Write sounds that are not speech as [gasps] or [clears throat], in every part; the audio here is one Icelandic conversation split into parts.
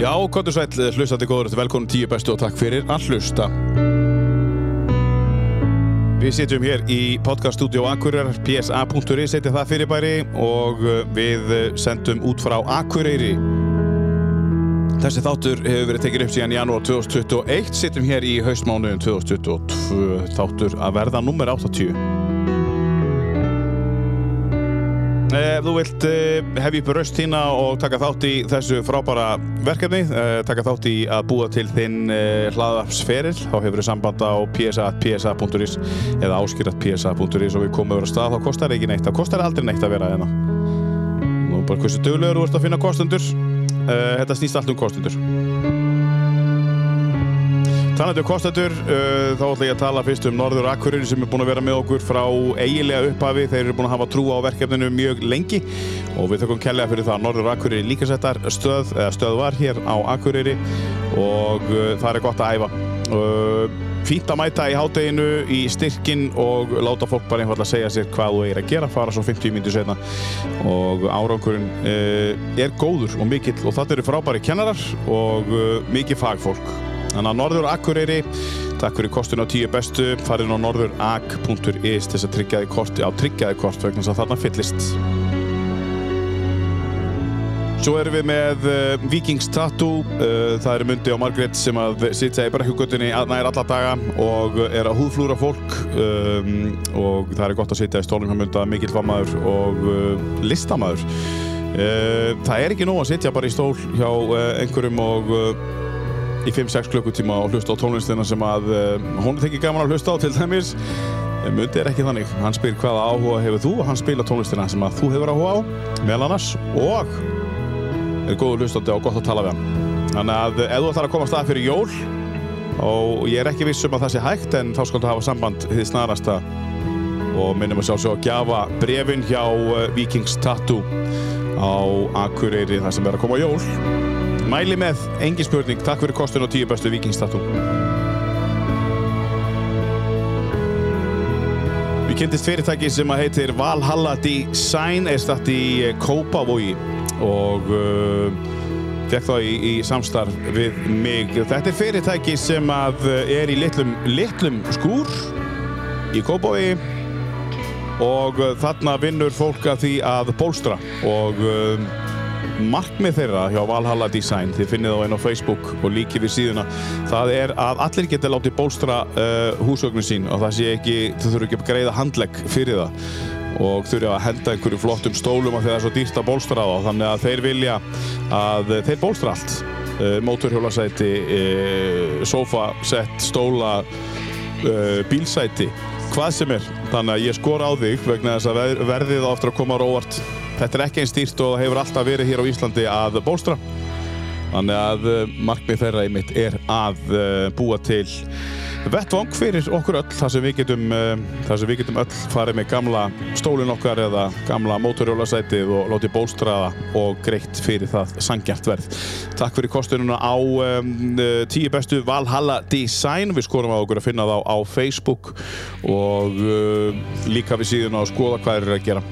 Já, kontur sæll, eh, hlustandi góður, velkomin tíu bestu og takk fyrir að hlusta. Við sitjum hér í podcaststudió Akureyrar, psa.ri, setja það fyrirbæri og uh, við uh, sendum út frá Akureyri. Þessi þáttur hefur verið tekið upp síðan janúar 2021, sitjum hér í haustmánuðin 2022, þáttur að verða nummer 80. Ef þú vilt eh, hefja upp raust þína og taka þátt í þessu frábæra verkefni, eh, taka þátt í að búa til þinn eh, hlaðvarpsferil, þá hefur við samband á psa.psa.is eða áskir.psa.is og við komum yfir að stað, þá kostar ekki neitt, þá kostar aldrei neitt að vera hérna. Nú bara hversu duglegur þú ert að finna kostendur, Eh, þetta snýst allt um kostendur. Talandu kostendur, um uh, þá ætla ég að tala fyrst um Norður Akureyri sem er búin að vera með okkur frá eiginlega upphafi. Þeir eru búin að hafa trú á verkefninu mjög lengi og við þökkum kellega fyrir það. Norður Akureyri er líkasettar stöð, eða stöð var hér á Akureyri og uh, það er gott að æfa. Uh, fínt að mæta í hádeginu í styrkin og láta fólk bara einfalda segja sér hvað þú er að gera, fara svo 50 mínútur setna og árangurinn uh, er góður og mikill og þetta eru frábæri kennarar og uh, mikið fagfólk. Þannig að Norður Akureyri, takk fyrir kostun á 10 bestu, farin á norðurak.is til þess að tryggja þig kort, á tryggja þig kort vegna þess að þarna fyllist. Svo erum við með uh, Vikings Tattoo, uh, það eru Mundi og Margrét sem að sitja í brekkugötunni að nær alla daga og er að húðflúra fólk um, og það er gott að sitja í stólum hjá Munda, mikill famaður og uh, listamaður. Uh, það er ekki nóg að sitja bara í stól hjá uh, einhverjum og uh, í 5-6 klukkutíma og hlusta á tónlistina sem að uh, hún þykir gaman að hlusta á til dæmis. En Mundi er ekki þannig, hann spyr hvaða áhuga hefur þú og hann spila tónlistina sem að þú hefur áhuga á, meðal annars og er góður hlustandi og gott að tala við hann. Þannig að ef þú ætlar að komast að fyrir jól og ég er ekki viss um að það sé hægt en þá skaldu hafa samband þið snarasta og minnum að sjálfsög að gjafa brefin hjá eh, Vikings Tattoo á Akureyri þar sem er að koma jól. Mæli með, engin spurning, takk fyrir kostun og tíu bestu Vikings Tattoo. Við kynntist fyrirtæki sem að heitir Valhalla Design er statt í Kópavogi og uh, fekk þá í, í samstarf við mig. Þetta er fyrirtæki sem að uh, er í litlum, litlum skúr í Kópavogi og uh, þarna vinnur fólk að því að bólstra og uh, markmið þeirra hjá Valhalla Design þið finnið þá einn á Facebook og líkið við síðuna það er að allir geta látið bólstra uh, húsögnu sín og það sé ekki, þau þurfu ekki að greiða handlegg fyrir það og þurfa að henda einhverju flottum stólum af því að það er svo dýrt að bólstra á þá þannig að þeir vilja að eh, þeir bólstra allt uh, móturhjólasæti, uh, sofasett, stóla uh, bílsæti hvað sem er, þannig að ég skor á þig vegna þess að ver- verðið á aftur að koma á róvart þetta er ekki einn stýrt og það hefur alltaf verið hér á Íslandi að bólstra þannig að uh, markmið þeirra einmitt er að uh, búa til vettvang fyrir okkur öll þar sem við getum, uh, þar sem við getum öll farið með gamla stólinn okkar eða gamla mótorjólasætið og látið bólstraða og greitt fyrir það sangjart verð. Takk fyrir kostununa á um, uh, tíu bestu Valhalla Design. Við skorum á okkur að finna þá á Facebook og uh, líka við síðan að skoða hvað þeir eru að gera.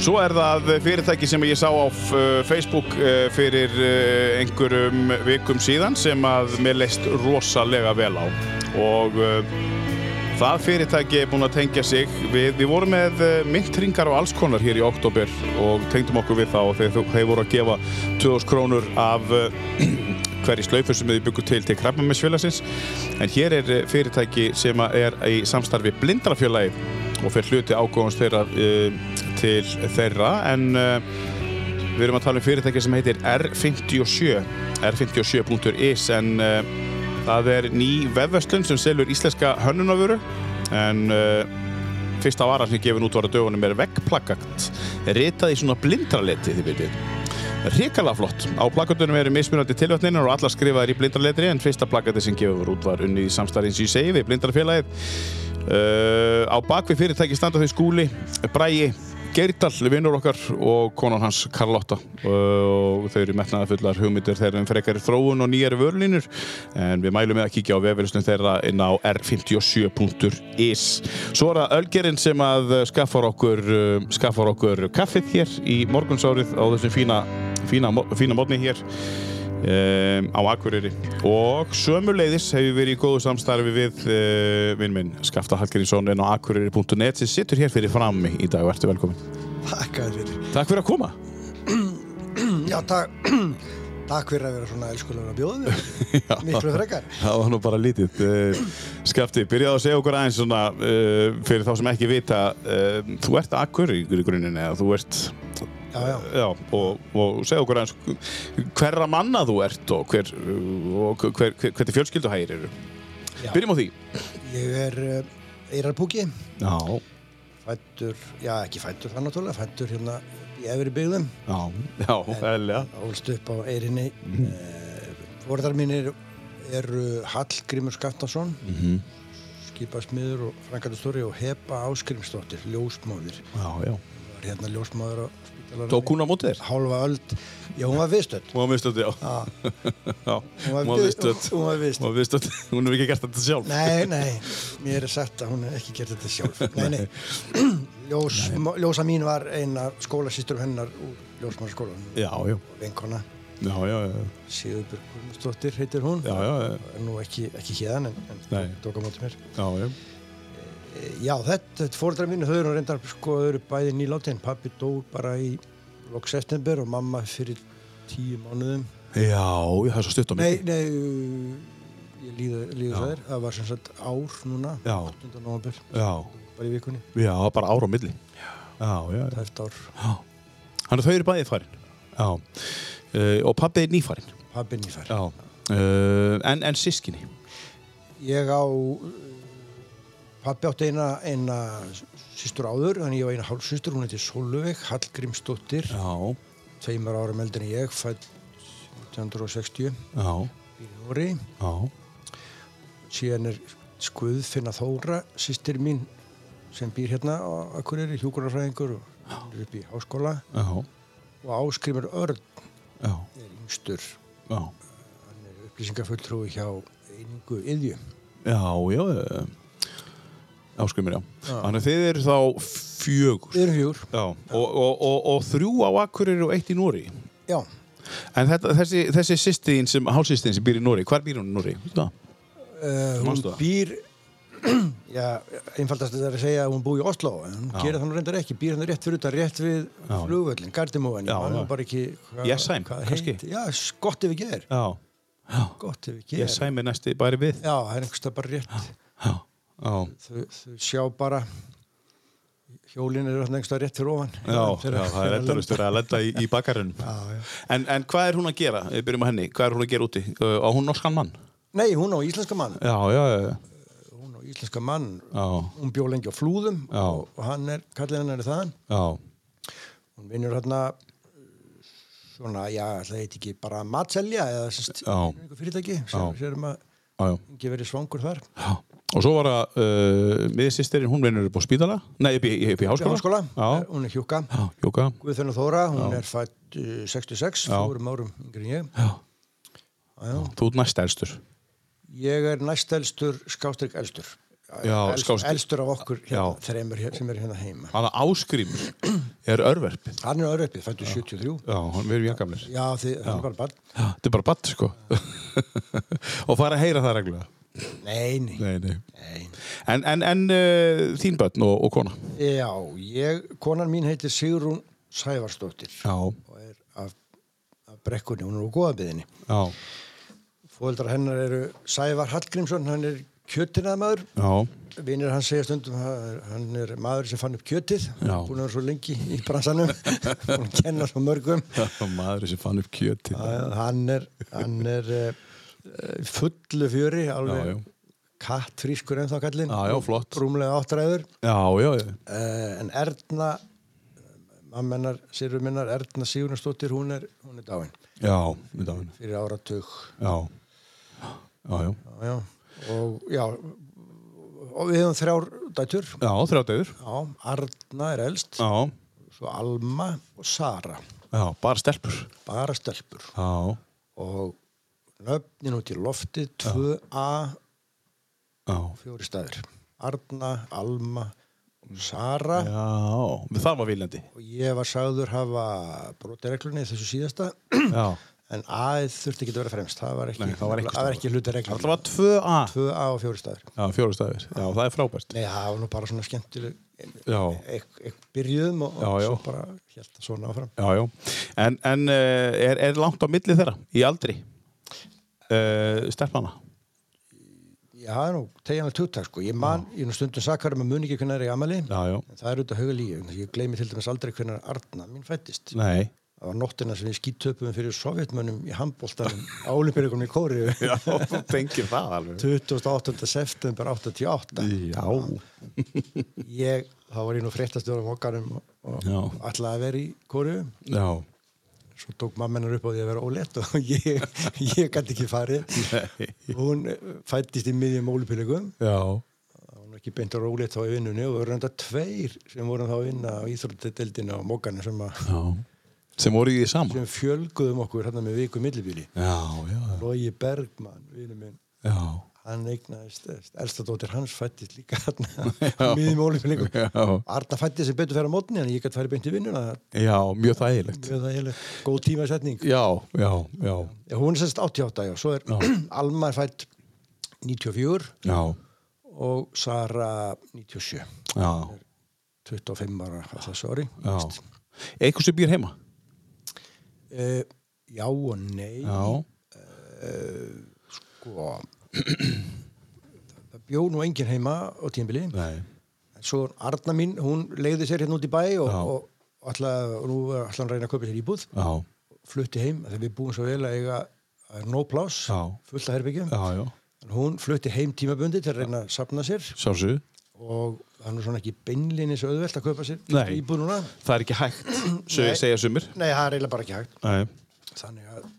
Svo er það fyrirtæki sem ég sá á uh, Facebook uh, fyrir uh, einhverjum vikum síðan sem að mér leist rosalega vel á og uh, það fyrirtæki er búin að tengja sig við, við vorum með uh, myndringar og alls konar hér í oktober og tengdum okkur við þá og þeir, þeir voru að gefa 2000 krónur af uh, hverju slaufu sem þið byggur til til krabbamessfélagsins en hér er eh, fyrirtæki sem að er í samstarfi blindrafélagi og fyrir hluti ágóðans þeirra eh, til þeirra en eh, við erum að tala um fyrirtæki sem heitir R57 r57.is en eh, það er ný vefverslun sem selur íslenska hönnunavöru en eh, fyrsta varan sem gefin út var að dögunum er veggplakakt ritað í svona blindraleti þið veitir Ríkala flott. Á plakatunum eru mismunandi tilvötninir og allar skrifaðir í blindarletri en fyrsta plakati sem gefur út var unni í samstarfins í segi Eh, við blindarfélagið. Uh, á bakvið fyrirtæki standa þau skúli, bræi, Geirdal, vinnur okkar og konan hans Karlotta og þau eru metnaðarfullar hugmyndir þeirra um frekari þróun og nýjar vörlínur en við mælum með að kíkja á vefverðslun þeirra inn á r57.is Svo er það Ölgerinn sem að skaffar okkur, eh, skaffar okkur kaffið hér í morgunsárið á þessum fína, fína, mo- fína mótni hér um, á Akureyri og sömuleiðis hefur verið í góðu samstarfi við uh, vinn minn Skafta Hallgrímsson en á akureyri.net sem situr hér fyrir frammi í dag og ertu velkomin Takk að þér fyrir. Takk fyrir að koma Já, takk, [clears throat] takk fyrir að vera svona elskulega að bjóða [laughs] Já. þér. Miklu frekar. Það var nú bara lítið uh, Skafti, byrjaðu að segja okkur aðeins svona, uh, fyrir þá sem ekki vita uh, þú ert akureyri í grunninn eða þú ert Já, já. Já, og, og segja okkur aðeins hverra manna þú ert og, hver, og hver, hver, hvernig fjölskylduhægir eru Já. Byrjum á því Ég er uh, Eirarpúki, Já, fættur, já ekki fættur það náttúrulega, fættur hérna í efri byggðum. já, já, eðlilega Ólst upp á Eirinni. Mhm. Mm Fóreðar mínir eru Hallgrímur Skaftason, mm Mhm. skipasmiður og frangatustóri og Hepa Áskrimsdóttir, ljósmóðir. Já, já. Var hérna ljósmóður á spítalarni. Tók hún á móti þér? Hálfa öld, já hún var viðstöld. Hún var viðstöld, já. Já, já. Hún var við- viðstöld. Hún var viðstöld. Hún var viðstöld. Hún hefur ekki gert þetta sjálf. Nei, nei, mér er sagt að hún hef ekki gert þetta sjálf. Nei, nei, [clears throat] Ljós, ljósa mín var eina skólasýstur hennar úr ljósmannskólan, Já, já. vinkona, Já, já, já. Sigurbjörg Guðmundsdóttir heitir hún. Já, já, já. Er Nú ekki, ekki hérðan, en, en Nei. tók á móti mér. Já, já. E, Já, þetta, þetta fóreldrar mínu, þau eru reyndar, sko, þau eru bæði nýlátin. Pappi dó bara í lok september og mamma fyrir tíu mánuðum. Já, það er svo stutt á Nei, mig. nei, uh, ég líða, líða það er, það var sem sagt ár núna, Já. 8. november, Já, bara í vikunni, já, bara ára á milli. Já, já, já. það er ár. Þannig að þau eru bæðið farin. Já. Uh, og pabbi er nýfarin. pappin í þar Já. Uh, en, en sískinni. ég á pappi átti eina, eina sýstur áður, þannig ég á eina hálfsýstur hún heiti Solveig Hallgrímsdóttir Já, tveimur árum eldin en ég fætt 1960 já, í Nóri já. síðan er Guðfinna Þóra sýstir mín sem býr hérna á Akureyri, hjúkurarfræðingur og hún er upp í háskóla Já, og Áskrimur Örn já, er yngstur já. hann er upplýsingafulltrúi hjá einingu yðju Já, já, já. Áskrumir, já. Þannig að þið eru þá fjögur. við erum hugur, Já, og, og, og, og þrjú á Akureyri og eitt í Nóri já, En þetta, þessi, þessi sýstiðin sem, hálsýstiðin sem býr í Nóri, hvar býr hún í Hérna. Nóri? Já, Uh, hún Manstu það? býr [clears throat] já, einfaldast er að segja að hún búi í Oslo en hún gerir það nú reyndar ekki, býr hann rétt fyrir utan rétt við flugvöllin, Gardimóan Já, ég man nú já. bara ekki hva, Jessheim, kannski? já, gott ef við gerir já, gott ef ég við gerir sæmi næsti bæri við já, það er einhverstað bara rétt Já, já, þau, þau sjá bara hjólin eru einhverstað rétt fyrir ofan já, já það er endalust að lenda í, í bakarinn en, en hvað er hún að gera, við byrjum að henni Hvað er hún að gera úti, uh, á hún norskan mann? nei, hún á íslenska mann Já, já, já, hún á íslenska mann já, hún bjó lengi á flúðum Já. og, og hann er, kallið hennar er þaðan já, hún vinnur hérna svona, já, það heit ekki bara matselja eða sérst, Já. einhver fyrirtæki sem, Já. sem að já, já. ekki verið svangur þar já. Og svo var það, uh, miðsýstirinn, hún vinnur upp á spítala Nei, upp í, upp í Í háskóla háskóla, Já, Eh, hún er hjúka já, jóka Guðfinna Þóra, hún er fætt uh, 66, Já. fjórum árum yngri en ég Já, já. þú ert næst elstur ég er næstelstur, skástrík elstur Já, skástrik. elstur af okkur hérna, Já. þreymur hér, sem er hérna heima Þannig að áskrimur er örverpið. hann er öðruppið, fættu 73 Já, hann verður jafngamlir. já, þið, hann er bara barn Þetta er bara batt, sko. [laughs] og fara að heyra það reglulega. nei, nei, Nei, nei. nei. En, en, en uh, þín börn og, og kona? já, ég, konan mín heitir Sigrún Sævarsdóttir Já, og er af, af brekkunni, hún er úr góðabiðinni. já, Fóldrar hennar eru Sævar Hallgrímsson, hann er kjötinaðmaður. já, [laughs] Vinir hann segja stundum að hann er maður sem fann upp kjötið. Já. Búin að vera svo lengi í bransanum, [laughs] búin að kenna svo mörgum. Maður sem fann upp kjöti. Já, Hann er, hann er uh, fullu fjöri, Já, alveg já. kattfrískur ennþá kallinn. já, flott. Rúmlega áttræður. Já, já, já. Uh, en Erna, eh, mammennar, sérfum minnar, Erna Sigurnarsdóttir, hún er, hún er dáin Já, við dáinu. fyrir áratug. Já, já, já. Já, já. Og, já, og við höfum þrjár dætur. Já, þrjá döður. Já, Arna er elst, Já, svo Alma og Sara, Já, bara stelpur. bara stelpur Já, og nöfnin út í loftið 2A já. fjóri staðir Arna, Alma og Sara Já, það var viljandi. og ég var sagður hafa brotireglunni þessu síðasta [clears throat] Já. en A-ið þurfti ekki að vera fremst það var ekki, Nei, það var ekki ekki hluti Það reglunni var 2A. 2A og fjóri staðir Já, fjóru stafir. Já, það er frábært. Nei, það var nú bara svona skemmtileg Já. ek, ek, byrjuðum og, Já, og já. svo bara held það svona áfram Já, já. En, en eh, er, er langt á milli þeirra í aldri? Uh, stelpana? Já, það er nú, tegjanlega tuttak sko ég man, ég er nú stundum sakarum að mun ekki hvernig er í amali Já, já. en það er auðvitað hauga lífi en ég gleymi til dæmis aldrei hvernig Arna mín fættist Nei. það var nóttina sem við skýttöpum fyrir sovjetmönnum í handbóltanum á olimpíuleikunum í Kóri [laughs] Já, þú tengir það alveg. 28. september 88 Já. ég, þá var ég nú fréttastjóra mokkanum og, Já. og ætlaði að vera í Kóri Já. svo tók mammenar upp á því að vera ólett og [laughs] ég, ég gæti ekki farið Nei. hún fættist í miðjum olimpíuleikum Já. það var nú ekki beint að rólið þá í vinnunni og það voru enda tveir sem voru þá að vinna á íþróttadeildinu og mokkanum sem, að- Já. Sem voru í því sama? sem fjölguðum okkur hérna með viku millibíli Já, já. Lógi Bergmann, vinnu minn Já. hann eignaðist, elsta dóttir hans fættist líka hérna miðjum olimpíuleikum Já. Arna fættist sem betur fyrir á mótni en ég gæti farið beint í vinnuna það Já, mjög þægilegt. er það heilig, góð tímasetning Já, já, já. hún er sérst 88 já, svo er [clears throat] Alma er fætt 94 Já. og Sara 97 Já. 25 ára á þessu ári Já. Eitthvað sem býr heima? Eh, já og nei Já. sko [clears throat] það bjó nú enginn heima á tímbili Nei. svo Arna mín, hún leiði sér hérna út í bæ og, Já. og alltaf, nú alltaf hann reyna að kaupa sér íbúð Já. flutti heim, þegar við búum svo vel að eiga það er no plás, Já. fullt að herbyggjum Já, já. hún flutti heim tímabundi til að reyna að sapna sér Sjálfsögðu. og það er nú svona ekki beinlinnis auðvelt að kaupa sér Nei. íbúð núna Það er ekki [clears throat] hægt, svo Nei. ég segja sumir. nei, það er eiginlega bara ekki hægt Nei. þannig að,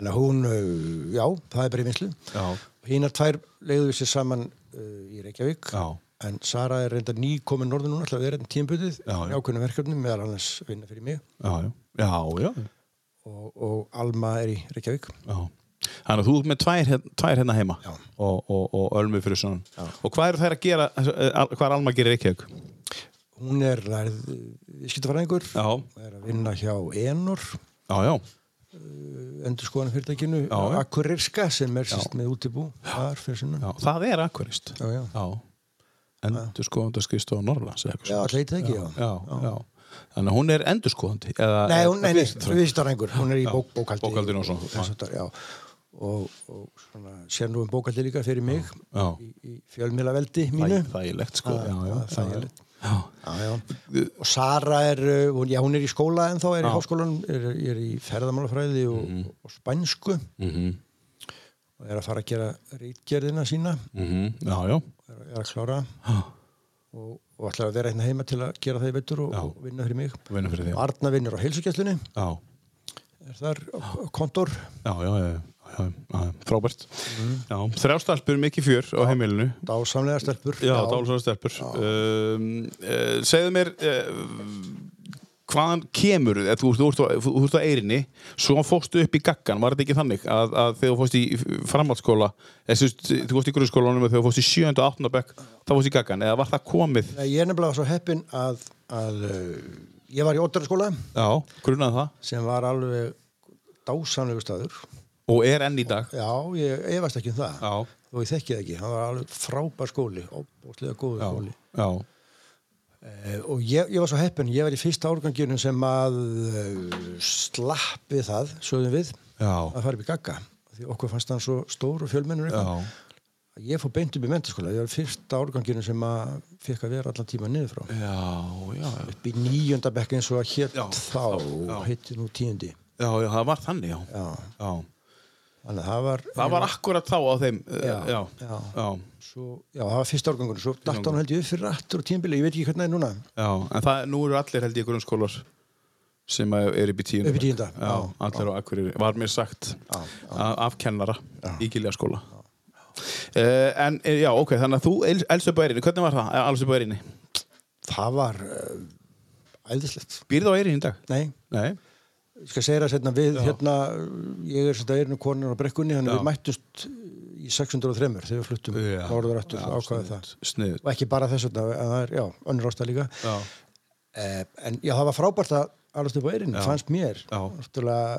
þannig að hún, uh, já, það er bara í vinslu Já. Hínar tvær leiðu sér saman uh, í Reykjavík Já. en Sara er reynda ný komin norður núna alltaf er enn tímbutið Já, já. ákveðnum verkefnum meðal annars vinna fyrir mig Já, já. Já, já. og, og Alma er í Reykjavík Já. Þannig að þú ert með tvær, hér- tvær hérna heima Já. og, og, og ölmu fyrir svona. Og hvað eru þær að gera, eh, al- hvað er Alma að gera í Reykjavík? hún er lærð viðskiptafræðingur Já. er að vinna hjá Enor Já, já. endur skoðanum fyrirtækinu já. Akureyriska sem er sýst með útibú þar fyrir sunnum já. Það er akkurist. Já, já. Endur skoðandi að skrifstu á Norrlands eða eitthvað. já, alltaf eitthvað ekki já. Já, já. Þannig að hún er endur skoðandi. Eða, Nei, hún er eða- viðskiptafræðingur hún er í bók, bókaldi Bókhaldinu og svona. þess háttar, já. og, og svona, sér nú um bókaldi líka fyrir mig Já. í, í fjölmiðlaveldi mínu Þæ- Þægilegt sko. Já, já. það er þægilegt. Já. Já, já. Og Sara er, uh, hún, já, hún er í skóla en þá er í háskólan, er, er í ferðamálafræði og, Mhm. og spænsku Mm og er að fara að gera reitgerðina sína, já, já. er, er að klára mhm. Já. og, og ætlar að vera hérna heima til að gera það í vettur og, Já. og vinna fyrir mig. Vinna fyrir því. Já, Arna vinnur á heilsugjæslunni, já. er þar á á kontor. Já, já, já, já, já, já frábært Já, þrjástalpur, mikið fjör á heimilinu Dásamlega stelpur. Já, dálsvara stelpur um, uh, Segðu mér uh, hvaðan kemur eða, þú, þú, þú, þú, þú ert á eirinni svo fórstu upp í gaggan, var þetta ekki þannig að, að þegar þú fórst í framhaldsskóla eða þú veist, þú fórst í grunnskólanum og þegar þú fórst í 7. og 8. bekk þá fórst í gaggan, eða var það komið Nei, Ég er nefnilega svo heppin að, að uh, ég var í óttaraskóla Já, grunaði það sem var alveg dásamlegu staður. og er enn í dag Já, ég efast ekki um það. Já, og ég þekki það ekki, hann var alveg frábær skóli óbúslega góður já, skóli já, eh, og ég, ég var svo heppin, ég var í fyrsta árganginu sem að eh, slapp við það, sögðum við já, að fara upp í gagga, því okkur fannst hann svo stór og fjölmennur já. eitthvað, að ég fór beint upp í mentaskóla, ég var í fyrsta árganginu sem að fekk að vera allan tíma niður frá Já, já, já. upp í nýjönda bekk eins og að hér Já, þá, já. hitti nú tíundi já, já, það var þannig, já. já, Já. þannig að það var Það var akkurat þá á þeim uh, Já, já, já. já, svo, já, það var fyrsta árgangunum, svo datt hann held ég upp fyrir aftur og tímbili, ég veit ekki hvernig það er núna já. En það, nú eru allir held ég grunnskólar sem að eru upp í tíunda Upp í tíunda, já, já, Allir á Akureyri, var mér sagt Já, a- af kennara í Giljaskóla Uh, en eh, já, Eh, ok, þannig að þú elst upp á erinni, hvernig var það, elst upp á erinni? það var uh, æðislegt. Býrðu á Eyri í dag? Nei, Nei. ég skal segja það sérna við, Já. hérna, ég er sérna eirinu konur á brekkunni, þannig Já. við mættust í 603 þegar við fluttum norður aftur, ákvaðið það. Sniðut. Og ekki bara þess vegna, en það er, já, önnur ástæð líka. Já. Eh, en já, það var frábært að alveg upp á eirinu, Já. fannst mér. Já. Náttúrulega,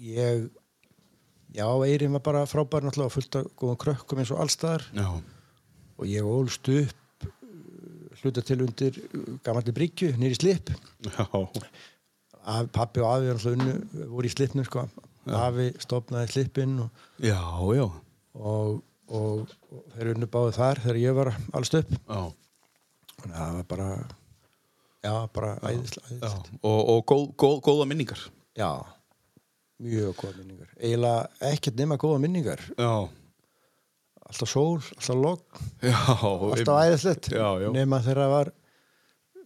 eh, ég, já, eirin var bara frábær náttúrulega og fullt af góðum krökkum eins og allstaðar. Já. og ég ólst upp uh, hluta til undir gammalli bryggju nýri slip Já. Af, pappi og afi er alltaf unnu voru í slipnum sko afi stopnaði slipinn og, Já, já. og, og, og þeir unnu báði þar þegar ég var allst upp Já. þannig að það var bara já, bara æðislega Já. æðislega. Og, og góð, góð, góða minningar. já. mjög góða minningar eiginlega ekkert nema góða minningar Já. alltaf sól, alltaf logg, Já. alltaf æðislegt Já, já. nema þegar það var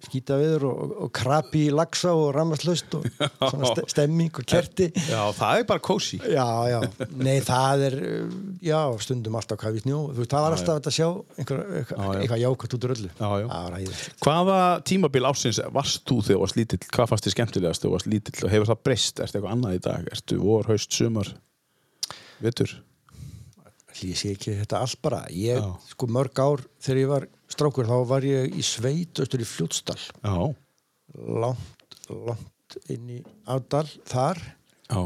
skýta viður og, og krabi í lagsa og rammarslaust [laughs] og svona ste- stemming og kerti Já, það er bara kósi. já, já, nei það er uh, já, stundum alltaf hvað við snjó þú veist, það var alltaf þetta að sjá einhver, Já, já. eitthvað, eitthvað jákvæmt út úr öllu Já, já. það var æðislegt Hvaða tímabil ásins varst þú þegar þú varst lítill? Hvað fannst þið skemmtilegast þegar þú varst lítill og hefur það breyst? Erstu eitthvað annað í dag? Erstu vor, haust, sumar? Vittur? ég sé ekki þetta allt bara ég, Já. sko mörg ár þegar ég var strákur þá var ég í sveit austur í fljótsdal Já. langt, langt inn í afdal þar Já.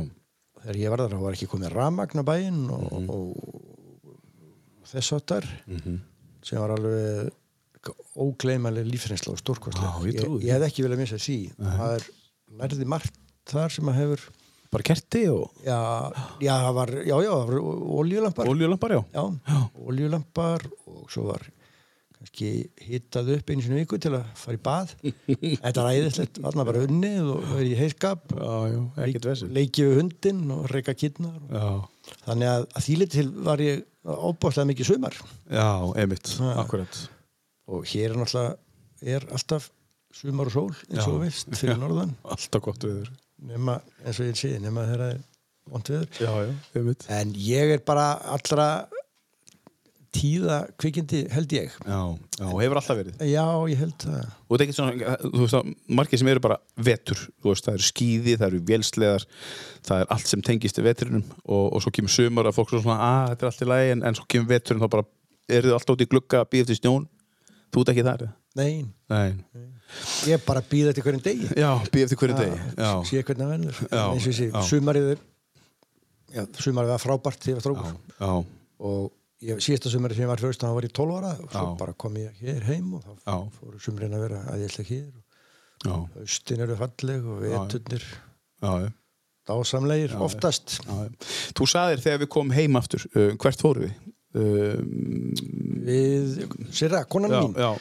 þegar ég var þar þá var ekki komið rafmagn á bæinn og, Mhm. og, og þess áttar sem var alveg ógleymanlega lífreynsla og stórkostlega Já, ég ég, trúi því. ég hef ekki viljað missa því það er lærði margt þar sem að hefur Bara kerti og já, já, það var, já, já, það var oljulampar oljulampar, já. já, oljulampar og svo var kannski hittað upp einu sinni í viku til að fara í [laughs] bað þetta er æðislegt, þarna bara unnið og verið í heiskap Já, já, ekkert vesinn. leikið við hundinn og reyka kynnar og Já. Þannig að, að þýlið til var ég óbáslega mikið sumar Já, emitt, Já. akkurat. og hér er náttúrulega er alltaf sumar og sól eins og Já. þú veist fyrir norðan Alltaf gott viður. nema, eins og ég sé, nema þegar það er vond viður. Já, já, emitt. En ég er bara allra tíða kvikindi held ég. Já, já, hefur alltaf verið. Já, ég held það. og þetta er ekki svona, þú veist að margir sem eru bara vetur, þú veist, það eru skíði það eru vélsleðar, það er allt sem tengist í vetrinum og, og svo kemur sumar að fólk er svona, að þetta er allt í lagi en, en svo kemur veturinn þá bara, eru þið alltaf út í glugga að býja eftir snjón, þú ert ekki þar eða? Nei, Nei, ég er bara að býða eftir hverjum degi. já, býja eftir hverju degi já, Sér hvernig það verður. Já, Eins og ég sé, já. sumarið er, já, sumarið var frábært þegar ég var já, strókur. já, og ég, síðasta sumari sem ég var fyrst þá var ég 12 ára og svo Já. bara kom ég hér heim og þá Já. fóru sumrin að vera aðeinslega hér og já, austin eru falleg og veturnir já, já. dásamlegir oftast Já, já. Þú saðir þegar við komum heim aftur uh, hvert fóru við? Uh, við, sérra, konan já, mín já,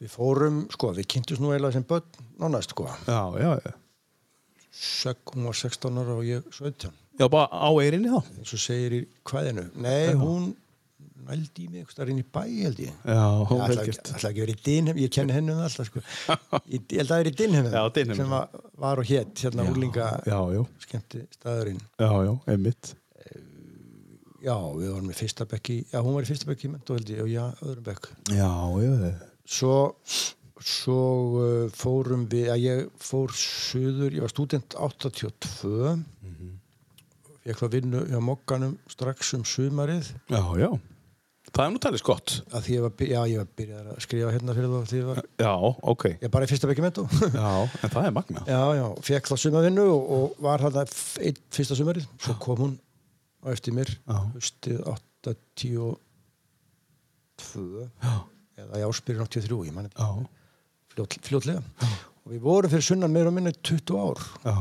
við fórum, sko, við kynntumst nú eiginlega sem börn, nánast, sko já, já, já. Sek- hún var 16 ára og ég 17 Já, bara á eirinni þá? eins og segir í kvæðinu nei, hún nældi í mig eitthvað inn í bæ, held ég Já, hún Það ætla, velgjört. ætla ekki verið í Dinhem, ég kenni henni um það alltaf [laughs] sko. Í- Ég held að það er í Dinhem Já, Dynhem. sem að, var og hétt hérna úrlinga Já, já, skemmti staðurinn. já, já, einmitt. Já, við varum í fyrsta bekki, já hún var í fyrsta bekki í mentu held ég og já, öðrum bekk. Já, já, Svo, svo uh, fórum við, að ég fór suður, ég var stúdent 82 mm -hmm. Mhm. Fekk það vinnu hjá Mokkanum strax um sumarið já, já. Það er nú talist gott. að því ég var, by- já ég var byrjað að skrifa hérna fyrir þá því ég var, Já, ok. ég var bara í fyrsta bekki í mentu Já, en það er magna. [laughs] Já, já, fekk það sumavinnu og, og var þarna f- einn fyrsta sumarið svo kom hún á eftir mér Já. höstið 82 Já, eða í áspyrjun 83, ég mani já, fljót, fljótlega og við vorum fyrir sunnan meira og minna í 20 ár já.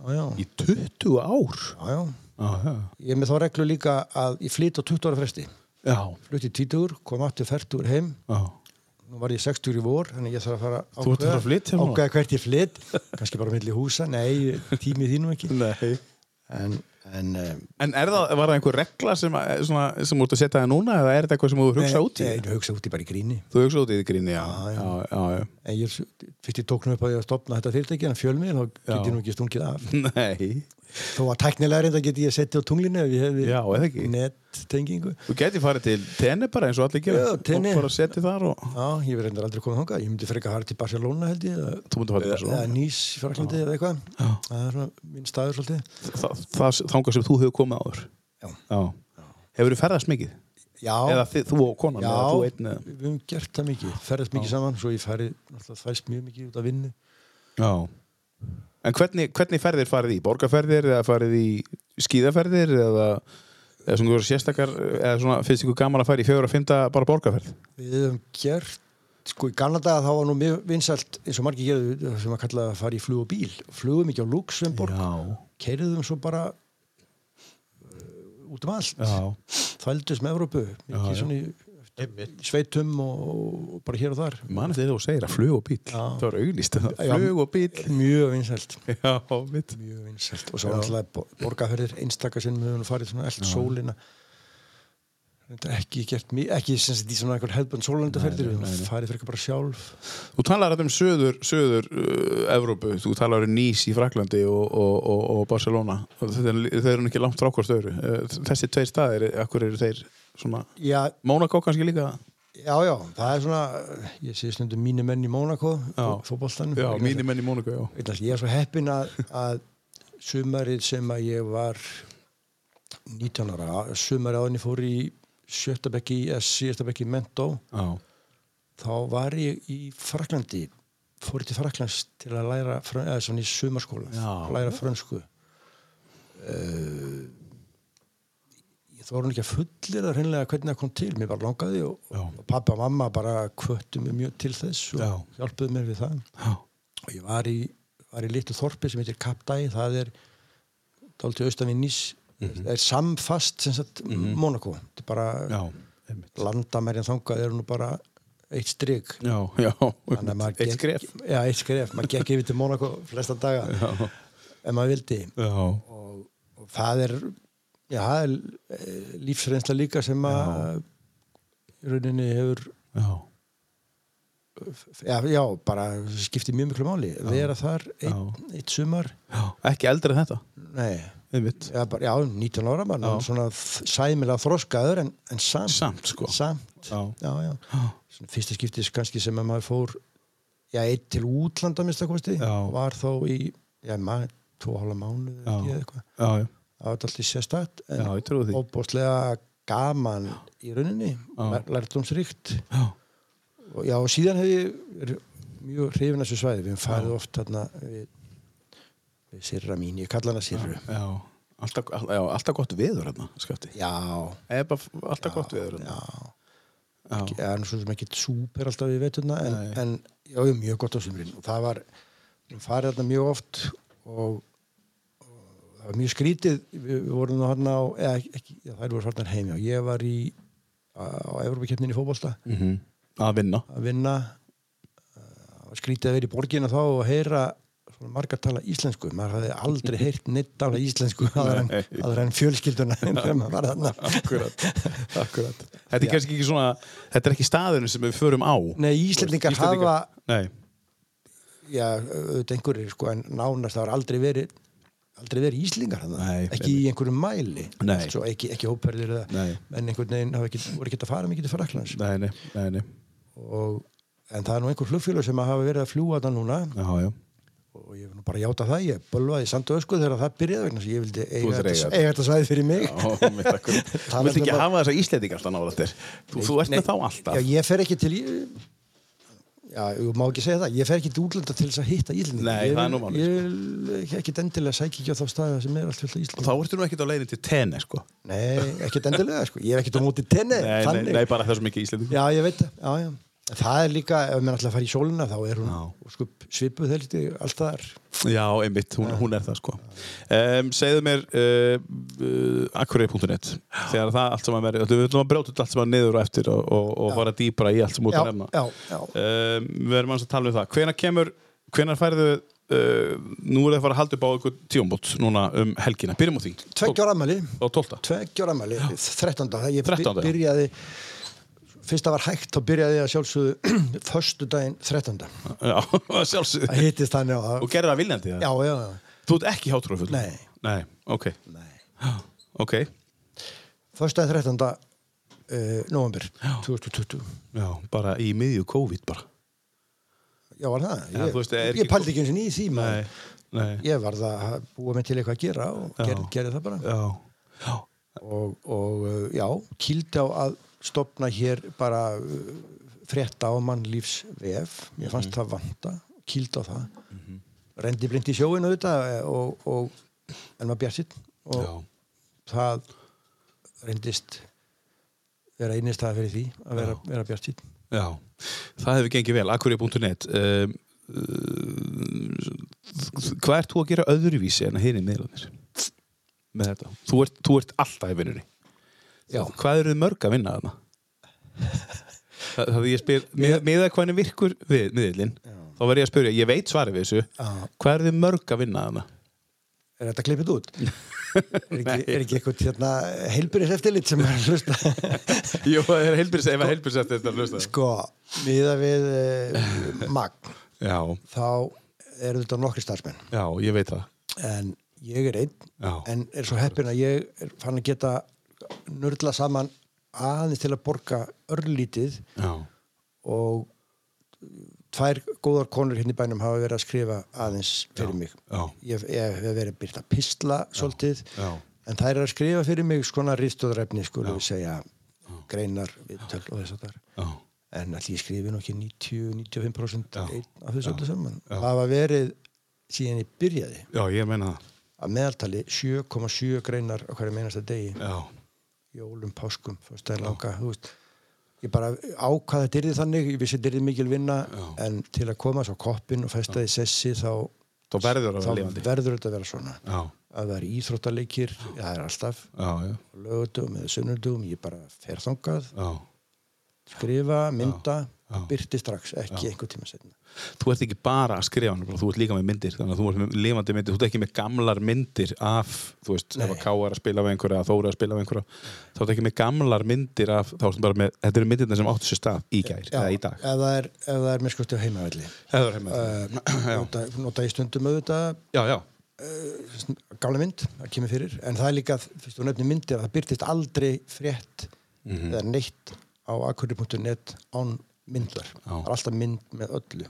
Já, já, Í 20 ár. já, já Já, já. Ég er með þá reglu líka að ég flyt á 20 ára fresti Já, flutti 20, kom 80-40 heim já. nú var ég 60 í vor þannig ég þarf að fara Þú ert að fara að flytja núna? ákveða hvert ég flytt kannski bara á milli húsa, nei, tímið þínum ekki Nei. en, en um, En er það, var það einhver regla sem, að- svona, sem út að setja það núna eða er þetta eitthvað sem þú hugsa út í? Nei, ég hugsa út í bara í gríni. Þú hugsa út í því gríni, já. Já, Já, já, já. En ég er fyrst ég tóknum upp að ég að stopna þetta fyrirtæki en fjölmiðin þá get ég nú ekki stungið af Nei, þó að tæknilega reynda get ég að setja á tunglinu ef ég hefði já, eða ekki nettengingu Þú geti farið til tenni bara eins og allir gera Já, Tenerife. Og bara setið þar og já, ég verði reyndar aldrei komið þangað ég myndi frekar fara til Barcelona held ég eða- Þú mútu farið bara eða svo Nýs í Fraklandi eða eitthvað það er svona minn staður svolítið Það, það þangað sem þú hefur komið áður Já. Hefur þú ferðast mikið? já, Eða þið, þú og konan? já Eða þú einn eða? við höfum gert það mikið, ferðast mikið saman svo ég færi, náttúrulega fæst mjög mikið út af vinnu Já En hvernig, hvernig ferðir farið í? Borgarferðir eða farið í skíðaferðir eða, eða svona einhverjar sérstakar eða svona finnst ykkur gaman að fara í fjögur og fymta bara borgarferð? Við höfum gert, sko í gamla daga þá var nú mjög vinsælt, eins og margir gerðu það sem að kalla að fara í flug og bíl. Flugum ekki á Luxemburg, Já, keiriðum svo bara uh, út um allt. Þvældist með Evrópu, Já, já. mikið svona í sveitum og, og bara hér og þar. Man eftir þegar þú segir að flug og bíl Já. Það var auglýst um það. Já. Flug og bíl Mjög vinsælt, Já, mitt mjög vinsælt. Og svo alltaf borgarferðir, einstakar sem við höfum farið svona allt sólina. Reyndar Ekki, gert, mi- ekki sem sagt í svona einhver hefðbund sólandaferðir, Nei, nei, við nei, nei. höfum farið fyrir bara sjálf. Þú talar þetta um söður, söður uh, Evrópu, þú talar um Nýs í Fraklandi og, og, og, og Barcelona og þetta er, þeir eru nú ekki langt frá hvort öðru Uh, Þessi tveir staðir, akkur eru þeir svona, Já, Mónakó kannski líka Já, já, það er svona, ég sé stundum mínu menn í Mónako, Já. fótboltanum. Já, Vegna mínir menn í Mónakó, já þess að Ég er svo heppin að, að sumarið sem að ég var 19 ára, sumarið áðinni fór í sjötta bekki, eða síðasta bekki í Mentó, Já, þá var ég í Fraklandi, fór ég til Fraklands til að læra, frön- eða svona í sumarskóla, Já. læra frönsku. Uh, ég þóra ekki að fullir það hreinlega hvernig það kom til, mér bara langaði og, já, og pappa og mamma bara kvöttu mér mjög til þess og Já. hjálpuðu mér við það já, og ég var í, var í litlu þorpi sem heitir Kapdæ það er dálítið austan við Nýs það er samfast sem sagt Monaco þetta er bara Mhm. já, einmitt. landamærin þangað er nú bara eitt stryk já, já, Þannig að maður eitt gekk- skref já, eitt skref, maður gekk yfir til Monaco flesta daga Já, ef maður vildi já, og, og það er já, það er eh, lífsreynsla líka sem að í rauninni hefur já, já, já, bara skipti mjög miklu máli vera þar eitt, eitt sumar já Ekki eldri en þetta, nei, einmitt já, bara, já 19 ára mann Já. svona þ- sæmilega þroskaður en, en samt, Samt, sko samt Já, já, já. Svona, fyrsta skiptis kannski sem að maður fór já, eitt til útlanda minnstakosti Já. var þá í, já, maður tvo og hálfa mánuð Já. eða ekki eða eitthvað já, já, það var alltaf sérstætt já, en ég trúi því óbúslega gaman í rauninni, Já. lær- lærdomsríkt Já, og, já, og síðan hef ég er mjög hrifin af þessu svæði við höfum farið oft þarna við, við Sirra mín, ég kalla hana Sirru já Alltaf, all- já, alltaf gott veður hérna, skapti já, Það er bara alltaf gott veður já hérna Já, ég er nú svo sem ekki súper alltaf við veituna en, Nei. en já, ég er mjög gott á sumrin og það var, við höfum farið þarna mjög oft og, og það var mjög skrítið við, við vorum nú hann á, eða ekki, já, þær voru svartar heim já, ég var í á, á Evrópakeppninni í fótbolta mhm, að vinna að vinna uh, skrítið að vera í borginna þá og heyra svona marga tala íslensku maður hafði aldrei heyrt neitt tala íslensku aðra en, Nei. aðra en [laughs] fjölskylduna sem maður var þarna Akkurat, akkurat Þetta er kannski ekki svona, þetta er ekki staðurinn sem við förum á Nei, Íslendingar hafa Nei, já, auðvitað einhverjir sko en nánast það var aldrei verið aldrei verið Íslingar þarna Nei, ekki í einhverjum mæli Nei. Svo, ekki, ekki hóperðir eða Nei. en einhvern veginn hafa ekki, voru ekki að fara mikið til Fraklands nei, nei, nei, nei. og en það er nú einhver flugfélag sem hafa verið að fljúa þetta núna Já, já, og ég vil nú bara játa það, ég bölvaði samt og ösku þegar það byrjaði vegna þess að ég vildi eiga vildir þetta, eiga eiga þetta svæði fyrir mig Já, mitt akkur Þú Talandi vilt ekki um að- hafa þessa íslendinga alltaf nála þér Þú, þú ert með þá alltaf já, ég fer ekki til já, ég má ekki segja það, ég fer ekki til útlanda til þess að hitta Íslandi Nei, ég, það er nú vil- málið, ég vil ekki- ekkit endilega sækja ekki á þá staði sem er allt fullt af Og Íslandi þá ertu nú ekkert á leiðin til tenni, sko nei, ekkit endilega, sko, ég er ekkit á móti tenni Nei, nei, nei, bara það er svo mikið íslendinga já, ég veit það, já, já það er líka, ef maður ætla að fara í sólina þá er hún Já. sko, svipuð heldur allt það er Já, einmitt, hún, hún er það, sko um, Segðu mér uh, uh, akkurri.net Þegar það allt saman verið Við ætlum að brjóta þetta allt saman niður og eftir og, og, og fara dýpra í allt sem út já, að nefna já, já. um, við erum aðeins að tala um það hvenar kemur, hvenar færðu uh, nú er það að fara að halda upp á einhvern tíumbót núna um helgina, byrjum á því tveggjóra amali og tólta tveggjóra mæli, 13. Það ég 13., já. byrjaði fyrst það var hægt þá byrjaði ég að sjálfsögðu [clears throat] förstu daginn 13. Já, [laughs] sjálfsög Það hittist þannig að Og gerði það viljandi það? Já, já, já Þú ert ekki hátrófull? Nei. Nei, ok [gasps] Ok, Förstu daginn 13. Uh, november 2020 já, bara í miðju COVID bara Já, var það? Já, ég þú veist, er ég ekki- pældi ekki eins og nýði því maður. nei Ég varð að búa mig til eitthvað að gera og Já. gerði, gerði það bara Já, já, og, og uh, já, kýldi á að stopna hér bara uh, frétta á mannlífsvef ég Mhm. fannst það vanta, kýldi á það rendi blind í sjóinu auðvitað eh, og, og en maður bjarsitt og já. það reyndist vera einist það fyrir því að vera, vera bjarsitt Já, það hefur gengið vel, akkurja.net um, uh, Hvað ert þú að gera öðruvísi en að hinni meðlanir? Með þetta, þú ert, þú ert alltaf í vinnunni Já. Hvað eru þið mörg að vinna þarna? Það það ég spyr, með, með að hvernig virkur við, miðlinn, þá var ég að spyrja, ég veit svarið við þessu, Já. hvað eru þið mörg að vinna [laughs] þarna? er þetta klippið [laughs] út? er ekki, er ekki eitthvað hérna, heilbyrðis eftirlit sem er að hlusta Jó, það er heilbyrðis, ef að heilbyrðis eftir þetta hlusta sko, miða við uh, magn Já, þá eru þetta nokkri starfsmenn já, ég veit það en ég er einn Já. en er svo heppin að ég er fann að geta nörðla saman aðeins til að borga örlítið Já, og tvær góðar konur hérna í bænum hafa verið að skrifa aðeins fyrir mig já. ég ég hef verið að byrta pistla svolítið já. en þær eru að skrifa fyrir mig skona rýstóðrefni skulum við segja greinar, viðtöl og þess að það er já, en allir ég skrifi nú ekki 90-95% Já. einn af þessu öllu saman Já. það hafa verið síðan ég byrjaði já, ég meina það að meðaltali 7,7 greinar á hverju meinasta degi Já, jólum, páskum, fyrstæðar langa þú veist, ég bara ákvað þetta yrði þannig, ég vissi þetta yrði mikil vinna Já. en til að koma svo koppin og festa í sessi þá, þá verður að þá vera lifandi verður þetta að vera svona Já, að það er íþróttaleikir, já, það er alltaf já, já, lögutum eða sunnudum, ég bara fer þangað, já skrifa, mynda Já. byrti strax, ekki einhver tíma setna Þú ert ekki bara að skrifa hann, þú ert líka með myndir þannig að þú ert með lifandi myndir, þú ert ekki með gamlar myndir af, þú veist, ef að Nei. Ká er að spila af einhverja, að Þóra er að spila af einhverja þá ert ekki með gamlar myndir af, þá ertu bara með þetta eru myndirna sem áttu sér stað í gær, eða í dag ef það er, ef það er mér skusti á heimavelli Hefur heima [clears throat] uh, nota, nota ég stundum auðvitað Já, já, gála mynd, það kemur fyrir en það er líka, fyrst þú nefnir myndir að það byrtist aldrei frétt Mhm. eða neitt á akkurri.net án myndar, það er alltaf mynd með öllu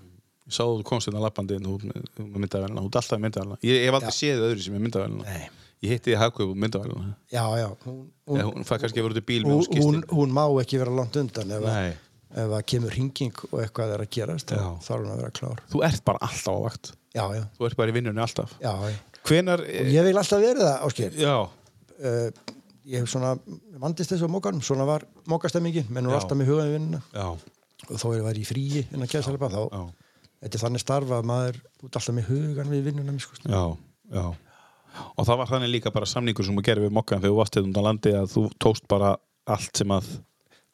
ég sá að þú komst hérna lappandi þú þú með myndavælina, þú ert alltaf með myndavælina ég ég hef aldrei séð öðru sem er myndavælina Nei. Ég hitti þið Hagkaup og myndavælina já, já, hún, hún, Eða Hún fæ kannski að vera út í bíl með hún hún, hún, skýrstinn hún má ekki vera langt undan ef, að, Nei. ef að kemur hringing og eitthvað er að gerast, Já. þá þarf hún að vera klár Þú ert bara alltaf á vakt já, já, Þú ert bara í vinnunni alltaf já, já. Hvenar ég vil alltaf verið það, Ásker eh, Já, uh, ég hef svona vandist þessu á mókanum, svona var mókastemmingi menn hún Já. er alltaf með hugaði vinnuna já, og þó er það væri í fríi en að kæsa þá, já, þetta er þannig starfa að maður út alltaf með hugan við vinnunum sko. já, já Og það var þannig líka bara samningur sem þú gerði við mokkan þegar þú varst hérna undan landi að þú tókst bara allt sem að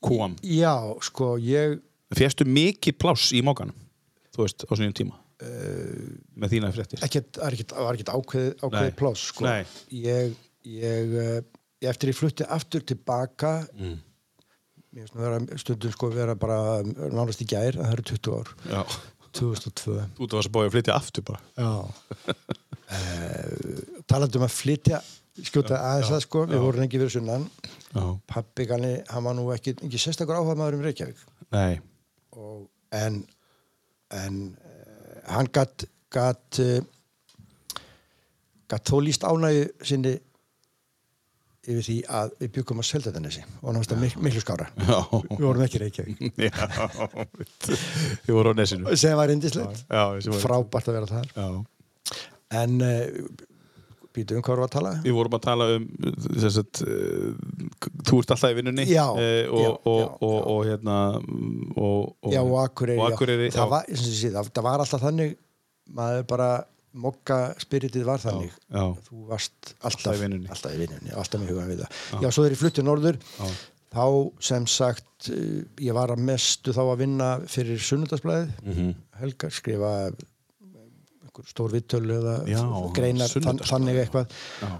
kom já, sko, ég Férstu mikið pláss í mokkanum, þú veist, á sinni tíma með þína fréttir ekkert, var ekkert, var ekkert ákveðið ákveð Nei. pláss sko. Nei. ég, ég eh, eftir ég flutti aftur tilbaka mm. mér finnst nú vera, stundum sko vera bara nánast í gær, það eru 20 ár Já, 2002 þú ert að varst að bója að flytja aftur bara já talandi um að flytja skjóta aðeins það sko, við vorum ekki verið sunnan Já, pappi kanni, hann var nú ekki, ekki sérstakur áhafmaður um Reykjavík nei, [laughs] og, en, en uh, hann gatt gatt uh, gatt þó líst ánægju sinni yfir því að við byggum að selda þessi og náttúrulega ja. mik miklu skára já við vorum ekki í Reykjavík Já, ég voru á nesinu sem var indislegt, Já, þessi var frábært að vera þar Já, en uh, býtu um hvað vorum við að tala við vorum að tala um þess að uh, þú ert alltaf í vinnunni Já, eh, já, og, og, já, og, og, hérna mm, og, og, já og Akureyri, og Akureyri já. já, það, var, eins og ég sé, það, það var alltaf þannig maður bara mokka spiritið var þannig já, þú varst Alltaf alltaf í vinnunni. alltaf, í vinnunni, alltaf með hugan við það já, svo þegar ég flutti norður þá sem sagt eh, ég var að mestu þá að vinna fyrir sunnudagsblæðið helgar, skrifa eh, einhver stór vittölu eða Já, greinar þann, Sunnudagsblaðið. þannig eitthvað já,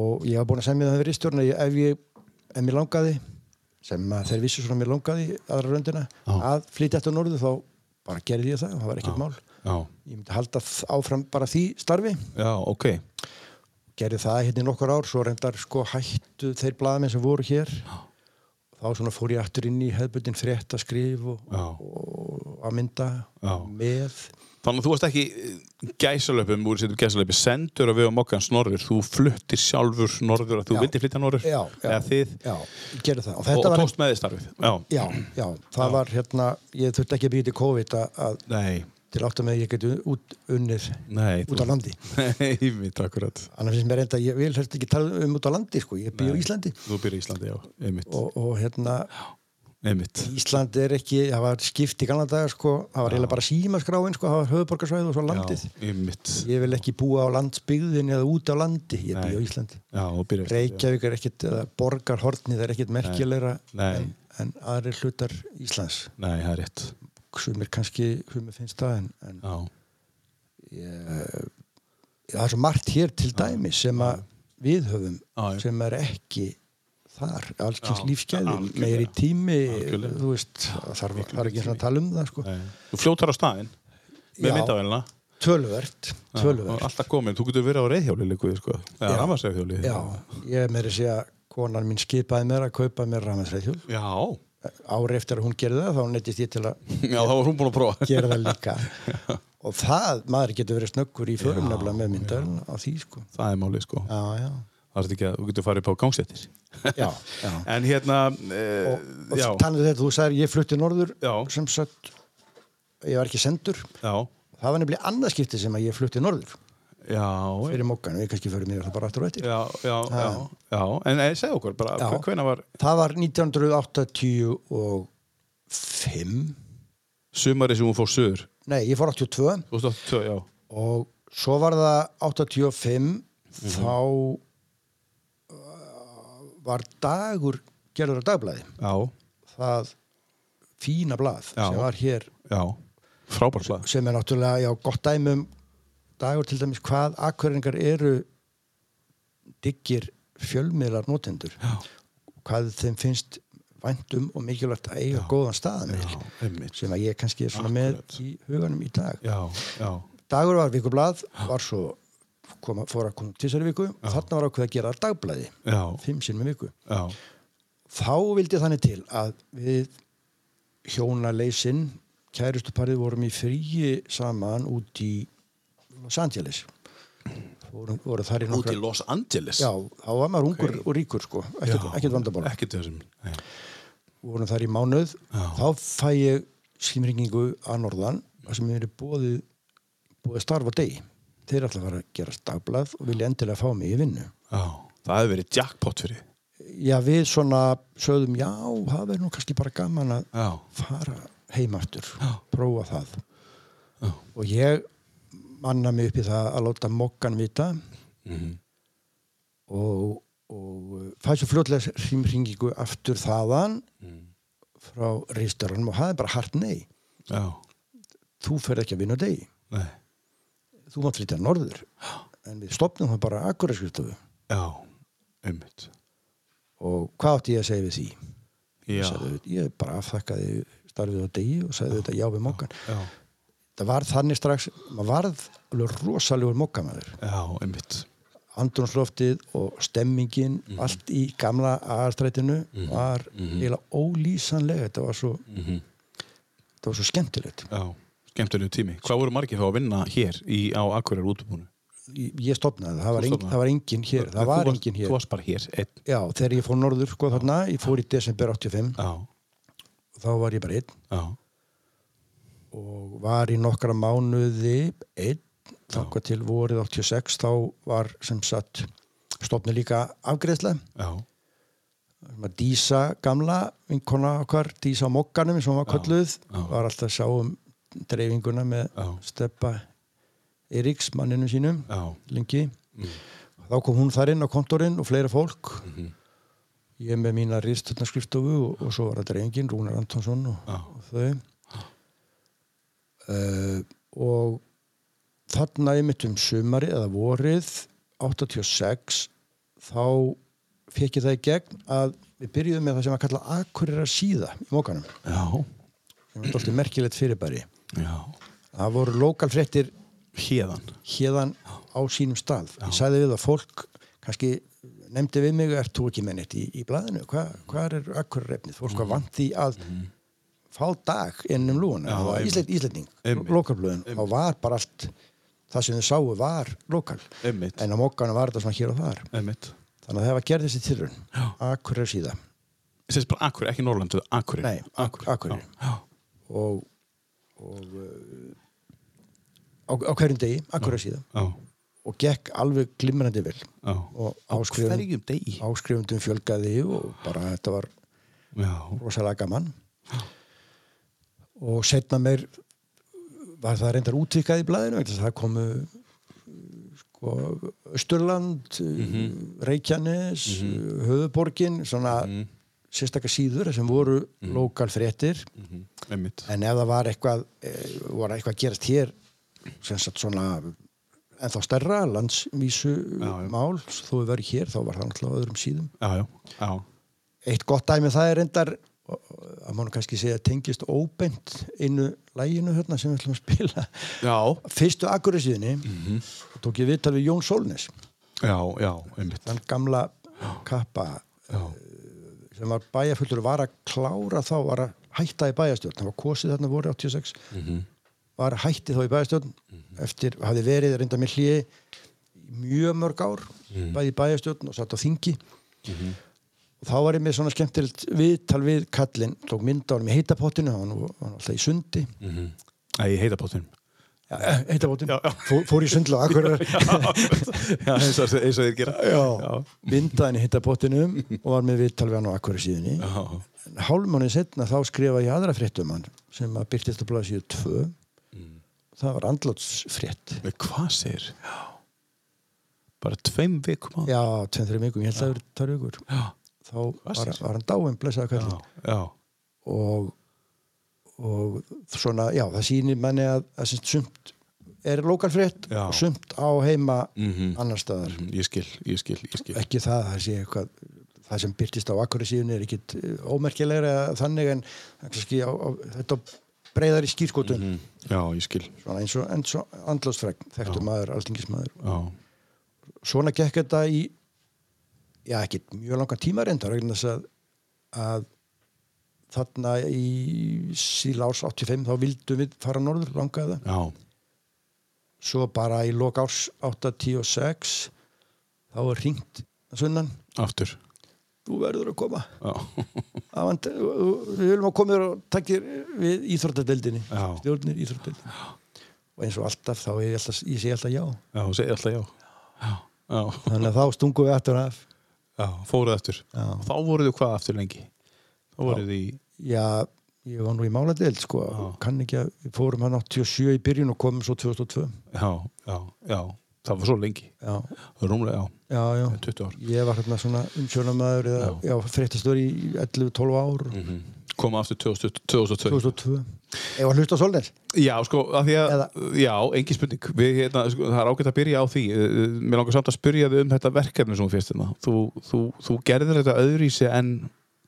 og ég var búin að semja það fyrir stjórna ef ég, ef mér langaði sem að þeir vissu svona mér langaði í aðra röndina Já. að flytja eftir norðu þá bara gerði ég það og það var ekkert mál Já, ég myndi halda þ- áfram bara því starfi já, ok. gerði það hérna í nokkur ár svo reyndar sko hættu þeir blaðamenn sem voru hér þá svona fór ég aftur inn í hefðbundin frétt að skrif og, Já. og að mynda Já. með Þannig að þú varst ekki eh, gæsalöpum úr sétum gæsalöpi, sendur að við á mokkan snorður, þú fluttir sjálfur norður að þú Já. vildir flytja norður já, já, eða þið já, ég gerði það og og, þetta og var tókst með þið starfið. Já, já, já, það var hérna ég þurfti ekki að býja til COVID að, að nei, til átt að með að ég geti út unnið nei. út á [laughs] landi Nei, mitt akkurat. annars finnst mér reynda, ég vil helst ekki tala um út á landi sko, ég býja á Nei. Íslandi Þú byrja í Íslandi, já, einmitt, og, og hérna, einmitt. Ísland er ekki, það var skipt í gamla daga sko, það var eiginlega bara símaskráin sko, það var höfuborgarsvæð og svo landið Já, einmitt. ég vil ekki búa á landsbyggðin eða út á landi ég Nei. býja á Íslandi Já, og byrja í Íslandi. Reykjavík er ekkit, eða borgarhortnið er ekkit merkilegra Nei. en, en aðri hlutar Íslands Nei, það er rétt. sumir kannski, sumir finnst það en, en Já, ég, það er svo margt hér til dæmi sem að við höfum Já, já. sem er ekki þar, allkynns Já, lífsgæði algjörlega. meiri tími, Algjörlega. þú veist það þarf, það er ekki svona að tala um það sko. nei. Þú fljótar á staðinn Já. með myndavælina. tölvert, Já, og tölvert Alltaf komin, þú getur verið á reyðhjóli líku, sko. Eða Já. rafmarsreyðhjóli. já, ég er meiri að segja konan mín skipaði mér að kaupa mér rafmæðsreithjól Já, ári eftir að hún gerði það, þá neytist ég til að já, þá var hún búin að prófa. gera það líka [laughs] og það, maður getur verið snöggur í förum nefnilega með myndar á því sko Það er málið, sko. já, já, Það er ekki að þú getur farið upp á gangstættir. já, já. En hérna, eh, og, og já, þannig þetta, þú sagðir ég flutti norður Já. sem sagt ég var ekki sendur, já, það var nefnilega annað skipti sem að ég flutti norður já, fyrir mókan, við kannski förum mér það bara aftur og eftir já, já, já, Ha. já, en eh, segðu okkur bara, Já. hvena var það var 1985 sumarið sem hún fór söður? nei, ég fór 82 Þú veist, tvö, já, og svo var það Mhm. 85 þá uh, var dagur gerður á dagblæði já, það fína blað Já. sem var hér já, frábærslega. sem er náttúrulega, já, gott dæmi um dagur til dæmis hvað akkurringar eru diggir fjölmiðlar notendur Já, hvað þeim finnst væntum og mikilvægt að eiga góðan staðan já, einmitt, sem að ég kannski er svona Akkurat. með í huganum í dag já, já, dagur var vikublað, var svo koma, fór að koma tísari viku og þarna var ákveð að gera dagblaði já, fimm sinnum í viku já, þá vildi þannig til að við hjónaleysinn kærustuparið vorum í fríi saman út í Los Angeles vorum, voru þar út í í nokkra Los Angeles. já, þá var maður ungur og ríkur sko ekkert, ekkert vandaból Ekkert þessum, nei. vorum þar í mánuð Já. þá fæ ég símringingu að norðan þar sem ég verið bóðið bóðið starf á degi þeir ætla að fara að gera stafblað og vilja endilega fá mig í vinnu já, það hefur verið jackpot fyrir, þig. já við svona sögðum já það verður nú kannski bara gaman að já, fara heim aftur, Já. prófa það Já. og ég manna mig upp í það að láta mokkan vita mhm, og, og fæði svo fljótlega hringringingu aftur þaðan Mm. frá reisturunum og það er bara hart nei já, þú ferð ekki að vinna á degi, nei, þú mátt flytja norður en við stopnum það bara akkurat skrifstofu já, einmitt, og hvað átti ég að segja við því já, ég, sagði, ég bara afþakkaði starfið á degi og sagði þetta já við mokkan já, það var þannig strax, maður varð alveg rosalegur mokkamæður já, einmitt, andrumsloftið og stemmingin Mhm. allt í gamla aðastrætinu var eiginlega ólýsanlega þetta var svo, mhm. þetta var svo skemmtilegt Já, skemmtilegu tími. Hvað voru margir þá að vinna hér í, á Akureyri útubúinu? ég, ég stopnaði, það var, Þú engin, stofnaðir? það var engin hér það var engin Þú hér, varst bara hér, einn. já, þegar ég fór norður sko þarna, ég fór í desember 85 Já, þá var ég bara einn já, og var í nokkra mánuði einn, þangað til vorið 86 þá var sem sagt stopnið líka afgreðslega já, sem að Dísa gamla vinkona okkar, Dísa á mokkanum sem hún var kölluð, já. var alltaf að sjá um dreifinguna með Já. steppa Eriks manninum sínum já, lengi þá kom hún þar inn á kontorinn og fleira fólk ég með mína ristöldnarskriftofu og, og svo var það dreifingin Rúnar Antonsson og, Já. og þau uh, og þarna einmitt um sumari eða vorið 86 þá fekk ég það í gegn að við byrjuðum með það sem að kalla akkurera síða í mókanum Já, sem er alltaf merkilegt fyrirbæri já. það voru lokalfréttir Hérðan. hérðan á sínum stað ég sagði við að fólk kannski nefndi við mig, ert þú ekki með neitt í, í blaðinu, Hva, hvað er akkurera efnið fólk var vant því að fá dag innum lúana, Mhm. Já, það var einmitt. íslending, Einmitt. íslending lokalblöðin, þá var bara allt það sem þau sáu var lokal Einmitt. en á mókanum var þetta svona hér og þar Einmitt. þannig að það var gerðist í tilrun Já. akkurera síða Sérst bara Akureyri, ekki Norrlandu, Akureyri. Nei, Ak- Akureyri. Já, já. og, og uh, á, á hverjum degi, akkurra síðan já, og gekk alveg glimrandi vel já. og Á áskrifundum, hverjum degi. áskrifundum fjölgaði og bara þetta var Já, rosalega gaman og setna meir var það reyndar útvikað í blæðinu það komu uh, sko, Östurland mm Mhm. Reykjanes mm Höfuborgin svona mm sérstakar síður sem voru mm. lokal fréttir mhm, einmitt. en ef það var eitthvað e, var eitthvað að gerast hér sem sagt svona ennþá stærra landsvísu Já, já. mál þó við verið hér þá var það náttúrulega á öðrum síðum Já, já, já. eitt gott dæmi um það er reyndar og- og- að mann kannski segja tengist óbent innu læginu hérna sem við ætlum að spila Já, fyrstu akkurisíðinni tók ég viðtal við Jón Sólnes já, já, einmitt. þann gamla kappa Já, sem var bæjarfullur var að klára þá var að hætta í bæjarstjórn það var kosið þarna voru 86 Mhm. var að hætti þá í bæjarstjórn eftir, hafði verið reynda með hliði í mjög mörg ár Mhm. bæði í bæjarstjórn og satt á þingi og þá var ég með svona skemmtilegt viðtal við kallinn, tók mynd á hann í heitapottinu, hann var hann var alltaf í sundi eh, mhm. Æ, ég heita [laughs] bóttunum. heitapottinu, Já, já. fór, fór í sundla akkurat Já, eins og, eins og þeir gera. já, myndaðin í heitapottinu og var með viðtal við hann á akkurat síðunni Já, hálfmáni setna þá skrifa ég aðra frétt um hann sem að byrtist á blaðsíðu 2 Mm. það var andlátsfrétt Nei, hvað segir? Já. Bara tveim vikum á. já, tveim, þreim vikum, ég held að það eru tvær vikur Já, þá var, sér? var hann dáin, blessaði já, kallinn já. og, og svona, já, það sýnir manni að, að sem sagt sumt er lokalfrétt Já. og sumt á heima Mhm. annar staðar Mhm, Ég skil, ég skil, ég skil. ekki það, það sé eitthvað það sem byrtist á akkurri síðun er ekkit eh, ómerkilegra þannig en kannski á, á, þetta breyðar í skýrskotun Mhm, Já, ég skil. svona eins og, eins og andlásfregn þekktu maður, alþingismæður Já, svona gekk þetta í já ekki mjög langan tíma reyndar vegna þess að, að þarna í síla árs 85 þá vildum við fara norður langaða já, svo bara í lok árs 86 þá er hringt að sunnan aftur. þú verður að koma Já, [laughs] Það vant- við viljum að koma þér og takkir við íþróttadeldinni Já. stjórnir íþróttadeldinni og eins og alltaf þá er ég, alltaf, ég segi alltaf já já, þú segir alltaf já. Já, já, þannig að þá stungum við aftur af já, fóruð aftur. Já. Þá voruðu hvað aftur lengi? Þá voruðu í, Já, ég var nú í máladeild sko, Já. kann ekki að, við fórum hann 87 í byrjun og komum svo 2002 já, já, já, það var svo lengi. Já, Rúmlega, já, já, já 20 ár. Ég var hérna svona umsjónamaður eða, já, fréttastur í 11-12 ár Mhm. Koma aftur 2000 2002. 2002 Ég var hlusta á Solnes Já, sko, að því að, Eða- já, engin spurning við, hérna, sko, það er ágætt að byrja á því Eh, eh, Mér langar samt að spyrja þau um þetta verkefni sem þú fyrst hérna, þú, þú, þú gerðir þetta öðrýsi en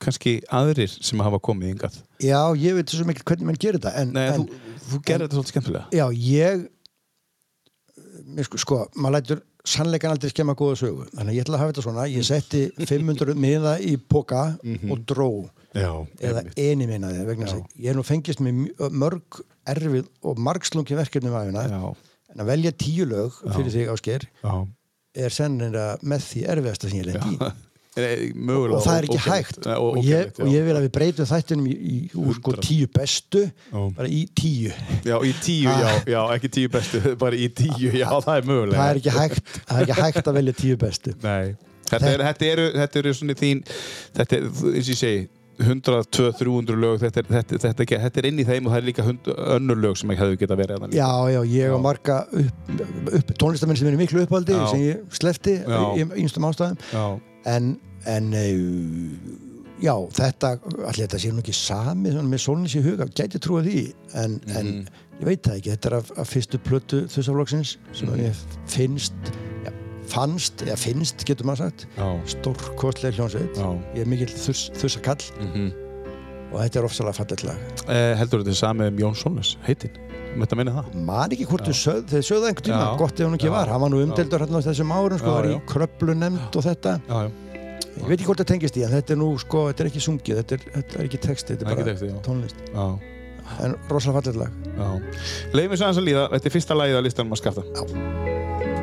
kannski aðrir sem hafa komið yngað Já, ég veit svo mikil hvernig menn gerir þetta en, Nei, en þú, þú gerðir þetta svolítið skemmtilega já, ég mér sko, sko, maður lætur sannleikan aldrei skemma góða sögu þannig að ég ætla að hafa þetta svona, ég setti 500 miða í poka og dró Já, eða eini minnaði vegna þess að ég er nú fengist með mjö- mörg erfið og margslungi verkefnum aðeina Já, en að velja tíu lög fyrir þig ásker já, er sennilega með því erfiðasta sem ég lendi í [laughs] Nei, Mögulega og það er ekki ógerlegt. hægt Nei, og, ó- ég, ógerlegt, og ég vil að við breytum þættinum í, í úr sko tíu bestu bara í tíu Já, í tíu, já, já, ekki tíu bestu [laughs] bara í tíu, já, það er mögulega Ah. það er ekki hægt, það er ekki hægt að velja tíu bestu Nei, þetta, er, þetta, eru, þetta eru svona þín þetta er, eins og ég segi 100, 200, 300 lög þetta er, þetta, þetta, þetta, þetta er inn í þeim og það er líka 100, önnur lög sem ekki hefðu geta verið þarna líka. já, já, ég og marga upp, upp, tónlistamenn sem eru miklu uppaldi Já. sem ég slefti Já. í einstum ástæðum já, en, en eh, já, þetta allir þetta sé nú ekki sami svona, með sólnins í huga, gæti trúa því en, Mhm. Mhm. en ég veit það ekki, þetta er af, af fyrstu plötu þussaflokksins sem mm ég finnst já, fannst, eða finnst getur maður sagt Já. stórkostlega hljónsveit Já. ég er mikill þurs, þursakall og þetta er ofsalega fallet lag Mhm. Eh, heldur þetta er samið um Jón Sónus, heitinn? Mætti að meina það? maður ekki hvort þau sögðu, þeir sögðu einhvern tíma Já. gott ef hún ekki Já. var, hann var nú umdeldur hérna á þessum árum sko, Já, var í já. kröplu nefnd og þetta Já, já. ég veit ekki hvort það tengist í, en þetta er nú sko, þetta er ekki sungið, þetta er, þetta er ekki texti þetta Það er er bara ekki texti, já. tónlist já, en rosalega fallet lag já. Leifum svo aðeins að líða, þetta er fyrsta lagið að listanum að skafta.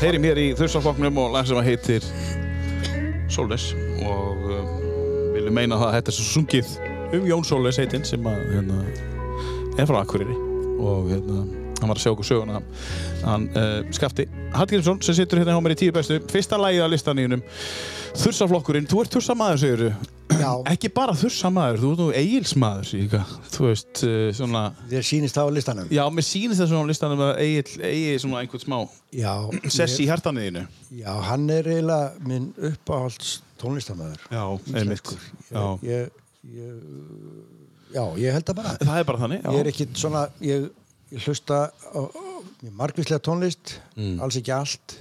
Heyrim hér í þursaflokknum og lag sem að heitir Sóles og um, viljum meina það að þetta er svo sungið um Jón Sóles heitinn sem að hérna, er frá Akureyri og hérna, hann var að sjá okkur söguna hann uh, skafti Hallgrímsson sem situr hérna hjá mér í tíu bestu fyrsta lagið að listaníunum Þursaflokkurinn, þú ert þursamaður segirðu já, ekki bara þursamaður, þú ert nú eigilsmaður síka. þú veist uh, svona þér sýnist það á listanum já, mér sýnist það svona á listanum að eigil eigi svona einhvern smá já, sess í hjartaníðinu ég- já, hann er eiginlega minn uppáhalds tónlistamæður Já, einmitt Já. sko. ég, ég, ég, já, ég held það bara Það er bara þannig já. ég er ekki svona ég, ég hlusta á, á mjög margvíslega tónlist Mm. alls ekki allt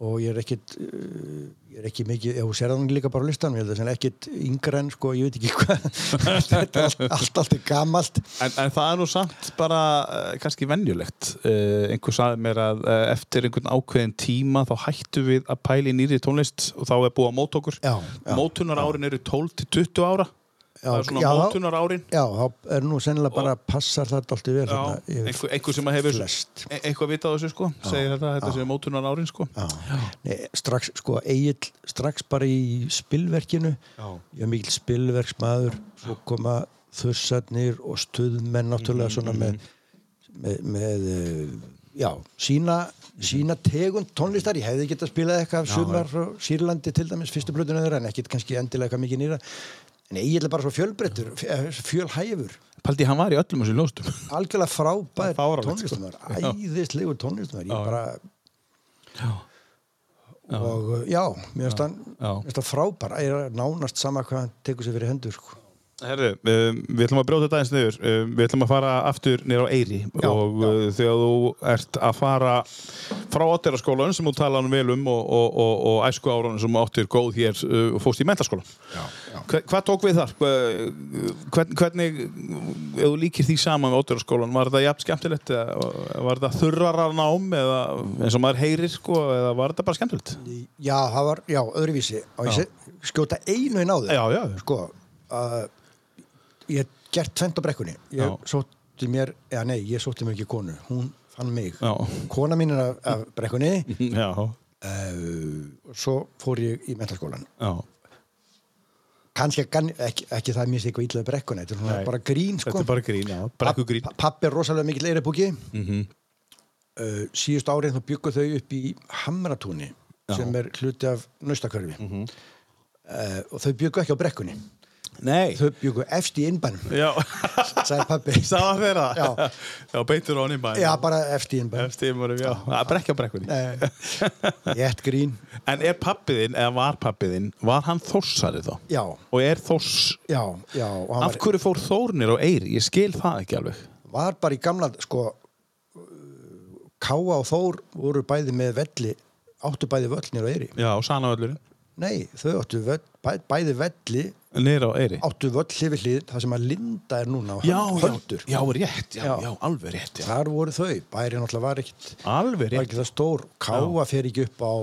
og ég er ekkit uh, ég er ekki mikið, ef þú sér þannig líka bara á listanum ég held að ekkit yngra en sko, ég veit ekki hvað [laughs] þetta er allt, allt, allt er gamalt en, en það er nú samt bara uh, kannski venjulegt uh, einhver sagði mér að uh, eftir einhvern ákveðin tíma þá hættu við að pæla í nýri tónlist og þá er búið að móta okkur Já, já, Mótunarárin eru 12 til 20 ára það er svona já, þá- mótunar árin Já, þá er nú sennilega bara passar þetta alltaf vel Já, yfir einhver, einhver sem að hefur flest. e- eitthvað vitað á þessu sko segir þetta, þetta sé mótunar árin sko Já. Nei, strax, sko, Egil strax bara í spilverkinu Já. ég er mikil spilverksmaður svo koma þursarnir og stuðmenn náttúrulega svona með Mm-hmm. með, með eh, já, sína, sína tegund tónlistar, ég hefði getað spilað eitthvað af sumar frá Sýrlandi til dæmis fyrstu blöðuna þeirra, en ekkit kannski endilega eitthvað mikið nýra en Egil er bara svo fjölbreyttur eh, fjölhæfur, Paldi, hann var í öllum þessu ljóstum algjörlega frábær Það er fáránlegt, sko. tónlistamæður, æðislegur tónlistamæður ég bara Já. og uh, já, mér finnst hann Já. mér finnst hann frábær, ég er nánast sama hvað hann tekur sér fyrir hendur sko. Herru, um, við ætlum að brjóta þetta eins niður um, Við ætlum að fara aftur nýra á Eyri Já, og já. þegar þú ert að fara frá Otteraskólan sem þú talaðum vel um og, og, og, og æsku árunum sem þú áttir góð hér uh, og fórst í mentaskólan Hva, Hvað tók við þar? Uh, Hvern, hvernig, ef þú líkir því saman með Otteraskólan, var þetta jafn skemmtilegt? Eða, var þetta þurrara nám eða eins og maður heyrir sko, eða var þetta bara skemmtilegt? já, það var, já, öðruvísi og ég sé, skjóta einu í náðu Já, já, sko uh, ég hef gert tvent á brekkunni ég Já. sótti mér, eða nei, ég sótti mér ekki konu hún fann mig Já. kona mín er af, af brekkunni já, uh, svo fór ég í mentarskólan já. kannski gan- ekki, ekki það minnst eitthvað ítlaði brekkuna þetta er svona Nei. bara grín sko Þetta er bara grín, Mhm. já, brekkugrín Pa- Pappi er rosalega mikill eirabúki uh, síðust árið þá byggu þau upp í Hamratúni sem er hluti af naustakörfi uh, og þau byggu ekki á brekkunni Mhm. Nei, þau byggu efst í innbænum [laughs] já sagði pappi Það var fyrir það? Já. Já, beitur honum bara. já bara efst í innbænum Stímurum, já. Það er brekkja brekkunni. uh, ég ett grín En er pappiðinn, eða var pappiðinn, var hann þórsari þá? já, Og er þórs... já, já og hann Af var, hverju fór þórnir og eir? Ég skil það ekki alveg. var bara í gamla sko uh, Káa og Þór voru bæði með velli áttu bæði völlnir og eiri Já, og sanavöllurinn. nei, þau áttu völl, bæ, bæði velli Nýra og eiri. áttu völl yfir hlið það sem að Linda er núna á Já, já, höldur já, rétt, já, já, Já. alveg rétt, já. þar voru þau, bæri náttúrulega var ekkit Alveg var rétt. ekki það stór, Káa fer ekki upp á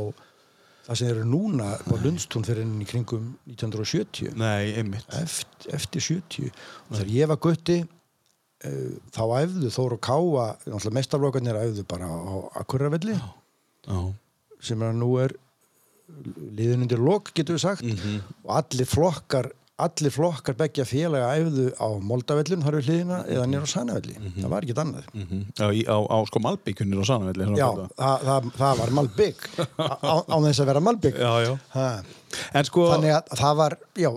það sem eru núna á Lundstún fyrir henni í kringum 1970 Nei, einmitt. eftir, eftir 70 og þegar ég var gutti uh, þá æfðu Þór og Káa náttúrulega mestarflokkarnir æfðu bara á Akkuravelli Já, sem að nú er liðin undir lok, getur við sagt Mhm. og allir flokkar allir flokkar begja félaga æfðu á Moldavellin, þar við hliðina, eða nýr á Sanavelli það var ekkert annað mhm. Já, í- á, á sko malbyggunir og sanavöllir. Já, það, það, það var Malbygg á, á þess að vera Malbygg Já, já. Ha. En sko... þannig að það var, já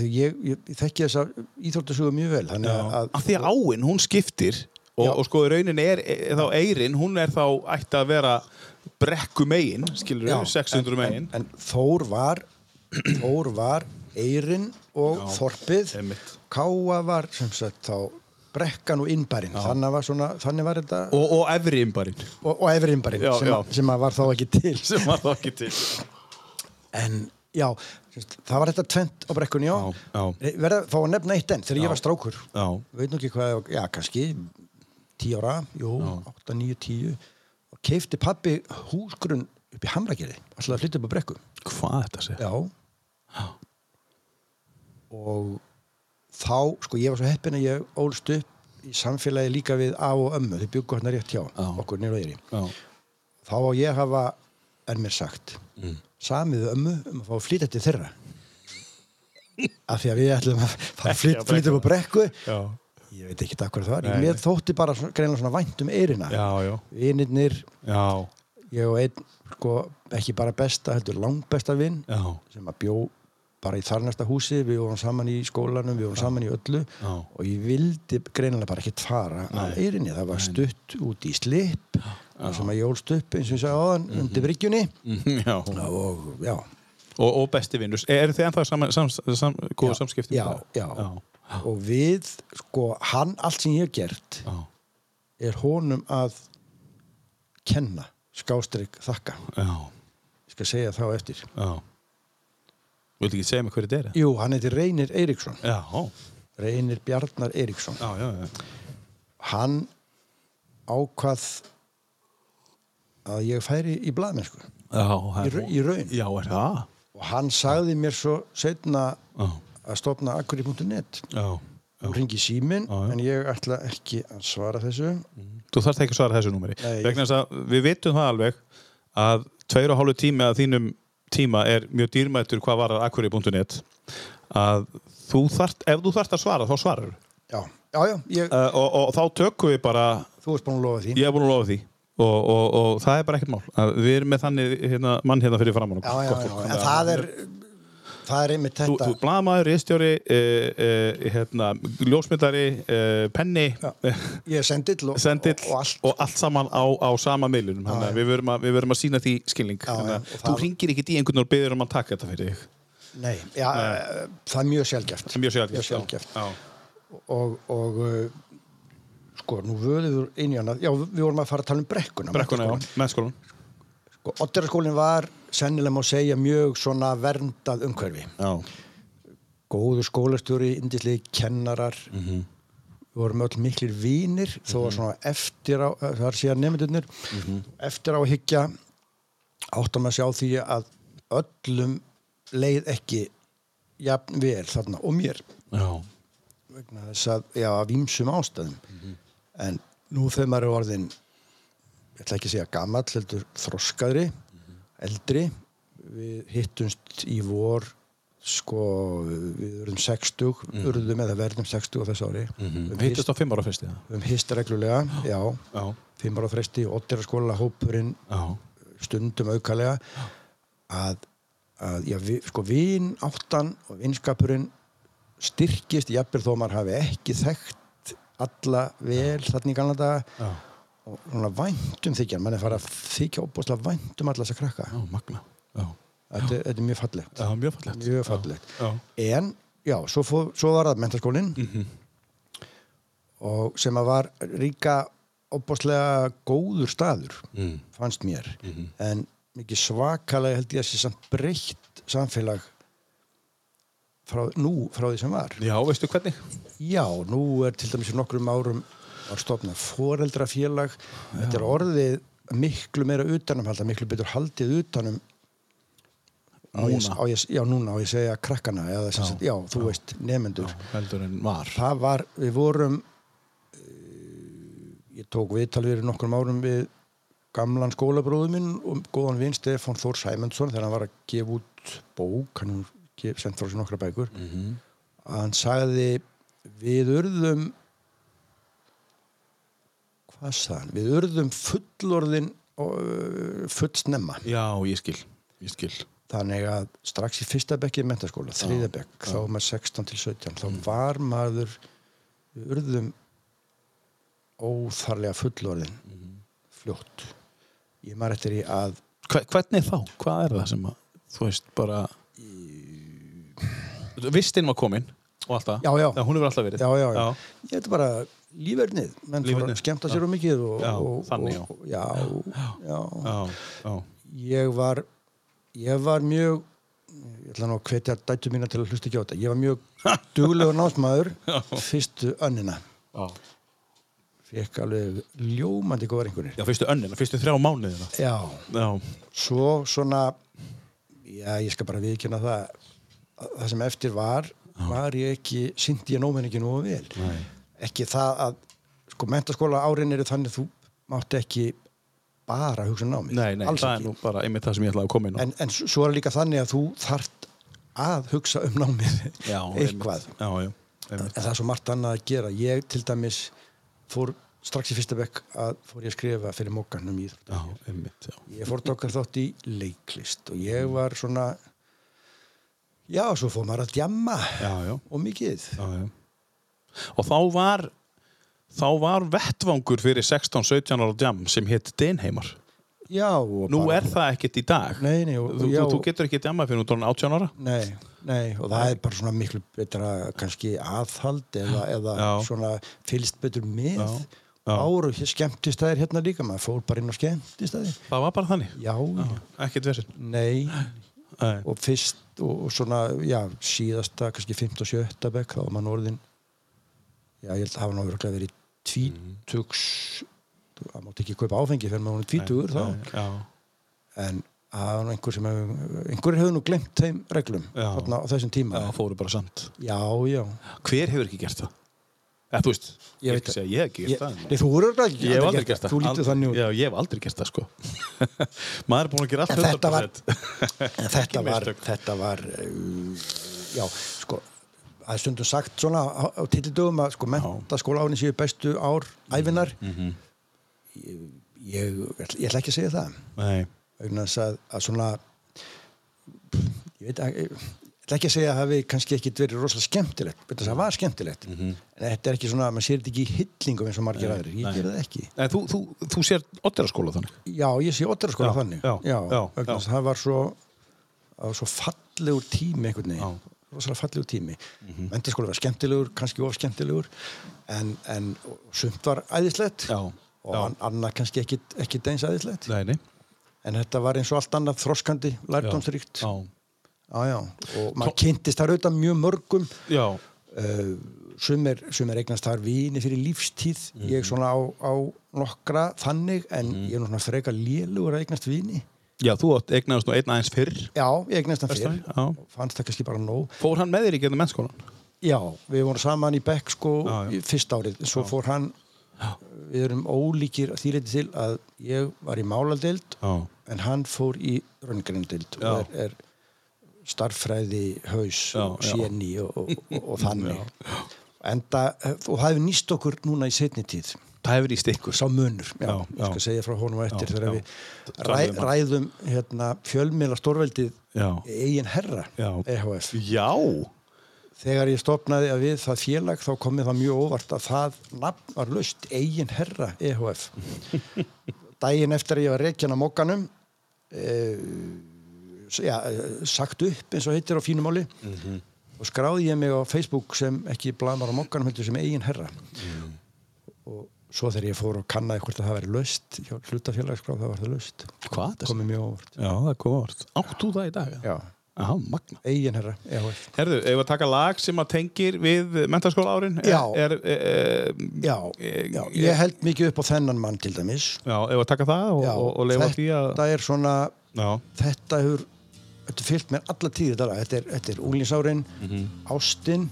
því ég, ég, ég þekki þess að íþórtasögu mjög vel þannig Já, að, af því að áin, hún skiptir og, Já. og sko í rauninni er e, þá eirin, hún er þá ætti að vera brekku megin, skilur Já, við, 600 megin en Þór var [clears throat] Þór var Eirin og Já, Þorpið einmitt. Káa var sem sagt þá brekkan og innbærin þannig var, svona, þannig var þetta og, og, og efri ymbarinn og, efri innbærin Já, sem, já. að- sem að var þá ekki til [laughs] sem var þá ekki til en já, sem sagt, það var þetta tvent á brekkunni já, Já, já. Nei, verða að fá að nefna eitt enn þegar ég var strákur Já, veit nú ekki hvað, já kannski 10 ára, jú, 8, 9, 10 og keifti pabbi húsgrunn upp í Hamragerði alltaf að flytta upp á brekku hvað þetta sé Já. Og þá, sko, ég var svo heppin að ég ólst upp í samfélagi líka við A og ömmu, þau byggu hérna rétt hjá okkur nýra og yfir. Já, Þá á ég að hafa, er mér sagt, Mm. samið við ömmu um að fá að flytja til [laughs] þeirra. Af því að við ætlum að fara að Ekki á flyt- flytja upp á brekku. já, Ég veit ekki hvað það var. Nei, Mér nei. þótti bara svona- greinilega svona vænt um eyrina. já, já, Vinirnir, já, ég og einn, sko, ekki bara besta, heldur langbesta vinn já. sem að bjó bara í þarnasta húsi, við vorum saman í skólanum, við vorum saman í öllu Já. og ég vildi greinilega bara ekkert fara að eirinni, það var stutt út í slip þar sem að ég ólst upp eins og ég sagði áðan undir bryggjunni Mhm, já. og já, Og, og besti vinnus eru þið ennþá sam, sam, sam, góð samskipti já, já. og við, sko, hann allt sem ég hef gert já, er honum að kenna skástrík þakka, já, ég skal segja þá eftir já. Viltu ekki segja mér hverju þetta er? Jú, hann heitir Reynir Eiríksson Já, Reynir Bjarnar Eiríksson já, já, já. hann ákvað að ég færi í sko. blaðmennsku Já, það er- Í ra- í raun. Já, er það? og hann sagði mér svo setna Já, að stopna akkurir.net Já. og ringi síminn Já, já. en ég ætla ekki að svara þessu Þú þarft ekki að svara þessu númeri. Nei. Vegna þess að við vitum það alveg að tveir og hálfu tími að þínum tíma er mjög dýrmættur hvað var að akkuri.net að þú þarft, ef þú þarft að svara þá svarar uh, já, já, já, ég, og, og þá tökum við bara þú ert búin að lofa því ég er búin að lofa því og, og, og það er bara ekkert mál að við erum með þannig hérna, mann hérna fyrir framann já, já, já, en það er það er einmitt Þú, þetta þú blamaður, ristjóri, uh, uh, hérna, ljósmyndari, uh, penni, [laughs] ég sendið og, sendill og, og allt sko. saman á, á sama meilunum þannig að við verum að, við verum að sína því skilning Já, þannig já, að og þú það- ringir ekki í einhvern og byður um að taka þetta fyrir þig nei, já, það er mjög sjálfgeft sem mjög sjálfgeft, sjálfgeft. Já, og, og uh, sko, nú vöðuður inn í hana já, við vorum að fara að tala um brekkuna já. brekkuna, já, mennskólan sko, Otteraskólinn var sennilega má segja mjög svona verndað umhverfi já, góðu skólastjóri, indislegi kennarar Mhm. við vorum öll miklir vínir þó að svona eftir á þar síðan nefndunir Mhm. eftir á higgja áttum að sjá því að öllum leið ekki jafn vel þarna og mér já, vegna þess að, já, af ímsum ástæðum en nú þegar maður er orðin ég ætla ekki að segja gamall heldur þroskaðri eldri við hittumst í vor sko, við urðum 60 urðum eða verðum 60 á þessu ári mm -hmm. um, hist, hittist á fimm ára fyrst já, um hist reglulega, já já, fimm ára fresti og ottera skóla hópurinn já, stundum aukalega að, að já, vi, sko, vín áttan og vinskapurinn styrkist jafnvel þó maður hafi ekki þekkt alla vel þarna í galna daga já, og svona væntum þykjan, mann er farið að þykja óbúslega væntum alla þessa krakka já, magna já, þetta, þetta er mjög fallegt, já mjög fallegt mjög fallegt. já, Mhm. en já, svo, fó, svo var það mentaskólinn Mm. og sem að var ríka óbúslega góður staður mm. fannst mér Mhm. en mikið svakalega held ég að sé samt breytt samfélag frá, nú frá því sem var já, veistu hvernig já, nú er til dæmis fyrir nokkrum árum var stofnað foreldrafélag þetta er orðið miklu meira utanumhalda, miklu betur haldið utanum á ég, Núna. á ég, já, núna á ég að segja krakkana eða, já, sagt, já, þú veist, nefendur heldur en var það var, við vorum eh, ég tók viðtal við nokkrum árum við gamlan skólabróðu minn og góðan vinn Stefán Þór Sæmundsson þegar hann var að gefa út bók hann hefur sendt frá sér nokkra bækur Mhm. að hann sagði við urðum hvað sagði hann? Við urðum fullorðin og fullsnemma já, ég skil, ég skil þannig að strax í fyrsta bekki í mentaskóla, þriða bekk, þá var maður 16 til 17, Mm. þá var maður við urðum óþarlega fullorðin Mhm. fljótt ég maður eftir í að Hve, hvernig þá, hvað er það sem að þú veist, bara vistinn var komin og allt það, Já, já. hún hefur alltaf verið já, já, já, ég þetta bara lífernið, menn fór Lífernið, að skemmta sér og mikið og, Já, og, þannig, já. og, og já, já, já, já, ég var ég var mjög ég ætla nú að hvetja dætu mína til að hlusta ekki á þetta ég var [laughs] mjög duglegur námsmaður fyrstu önnina já. fekk alveg ljómandi góðar einhverjir. já fyrstu önnina, fyrstu þrjá mánuðina Já, já, svo svona, já, ég skal bara viðkjöna það, að það sem eftir var, var ég ekki, syndi ég nómen ekki nógu vel. Nei. Ekki það að, sko, mentaskóla árin eru þannig þú mátt ekki bara hugsa um námið. nei, nei, alls það er ekki. nú bara einmitt það sem ég ætlaði að koma inn á En, en s- svo er líka þannig að þú þart að hugsa um námið [laughs] já, eitthvað. einmitt. já, já, en einmitt. það er svo margt annað að gera ég til dæmis fór strax í fyrsta bekk að fór ég að skrifa fyrir mókanum í já, einmitt já. ég fór dokkar þátt í leiklist og ég var svona já, svo fór maður að djamma Já, já, og mikið já, já. og þá var þá var vettvangur fyrir 16-17 ára jam sem hétt Dinheimar já, og nú bara, er það ekkert í dag nei, nei, og, þú, já, þú, þú getur ekki djamað fyrir hún 18 ára nei, nei, og það er bara svona miklu betra kannski aðhald eða, eða Já. svona fylgst betur með Já, já. áru, skemmtistæðir hérna líka maður fór bara inn á skemmtistæði það var bara þannig já, já. ekkert vesinn nei og fyrst og, og svona, já, síðasta kannski 15 og 17 bekk, þá var mann orðin já, ég held að hafa nú örgulega verið tvítugs það mátti ekki kaupa áfengi fyrir maður hún tvítugur þá já, en Það var nú einhver sem hefur, einhver hefur nú glemt þeim reglum Já. þarna á þessum tíma. það fóru bara samt Já, já. hver hefur ekki gert það? eða þú veist, Ég ég, veit ekki það. segja, ég hef ekki Ég, gert það en- nei, þú voru örugglega ekki Ég hef aldrei gert það. Þú lítið Aldrei- þannig út. Já, ég hef aldrei gert það, sko. [laughs] Maður er búin að gera allt En þetta var- 100%. En þetta Ekki var, mistök. þetta var, uh, já, sko, það er stundum sagt svona á, á tildögum að sko mentaskóla árin séu bestu ár æfinar. Mhm, Ég, ég, ætla- ég ætla ekki að segja það. Nei, vegna þess að, að svona ég veit að ég ætla ekki að segja að það hafi kannski ekki verið rosalega skemmtilegt, betur þess að það var skemmtilegt en þetta er ekki svona, maður sér þetta ekki í hyllingum eins og margir Mhm. Nei, aðrir, ég nei. ger það ekki Nei, þú, þú, þú sér otteraskóla þannig. já, ég sé óttara skóla Já, þannig já, já, vegna já. þess að það var svo það var svo fallegur tími einhvern veginn, Já. Mhm. rosalega fallegur tími mm -hmm. mentarskóla var skemmtilegur, kannski of skemmtilegur en, en sumt var æðislegt Já, og já. an- annað kannski ekki, ekki deins æðislegt Nei, nei. en þetta var eins og allt annað þroskandi, lærdómsríkt Já, Já, já, og maður kynntist þar auðvitað mjög mörgum já, uh, sem, er, eignast þar vini fyrir lífstíð Mhm. ég svona á, á nokkra þannig en ég er nú svona freka lélugur að eignast vini já, þú átt eignaðist nú einn aðeins fyrr. Já, ég eignast hann Vestari, fyrr já. fannst það kannski bara nóg Fór hann með þér í getum mennskólan? Já, við vorum saman í Beck sko Já, já. í fyrst árið, svo fór hann við erum ólíkir að þýriti til að ég var í máladeild Já, en hann fór í röngrendild Já. og er, er starffræði haus Já, og já. séni og, og, og, og [laughs] þannig enda, eh, og það hefur nýst okkur núna í setni tíð, það hefur í stikkur. sá munur já, Já, ég skal já. segja frá honum á eftir Já, já. þegar við ræ, Talaðu um hann. ræðum hérna, fjölmiðla stórveldið Já. eigin herra E Já. EHF Já, þegar ég stopnaði að við það félag þá komið það mjög óvart að það nafn var laust eigin herra [laughs] EHF daginn eftir að ég var reikjan á mokkanum eh, s- já, eh, sagt upp eins og heitir á fínumáli Mhm. og skráði ég mig á Facebook sem ekki blamar á mokkanum heldur sem eigin herra Mhm. og svo þegar ég fór og kannaði hvort að það væri laust hjá hlutafélagsgráð það var það laust hvað það? komið mjög óvart Já, það kom árt. Áttu það í dag? já, Já, magna. eigin herra E EHF Herðu, eigum við að taka lag sem að tengir við menntaskóla árin? Já. Er, er, er, já, Ég- já, ég- ég held mikið upp á þennan mann til dæmis já, eigum við að taka það og, Já, og, og leifa því að... þetta er svona Já, þetta hefur þetta er fyllt með alla tíð þetta lag. þetta er, þetta er úlingsárin, Mhm. ástin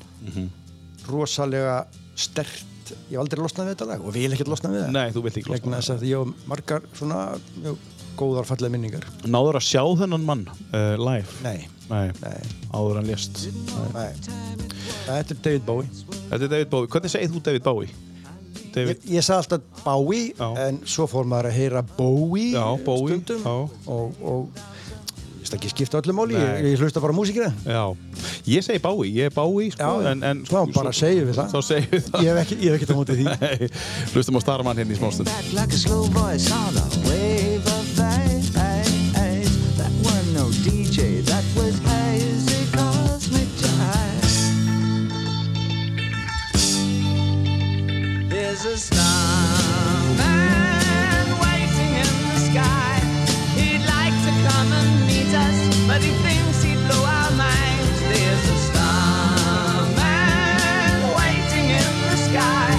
rosalega stert ég hef aldrei losnað við þetta lag og vil ekkert losnað við það nei, þú vilt ekki vegna þess að ég hef margar svona mjög góðar fallega minningar Náður að sjá þennan mann uh, live? nei, Nei, nei, áður en lést nei þetta er David Bowie Þetta er David Bowie, hvernig segir þú David Bowie? ég, David, ég sagði alltaf Bowie Já. en svo fór maður að heyra Bowie já, Bowie stundum já. og, og ég veist ekki skipta öllum máli, ég, Nei. ég hlusta bara á músíkina já, ég segi Bowie, ég er Bowie sko, Já, já. en, en, Þá bara segjum við það. Þá segjum við ég [laughs] það hef ekki, ég hef ekki það mútið því Hlustum á Starman hérna í smástund Back like a slow voice on a wave of haze. That were no DJ, that was hazy cosmic jazz. There's a snowman waiting in the sky. He'd like to come and meet us, but he thinks he'd blow our minds. There's a snowman waiting in the sky.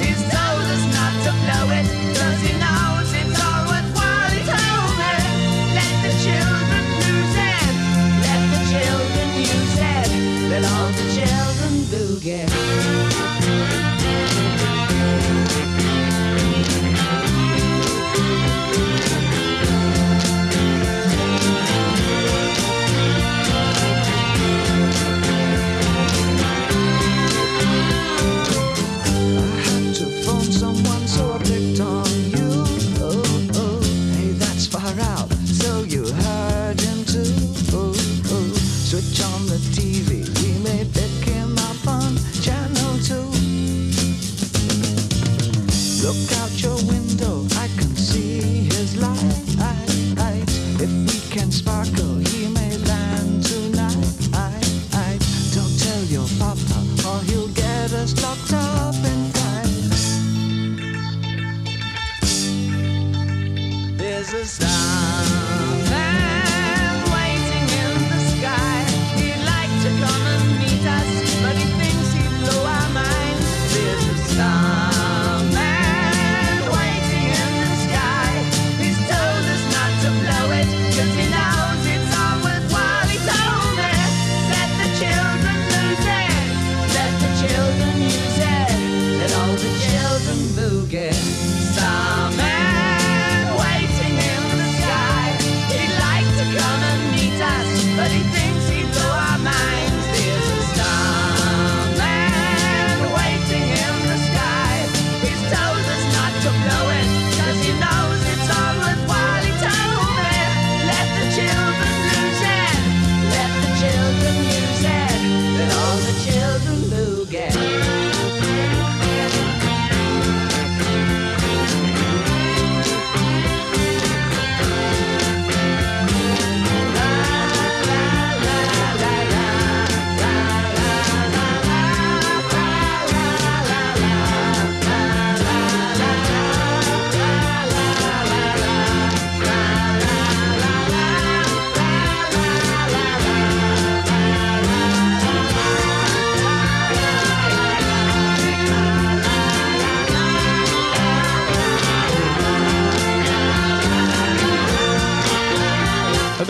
He's told us not to blow it, cause he knows it's all worthwhile. He's over. Let the children lose it. Let the children use it. Let all the children boogie. to phone someone, so I picked on you. Oh, oh, hey, that's far out. So you heard him too. Oh, oh, switch on the TV. We may pick him up on channel two. Look out your window, I can see his light. If we can sparkle, he may land tonight. Don't tell your papa, or he'll get us locked up in time. There's a starman waiting in the sky. He'd like to come and meet us, but he thinks he'd blow our minds. There's a starman waiting in the sky. He's told us not to blow it, 'cause he knows.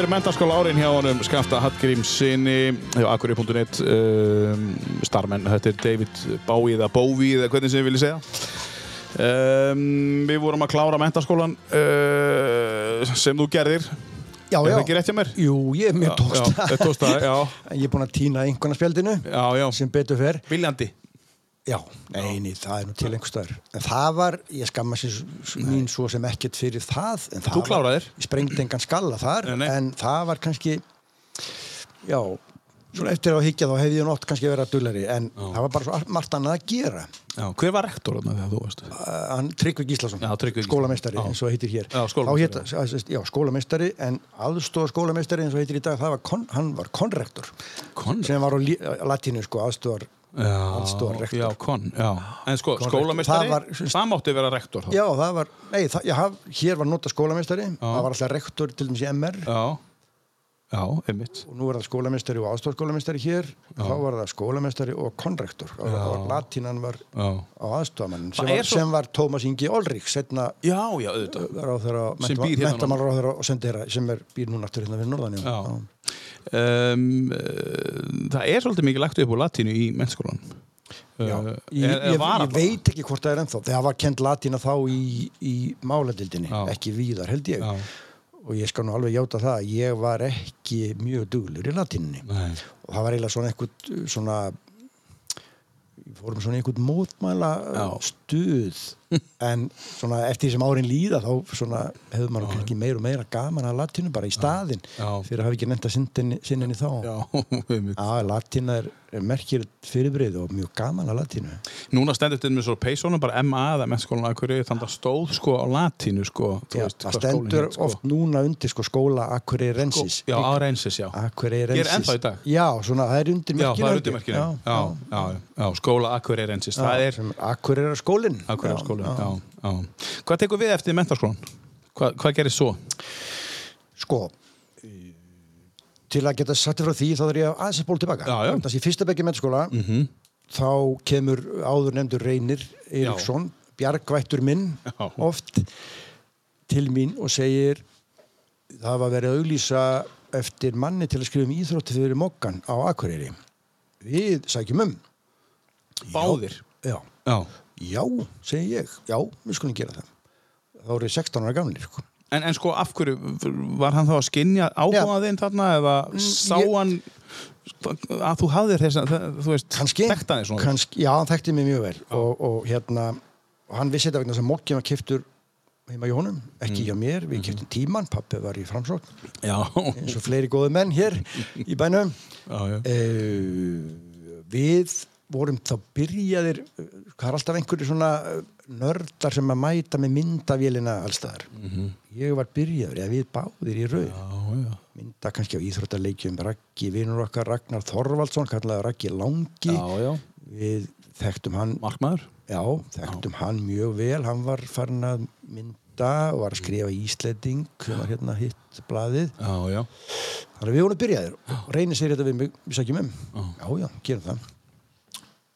er mentaskóla árin hjá honum Skafta Hallgrímsinni hjá akkurri.net um, starmenn, þetta er David Bowie eða Bowie eða hvernig sem ég vilja segja um, Við vorum að klára mentaskólan uh, sem þú gerðir Já, Er já. það ekki rétt hjá mér? Jú, ég er mjög tókst Já, þetta tókst það, já, En ég er búinn að týna einhverna spjaldinu já, já. sem betur fer. Viljandi Já, eini, það er nú til einhver staðar. En það var, ég skamma sér mín svo sem ekkert fyrir það. en það Þú kláraðir. var- Ég sprengdi engan skalla þar, Nei, nei. en það var kannski, já, svona eftir á að higgja þá hefði ég nótt kannski verið að dullari, en það var bara svo allt- margt annað að gera. já, Hver var rektor þarna þegar þú varst? Uh, hann Tryggvi Gíslason, Já, Tryggvi Gíslason. skólameistari Já. eins og heitir hér. Já, Þá skólameistari. hét- að- sest- já, skólameistari, en aðstofa skólameistari eins og heitir í dag, það var, kon, hann var konrektor, Konrektor? sem var á lí- latínu, sko, aðstofar, aðstofar rektor. Já, kon, já En sko, Kon- skólameistari, Það var- það mátti vera rektor þá. Já, það var, nei, það, já, haf- hér var nota skólameistari, það var alltaf rektor til dæmis í MR Já, já, einmitt og nú er það skólameistari og aðstofskólameistari hér, þá var það skólameistari og konrektor og, og latínan var Já, á aðstofamann sem, Það er var- svo- sem var Tómas Ingi Olrik, setna já, já auðvitað ráðherra, Sem býr hérna núna. mentamálar ráðherra og sendir sem er býr núna aftur hérna fyrir norðan já. Já. Um, uh, það er svolítið mikið lagt upp á latínu í mennskólan Já. uh, Ég, er, ég, er var ég veit ekki hvort það er ennþá það var kent latína þá í, í máladildinni, Já. ekki víðar held ég Já. og ég skal nú alveg játa það að ég var ekki mjög duglur í latíninni Nei. og það var eiginlega svona einhvern uh, svona við fórum svona í einhvern mótmæla uh, Já. [laughs] stuð en svona eftir því sem árin líða þá svona hefur maður kannski meira og meira gaman að latínu bara í staðinn Já. fyrir að hafa ekki nefnt að sinninni, sinninni þá [laughs] Já, einmitt. Já, latína er, er merkir fyrirbrið og mjög gaman að latínu Núna stendur þetta með svo peysónum bara MA eða mennskólan að hverju þannig að stóð sko á latínu sko þú Já, veist, það hvað skólinn stendur hét, sko. oft núna undir sko skóla Akureyrensis Já, á reynsis, já Akureyrensis Ég er ennþá í dag. Já, svona það er undir Já, það merkinu er held ég. undir merkinu já, já, já, skóla Akureyrensis, það er sem Akureyrar skólinn Akureyrar skóla já, já. Hvað tekur við eftir menntaskólan? Hva, hvað gerir svo? sko eh, til að geta sagt þér frá því þá þarf ég að aðeins að ból tilbaka Já, Mhm. já. Vegna þess að í fyrsta bekki mennskóla -hmm. þá kemur áður nefndur Reynir Eriksson, bjargvættur minn Já. oft til mín og segir það var verið að auglýsa eftir manni til að skrifa um íþrótti fyrir mokkan á Akureyri við sækjum um Báðir já, já. já, segi ég já, við skulum gera það þá eru ég 16 ára gamlir sko En, en sko af hverju var hann þá að skinja áhuga þinn þarna eða sá ég- hann að þú hafðir þess að þú veist kannski, þekkti hann svona kannski já, hann þekkti mig mjög vel og, og hérna, og hann vissi þetta vegna þess að mokkin var kiptur heima í honum, ekki Mm. hjá mér Mhm. við kiptum tíman, pappi var í framsókn Já, eins og fleiri góði menn hér í bænum já, [laughs] já. uh, við vorum þá byrjaðir eh, það er alltaf einhverju svona eh, nördar sem að mæta með myndavélina allstaðar Mhm. ég var byrjaður, eða við báðir í rauð já, já. mynda kannski á íþróttaleikjum Raggi, vinnur okkar Ragnar Þorvaldsson kallaði Raggi Langi Já, já. við þekktum hann Markmaður já, þekktum hann mjög vel hann var farin að mynda og var að skrifa Ísleding sem var hérna hitt blaðið Já, já, þannig að við vorum byrjaðir og reynir sér þetta við mig, við sækjum um já, já, gerum það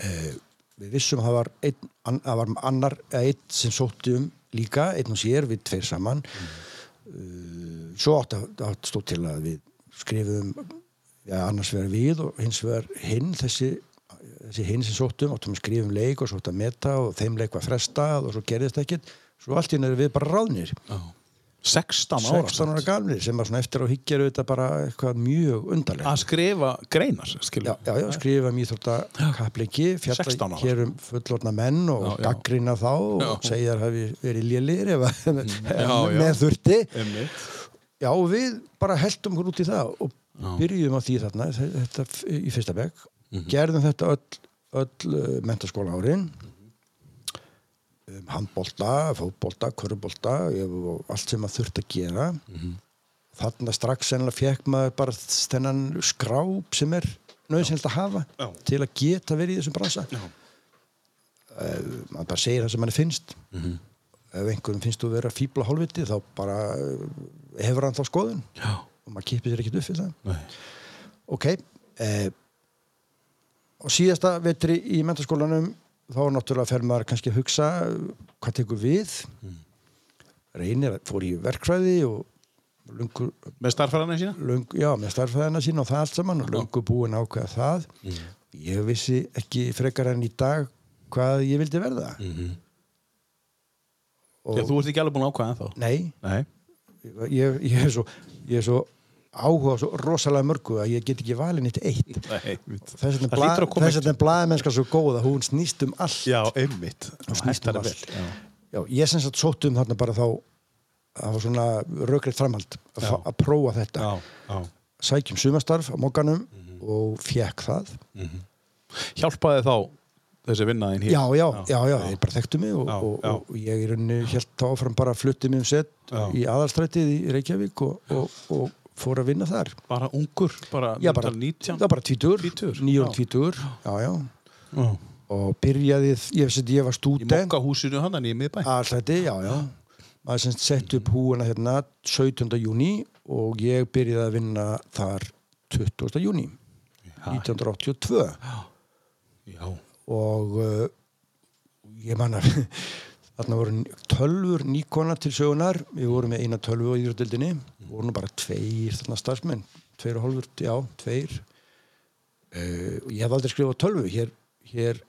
eh, við vissum að það var, einn, an, að var annar, eða einn sem sótti um líka, einn og sér, við tveir saman uh, svo átt að átt stóð til að við skrifum ja, annars vegar við og hins vegar hinn þessi þessi hinn sem sóttum, áttum að skrifa um leik og svo áttum að meta og þeim leik var frestað og svo gerðist ekkert, svo allt í henni við bara ráðnir 16 ára 16 ára gamlir sem var svona eftir á higgjaru þetta bara eitthvað mjög undarlegt Að skrifa greinar, skilur já, já, já, skrifa um íþrótta kapleiki 16 ára. fjalla hér um fullorna menn og Já, já. gaggrina þá Já. og segja þar hafi verið lélir ef að já. með þurfti Einmitt. já, og við bara heldum okkur út í það og byrjum á því þarna þe- þetta f- í fyrsta bekk gerðum þetta öll, öll mentaskóla árin um, handbolta, fótbolta, körbolta og allt sem maður þurfti að gera þarna strax sennilega fekk maður bara þennan skráp sem er nöðsynlegt að hafa Já. til að geta verið í þessum bransa uh, maður bara segir það sem manni finnst ef einhverjum finnst þú vera fíbla hálfviti þá bara eh, hefur hann þá skoðun Já, og maður kippir sér ekkert upp fyrir það nei ok eh, og síðasta vetri í mentaskólanum þá náttúrulega fer maður kannski að hugsa eh, hvað tekur við reynir að fór í verkfræði og lungu, með starfæðana sína? löngu, já, með starfæðina sín og það allt saman og löngu búin ákveða það ég vissi ekki frekar enn í dag hvað ég vildi verða og Já, þú ert ekki alveg búin að ákvæða þá. nei, Nei. ég, ég er svo ég er svo áhuga á svo rosalega mörgu að ég get ekki valin eitt eitt Nei, þess að Það hlýtur að koma þetta er blaðmennska svo góð að hún snýst um allt Já, einmitt. Hún snýst um Þetta er allt. vel, já. Já, ég sem sagt sótt um þarna bara þá það var svona rökriðt framhald að, Já. fá- að prófa þetta Já, Mhm. já. sækjum sumastarf á mókanum og fjekk það Hjálpaði þá þessi vinnaðin hér? já, já, já, já, Já. þeir bara þekktu mig og, Já, og, já. og ég er unni helt þá áfram bara fluttið mig um set Já. í aðalstrætið í Reykjavík og, og, og fór að vinna þar Bara ungur, bara, já, bara, 19? það var bara tvítur, Tvítugur, já. nýjón tvítur já, já, Já. og byrjaði ég, sem sagt, ég var Í stúdent mokkahúsinu hann, í miðbæ. aðalstræti, já, já maður sem sagt sett upp húana hérna 17. júni og ég byrjaði að vinna þar 20. júni 1982 Já. og uh, ég manna [laughs] þarna voru n- tölvur nýkona til sögunar, við vorum með eina tölvu á íðrjótteldinni, voru nú bara tveir þarna starfsmenn, tveir og hálfur já, tveir uh, og ég hef aldrei skrifað á tölvu hér, hér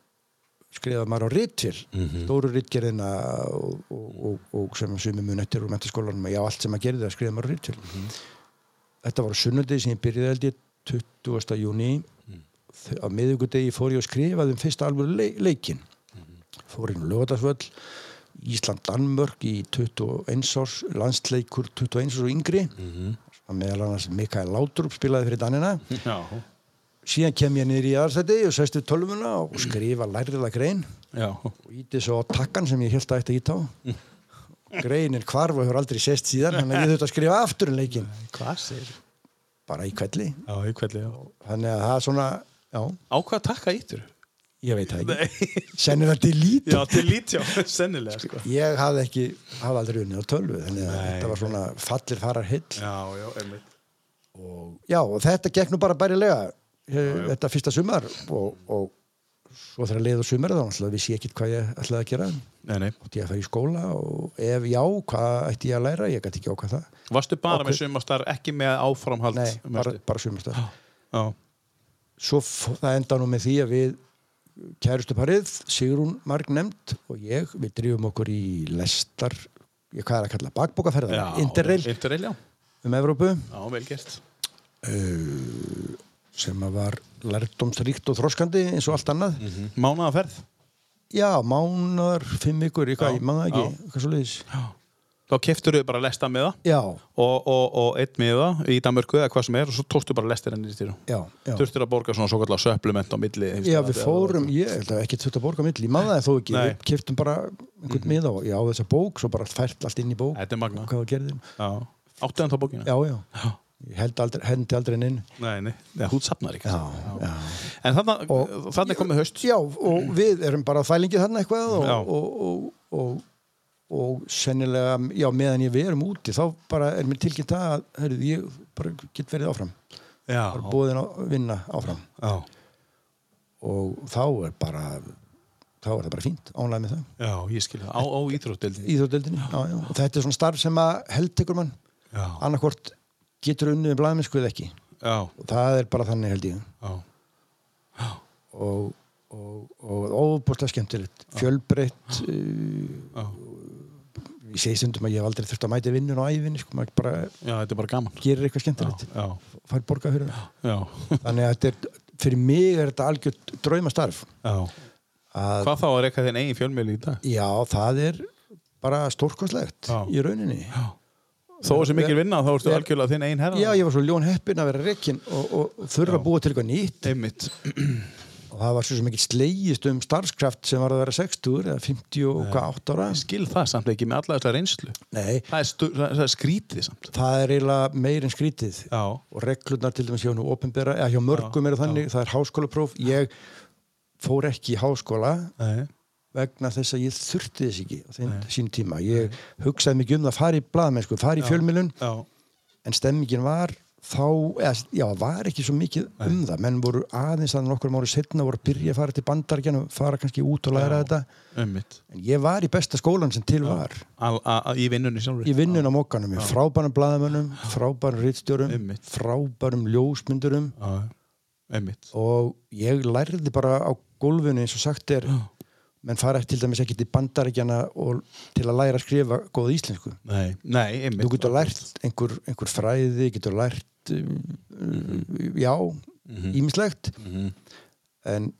skrifaði maður á rittil stóru ritgerðina og, og, og, og sem sumi mun eftir úr mentaskólanum, já allt sem maður gerði það skrifaði maður á rittil þetta var á sunnudegi sem ég byrjaði held ég 20. júni á miðugudegi fór ég og skrifaði um fyrsta alvöru le leikin fór inn á Lögatarsvöll Ísland-Danmörk í 21 árs landsleikur 21 árs og yngri mm meðal annars Mikael Látrup spilaði fyrir Danina Já. síðan kem ég niður í aðarstæti og sæst við tölvuna og skrifa læriða grein Já. og íti svo á takkan sem ég held að ætti að íta á greinin hvarf og hefur aldrei sést síðan þannig að ég þurfti að skrifa aftur um leikin Hvað segir? bara í kvelli Já, í hvernig, já. þannig að það er svona, já, Á hvað takka íttur? ég veit það ekki Nei. sennir þetta í lítið [laughs] Já, til lítjá, sennilega, sko. ég hafði ekki, hafði aldrei unnið á tölvu þannig að Nei. þetta var svona fallir farar hill Já, já, einmitt. já og þetta gekk nú bara bærilega eh, þetta fyrsta sumar og, og svo þegar leið og sumar þá náttúrulega vissi ég ekkit hvað ég ætlaði að gera átti Nei, nei. ég að fara í skóla og ef já, hvað ætti ég að læra ég gæti ekki ákvað það Varstu bara Ok. með sumastar, ekki með áframhald? nei, bara, manstu? bara sumarstað Já. svo f- það enda nú með því að við kærustuparið, Sigrún Marg nefnd og ég, við drifum okkur í lestar, ég hvað er að kalla bakbókaferðar, Já. interrail Interrail, já. um Evrópu eh, Já, vel gert. sem að var lærdomsríkt og þroskandi eins og allt annað Mhm. Mánaðaferð. já, mánar, fimm vikur, Já, eitthvað, ég manna ekki já. eitthvað svo leiðis Já. Þá keftur þau bara lesta með það já, og, og, og einn með það í Danmörku eða hvað sem er og svo tókstu bara lestir henni í styrum. já, já Þurftir að borga svona svo kallar söplement á milli. Já, við fórum, ég held að ekki þurft að borga milli, ég maður það þó ekki, Nei. Mhm. við keftum bara einhvern miða og ég á þessa bók, svo bara allt fært allt inn í bók, Þetta er magna. hvað það gerði Já. Áttu hann þá bókina? Já, já, ég held aldrei, hendi aldrei inn inn Nei, nei. Nei, hún safnar ekki. já, já. En þannig, Og- þannig komið haust. Já, og við erum bara á þælingi þarna eitthvað og, Já. og, og, og, og sennilega, já, meðan ég við erum úti, þá bara er mér tilkynnt það að, heyrðu, ég bara get verið áfram, Já. bara búðin að vinna áfram Já. og þá er bara, þá er það bara fínt, ánægð með það, Já, ég skilja. Á, á íþróttildin. íþjóðdeldinni, já, já, og þetta er svona starf sem að heldtekur mann, Já. annarkvort getur unnið með blæðmennsku eða ekki Já. og það er bara þannig held ég Já. og, og, og óbúrstlega skemmtilegt, fjölbreytt, uh, Já. ég segi stundum að ég hef aldrei þurft að mæta í vinnun og ævinni sko, maður bara Já, þetta er bara gaman. gerir eitthvað skemmtilegt Já. fær borgað fyrir það Já. þannig að þetta er, fyrir mig er þetta algjört draumastarf Já. að, Hvað þá að reyka þinn eigin fjölmiðli í dag? já, það er bara stórkostlegt Já. í rauninni já. Þó sem mikil vinna, þá ertu Ver- algjörlega þinn eigin herra. ég var svo ljón heppin að vera rekin og, og þurfa að búa til eitthvað nýtt Einmitt. og það var svo sem ekki slegist um starfskraft sem var að vera 60 eða 50 og hvað 8 ára Skil það samt ekki með alla þessa reynslu. nei, Það er, stu, það er skrítið samt. það er eiginlega meir en skrítið Já. og reglurnar til dæmis hjá nú opinbera, eða hjá mörgum eru þannig, það er háskólapróf ég fór ekki í háskóla Nei. vegna þess að ég þurfti þess ekki á þeim sín tíma, ég hugsaði mikið um það að fara í blaðmennsku, fara í fjölmilun Já. en stemmingin var þá, eða, já, var ekki svo mikið um það, menn voru aðeins að nokkur ári setna voru að byrja að fara til bandaríkjana fara kannski út og læra þetta Ummitt. en ég var í besta skólan sem til var Í vinnunni sjálfur. í vinnun á mokkanum, í frábærum blaðamönnum frábærum rittstjórum, Einmitt. frábærum ljósmyndurum Ummitt. og ég lærði bara á gólfinu eins og sagt er menn fara til dæmis ekki til bandaríkjana og til að læra að skrifa góða íslensku Nei, nei, einmitt. þú getur lært einhver, einhver fræði getur lært um, já, ímislegt en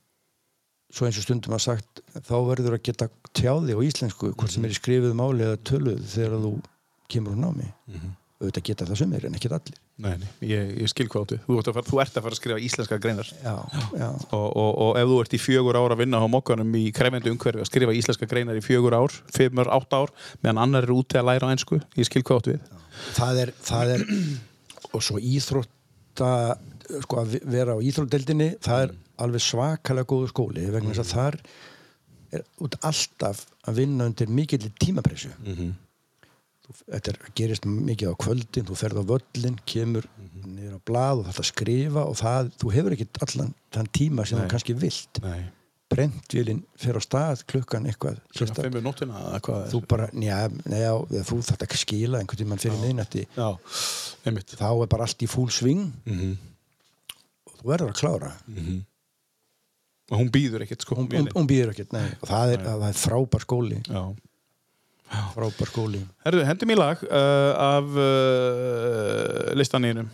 svo eins og stundum að sagt þá verður að geta tjáði á íslensku hvort sem er í skrifuðu máli eða töluðu þegar þú kemur úr námi auðvitað geta það sumir en ekki allir Nei, nei, ég, ég skil hvað áttu. Þú, ert að fara, þú ert að fara að skrifa íslenska greinar já, já, og, og, og ef þú ert í fjögur ár að vinna á mokkanum í krefjandi umhverfi að skrifa íslenska greinar í fjögur ár, fimmur, átta ár meðan annar eru úti að læra á ennsku. Ég skil hvað áttu við. það er, það er og svo íþrótta sko að vera á íþrótteldinni það er alveg svakalega góðu skóli vegna Mm. þess að þar er út alltaf að vinna undir mikill tímapressu mm Mhm. -hmm. þetta er, gerist mikið á kvöldin þú ferð á völlin, kemur mm Mhm. niður á blað og þetta skrifa og það, þú hefur ekki allan þann tíma sem Nei. þú kannski vilt Nei. brentvélin fer á stað klukkan eitthvað Svona sérsta- fimmur nóttina eða hvað er? þú bara, njá, njá, eða þú þetta skila einhvern tímann fyrir neynætti Já, einmitt. þá er bara allt í fúl sving Mhm. og þú verður að klára Og hún býður ekkert sko. hún, hún, vélin. hún býður ekkert, nei og það er, það er frábær skóli Já. frábær skóli Herðu, hendum í lag uh, af uh, [clears throat] listanýrum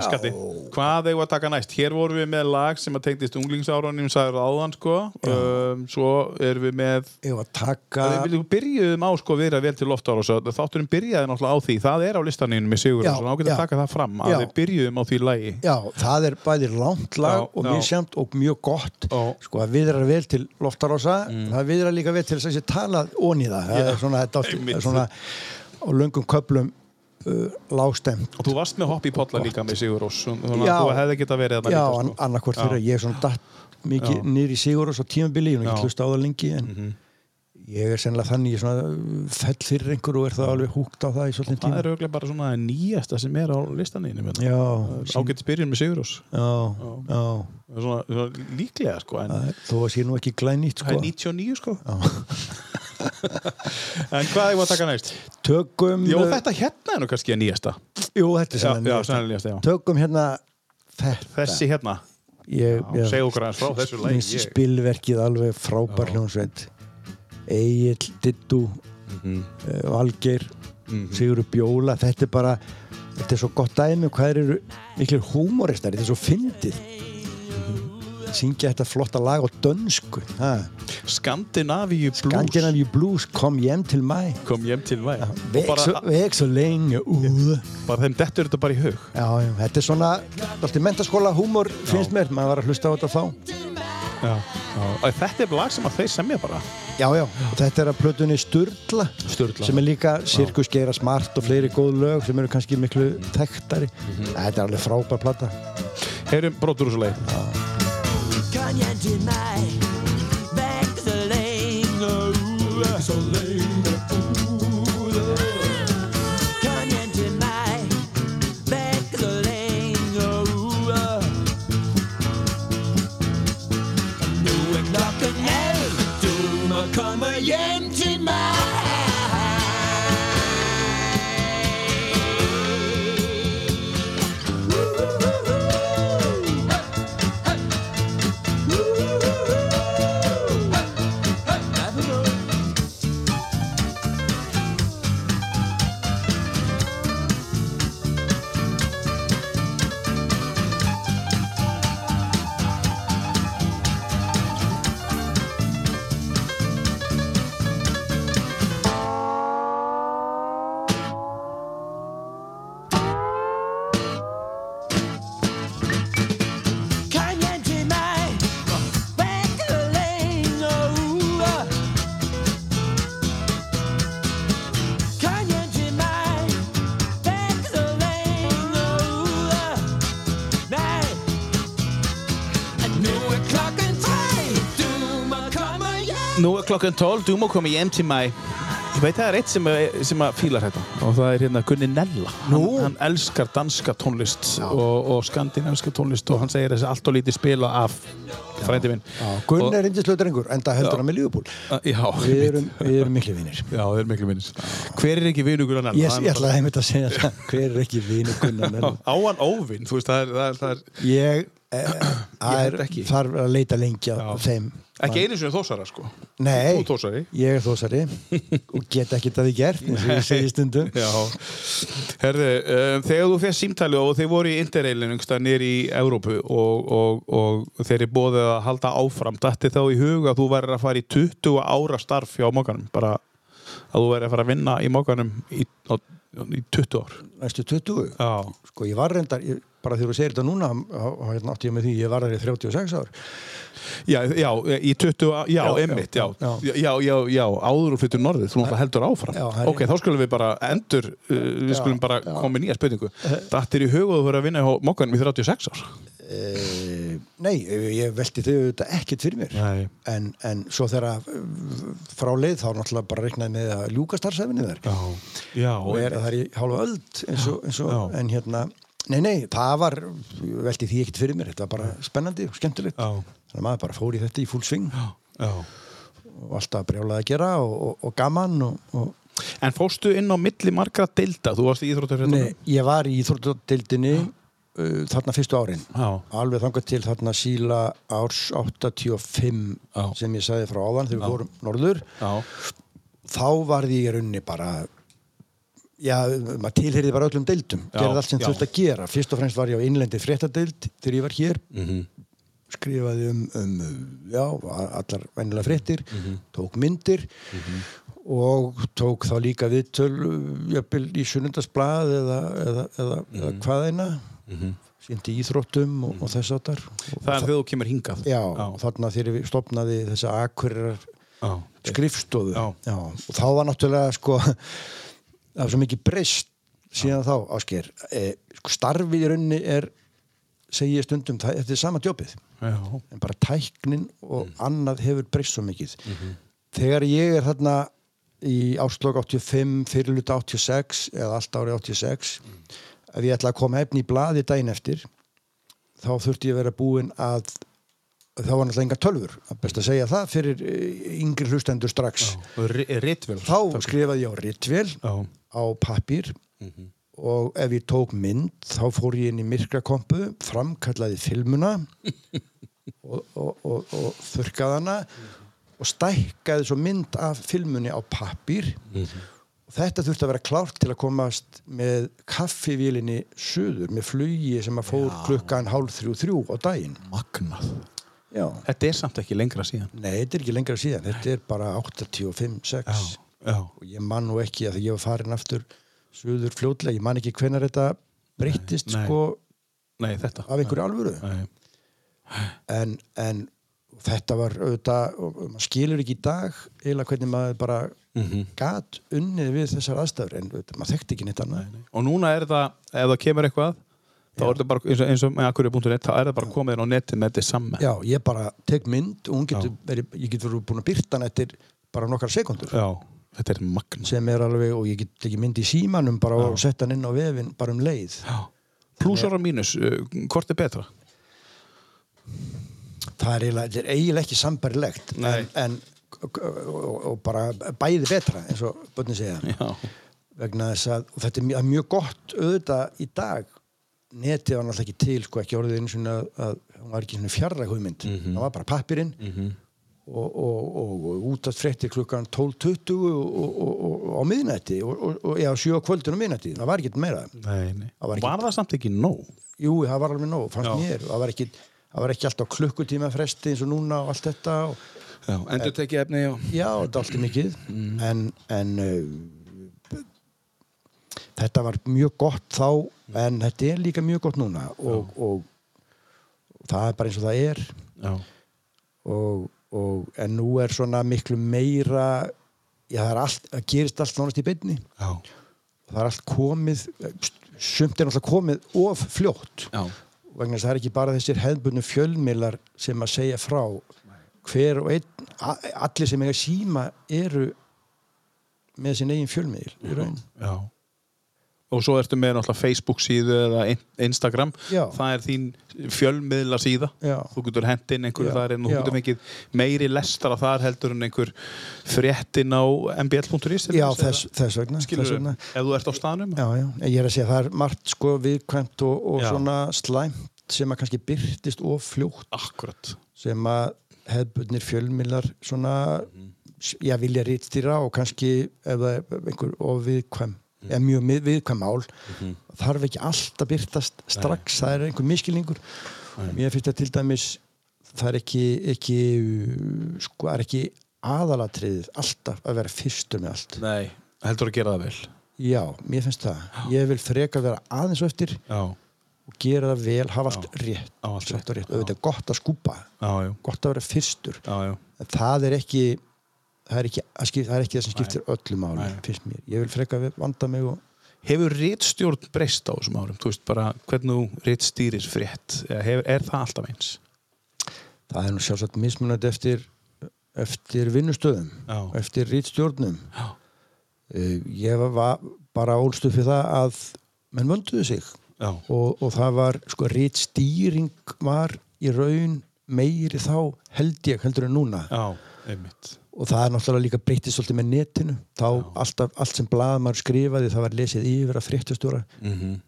Skatti, hvað eigum við að taka næst? Hér vorum við með lag sem að tengdist unglingsárunum sagður áðan sko um, Svo erum við með ef að Ga taka Við byrjuðum á sko vera vel til loftára Þátturinn byrjaði náttúrulega á því Það er á listanýrum með Sigur Já, Ná getur já. að taka það fram að Já. við byrjuðum á því lagi já, það er bæði langt lag Já, já. og misjamt og mjög gott Já. Mm. sko að viðra vel til loftarosa það viðra líka vel til þess að sé talað ón í það, það er svona, þetta átti- Einmitt. svona á löngum köplum uh, lágstemt Og þú varst með hopp í potla líka með Sigur Rós Þannig Já. að þú hefði geta verið þarna já, líka, an, sko. annarkvort Já. þeirra, ég er svona datt mikið nýri sigur og svo tímabili ég er Já. Mhm. ekki hlusta á það lengi en ég er sennilega þannig, ég er svona uh, fell fyrir einhver og er það alveg húgt á það í svolítið Það tíma er auðvitað bara svona nýjasta sem er á listanýrum já, Ágætt hérna. byrjun með Sigur Rós já, já svona, svona líklega sko en Það er- þó að sé nú ekki það glænýtt sko er 99 sko [laughs] en hvað eigum við að taka næst? tökum, Jó uh, þetta hérna er nú kannski að nýjasta jú, þetta já, er já, sennilega nýjasta. sennilega nýjasta já. tökum hérna þetta þessi hérna, ég, Já, segðu okkur aðeins frá þessu lagi, Miss ég- spilverkið alveg frábær hljónsveit Egil, Dittu eh, Valgeir Sigurður Bjóla, þetta er bara þetta er svo gott dæmi og hvað þeir eru miklir húmoristari, þetta er svo fyndið syngja þetta flotta lag á dönsku ha. Skandinavíu Blues Scandinavian Blues, kom hjem til mæ kom hjem til væg og veg svo, bara, veg svo lengi úð bara þeim dettur þetta bara í hug já, já, þetta er svona alltaf mentaskóla húmor finnst mér, maður var að hlusta á þetta þá já. Já. og þetta er lag sem að þeir semja bara Já, já, og þetta er að plötunni Sturla, Sturla. sem er líka sirkusgeira smart og fleiri góð lög sem eru kannski miklu þekktari Þetta er alveg frábær plata heyrum brotur úr svo leið Kom hjem til mig Væk så længe ude så længe ude Kom hjem til mig Væk så længe ude Nu er klokken elv Du må komme hjem til mig Kom hjem til mig Væk så længe ude Kom hjem til mig Væk så længe ude Nej Nu er klokken tre Du må komme hjem nú er klokkan 12, þú má koma hjem til mig Ég veit að það er eitt sem, sem að fílar þetta og það er hérna Gunni Nella hann, hann elskar danska tónlist og, og skandinavska tónlist og hann segir þessi allt og lítið spila af frændi minn Gunn Og- er reyndislega drengur, en það heldur Já. hann með Liverpool. Já, [laughs] Við einmitt. erum, [laughs] við erum miklu vinnir. Já, það er miklu minnist. Hver er ekki vinur Gunnar Nell? Ég, Það er ég bara- ætlaði einmitt að segja það. [laughs] Hver er ekki vinur Gunnar Nell? Á hann óvinn, þú veist, það er, það er, það er Ég, eh, það held er, ekki. þarf að leita lengi Já. á þeim. ekki einu sinni þósara, sko. Nei, Þú þósari. ég er þósari [laughs] og get ekki það í gert, eins og ég segi stundum. [laughs] Já. Herðu, um, þegar þú fegst símtali og þeir voru í interreilin einhverstað nýr í Evrópu og, og, og þeir eru bóðið að halda áfram, dætti þá í huga að þú verður að fara í 20 ára starf hjá mókanum, bara að þú verður að fara að vinna í mókanum í, á, í 20 ár. Næstu 20. Já. Sko, ég var reyndar, ég, bara þegar þú segir þetta núna, þá- þá hérna átti ég með því, ég var þar í 36 ár. Já, já, í 20, á- já, Já, já, einmitt, já, já, já. já, já, áður og flyttur norðið, þú náttúrulega heldur áfram. Já, það er- ok, þá skulum við bara endur, uh, við Já, skulum bara já. Eh. koma í nýja spurningu. Þetta er í huga að þú verður að vinna hjá mokkanum í 36 ár. E, nei, ég- ég velti þau auðvitað ekkert fyrir mér. Nei. En, en svo þegar að, eh, frá leið þá náttúrulega bara reiknaði með að ljúka starfsefnið þar. Já, já, og er það er í hálfa öld eins og, eins og Já. en hérna Nei, nei, það var, ég velti því ekkert fyrir mér, þetta var bara spennandi og skemmtilegt. Já. Þannig að maður bara fór í þetta í full sving já. og alltaf brjálaði að gera og, og, og gaman og, og... En fórstu inn á milli margra deilda, þú varst í íþróttur Nei, ég var í Íþróttadeildinni uh, þarna fyrstu árin. Já. Alveg þangað til þarna síla árs 85 Já. sem ég sagði frá áðan þegar við fórum norður. Já, þá varði ég í rauninni bara já, maður tilheyrði bara öllum deildum Já, gerði allt sem já. þurfti að gera fyrst og fremst var ég á innlendi fréttadeild þegar ég var hér Mhm. skrifaði um, um já, a- allar vennilega fréttir Mhm. tók myndir og töl þá líka viðtöl uh, jafnvel í sunnundasblað eða, eða, eða, eða Mhm. hvaðeina mm -hmm. síndi íþróttum og, og þess áttar það er þegar þú kemur hingað. já, Mhm. já, þarna þegar við stopnaði þessa akkurirar já. skrifstofu Já. og þá var náttúrulega sko [laughs] það var svo mikið breyst síðan þá ásker e, sko, starfið í rauninni er segi ég stundum, það, þetta er sama djópið já. en bara tæknin og annað hefur breyst svo mikið þegar ég er þarna í áslokk 85, fyrirluta 86 eða allt árið 86 ef ég ætla að koma efni í blaði daginn eftir þá þurfti ég að vera búinn að þá var náttúrulega enga tölfur að best að segja það fyrir eh, yngri hlustendur strax Rittvel. þá skrifaði ég á ritvél Já, á pappír og ef ég tók mynd þá fór ég inn í myrkrakompu framkallaði filmuna og, og, og, og þurkaði hana og stækkaði svo mynd af filmunni á pappír og þetta þurfti að vera klárt til að komast með kaffivílinni suður með flugi sem að fór klukkan hálf þrjú þrjú á daginn magnað. Já. Þetta er samt ekki lengra síðan. Nei, þetta er ekki lengra síðan þetta er bara 85-6 já. og ég man nú ekki að því ég var farin aftur suður fljótlega, ég man ekki hvenar þetta breyttist Nei, nei. sko Nei, þetta. af einhverju alvöru Nei. en, en þetta var auðvitað, og maður skilur ekki í dag eiginlega hvernig maður bara Mhm. gat unnið við þessar aðstæður en auðvitað, maður þekkti ekki neitt annað og núna er það, ef það kemur eitthvað þá er það bara, eins og, eins og með akkurri.net þá er það bara komið inn á neti með þetta saman Já, ég bara tek mynd og hún getur Já. verið, ég getur verið búin að byrta hann eftir bara nokkar sekundur Já, þetta er magna sem er alveg, og ég get ekki mynd í símanum bara og sett hann inn á vefin bara um leið Plúsar og mínus, uh, hvort er betra? það er eiginlega, þetta er eiginlega ekki sambarilegt Nei. en, en og, og bara bæði betra eins og börnin segja Já, vegna þess að, og þetta er mjög, mjög gott auðvitað í dag netið var náttúrulega ekki til, sko ekki orðið einu sinni að, að hún var ekki svona fjarrra hugmynd Mhm. það var bara pappirinn og, og, og, og út að fréttir klukkan 12.20 og, og, og, og á miðnætti og, og, og já, 7 á kvöldin á miðnætti, það var ekkert meira nei, nei Það var Var, ekki- það samt ekki nóg? Jú, það var alveg nóg, fannst Já. mér það var ekki, það var ekki alltaf klukkutíma fresti eins og núna og allt þetta og, Já, endur tekið efni og... Já, þetta er alltaf mikið en, en uh, þetta var mjög gott þá en þetta er líka mjög gott núna og, og, það er bara eins og það er Já, og, og en nú er svona miklu meira já, það er allt, það gerist allt nánast í beinni já, og það er allt komið sumt er náttúrulega komið of fljótt já vegna þess að það er ekki bara þessir hefðbunnu fjölmiðlar sem að segja frá hver og einn, a- allir sem eiga síma eru með sin eigin fjölmiðil í raun. Já. Og svo ertu með náttúrulega Facebook síðu eða In- Instagram. Já. Það er þín fjölmiðla síða. Já. Þú getur hent inn einhverju Já. þar en þú Já. getur mikið meiri lestar að þar heldur en einhver fréttin á mbl.is. til Já, dæmis, þess, eða- þess vegna. Skilurðu? þess vegna. Ef þú ert á staðnum. Já, já, en ég er að segja það er margt sko viðkvæmt og, og Já. svona slæmt sem að kannski byrtist og fljótt Akkurat. sem að hefðbundnir fjölmiðlar svona, Mhm. já, vilja rítstýra og kannski ef það er einhver ofviðkvæm Mhm. eða mjög mið- viðkvæm mál þarf ekki allt að byrtast strax það er einhver miskilningur mér finnst það til dæmis það er ekki, ekki uh, sko, það er ekki aðalatriðið alltaf að vera fyrstur með allt Nei. Heldur að gera það vel. já, mér finnst það, ég vil frekar vera aðeins á eftir Já. og gera það vel, hafa allt rétt Á allt satt og rétt, rétt, já. auðvitað er gott að skúpa Já, já. gott að vera fyrstur Já, já. En það er ekki það er ekki það, skip, það, er ekki það sem skiptir öllu máli Nei. finnst mér, ég vil freka vanda mig og Hefur réttstjórn breyst á þessum árum? Þú veist bara hvernig þú réttstýrir frétt? Eða Hefur, er það alltaf eins? það er nú sjálfsagt mismunandi eftir eftir vinnustöðum Já. eftir rítstjórnum Já. Eh, ég var bara ólstu fyrir það að menn vönduðu sig Já. og, og það var sko rítstýring var í raun meiri þá held ég heldur en núna Já, einmitt. og það er náttúrulega líka breytist svolítið með netinu þá alltaf, allt sem blaðamar skrifaði það var lesið yfir að fréttustjóra Mm -hmm.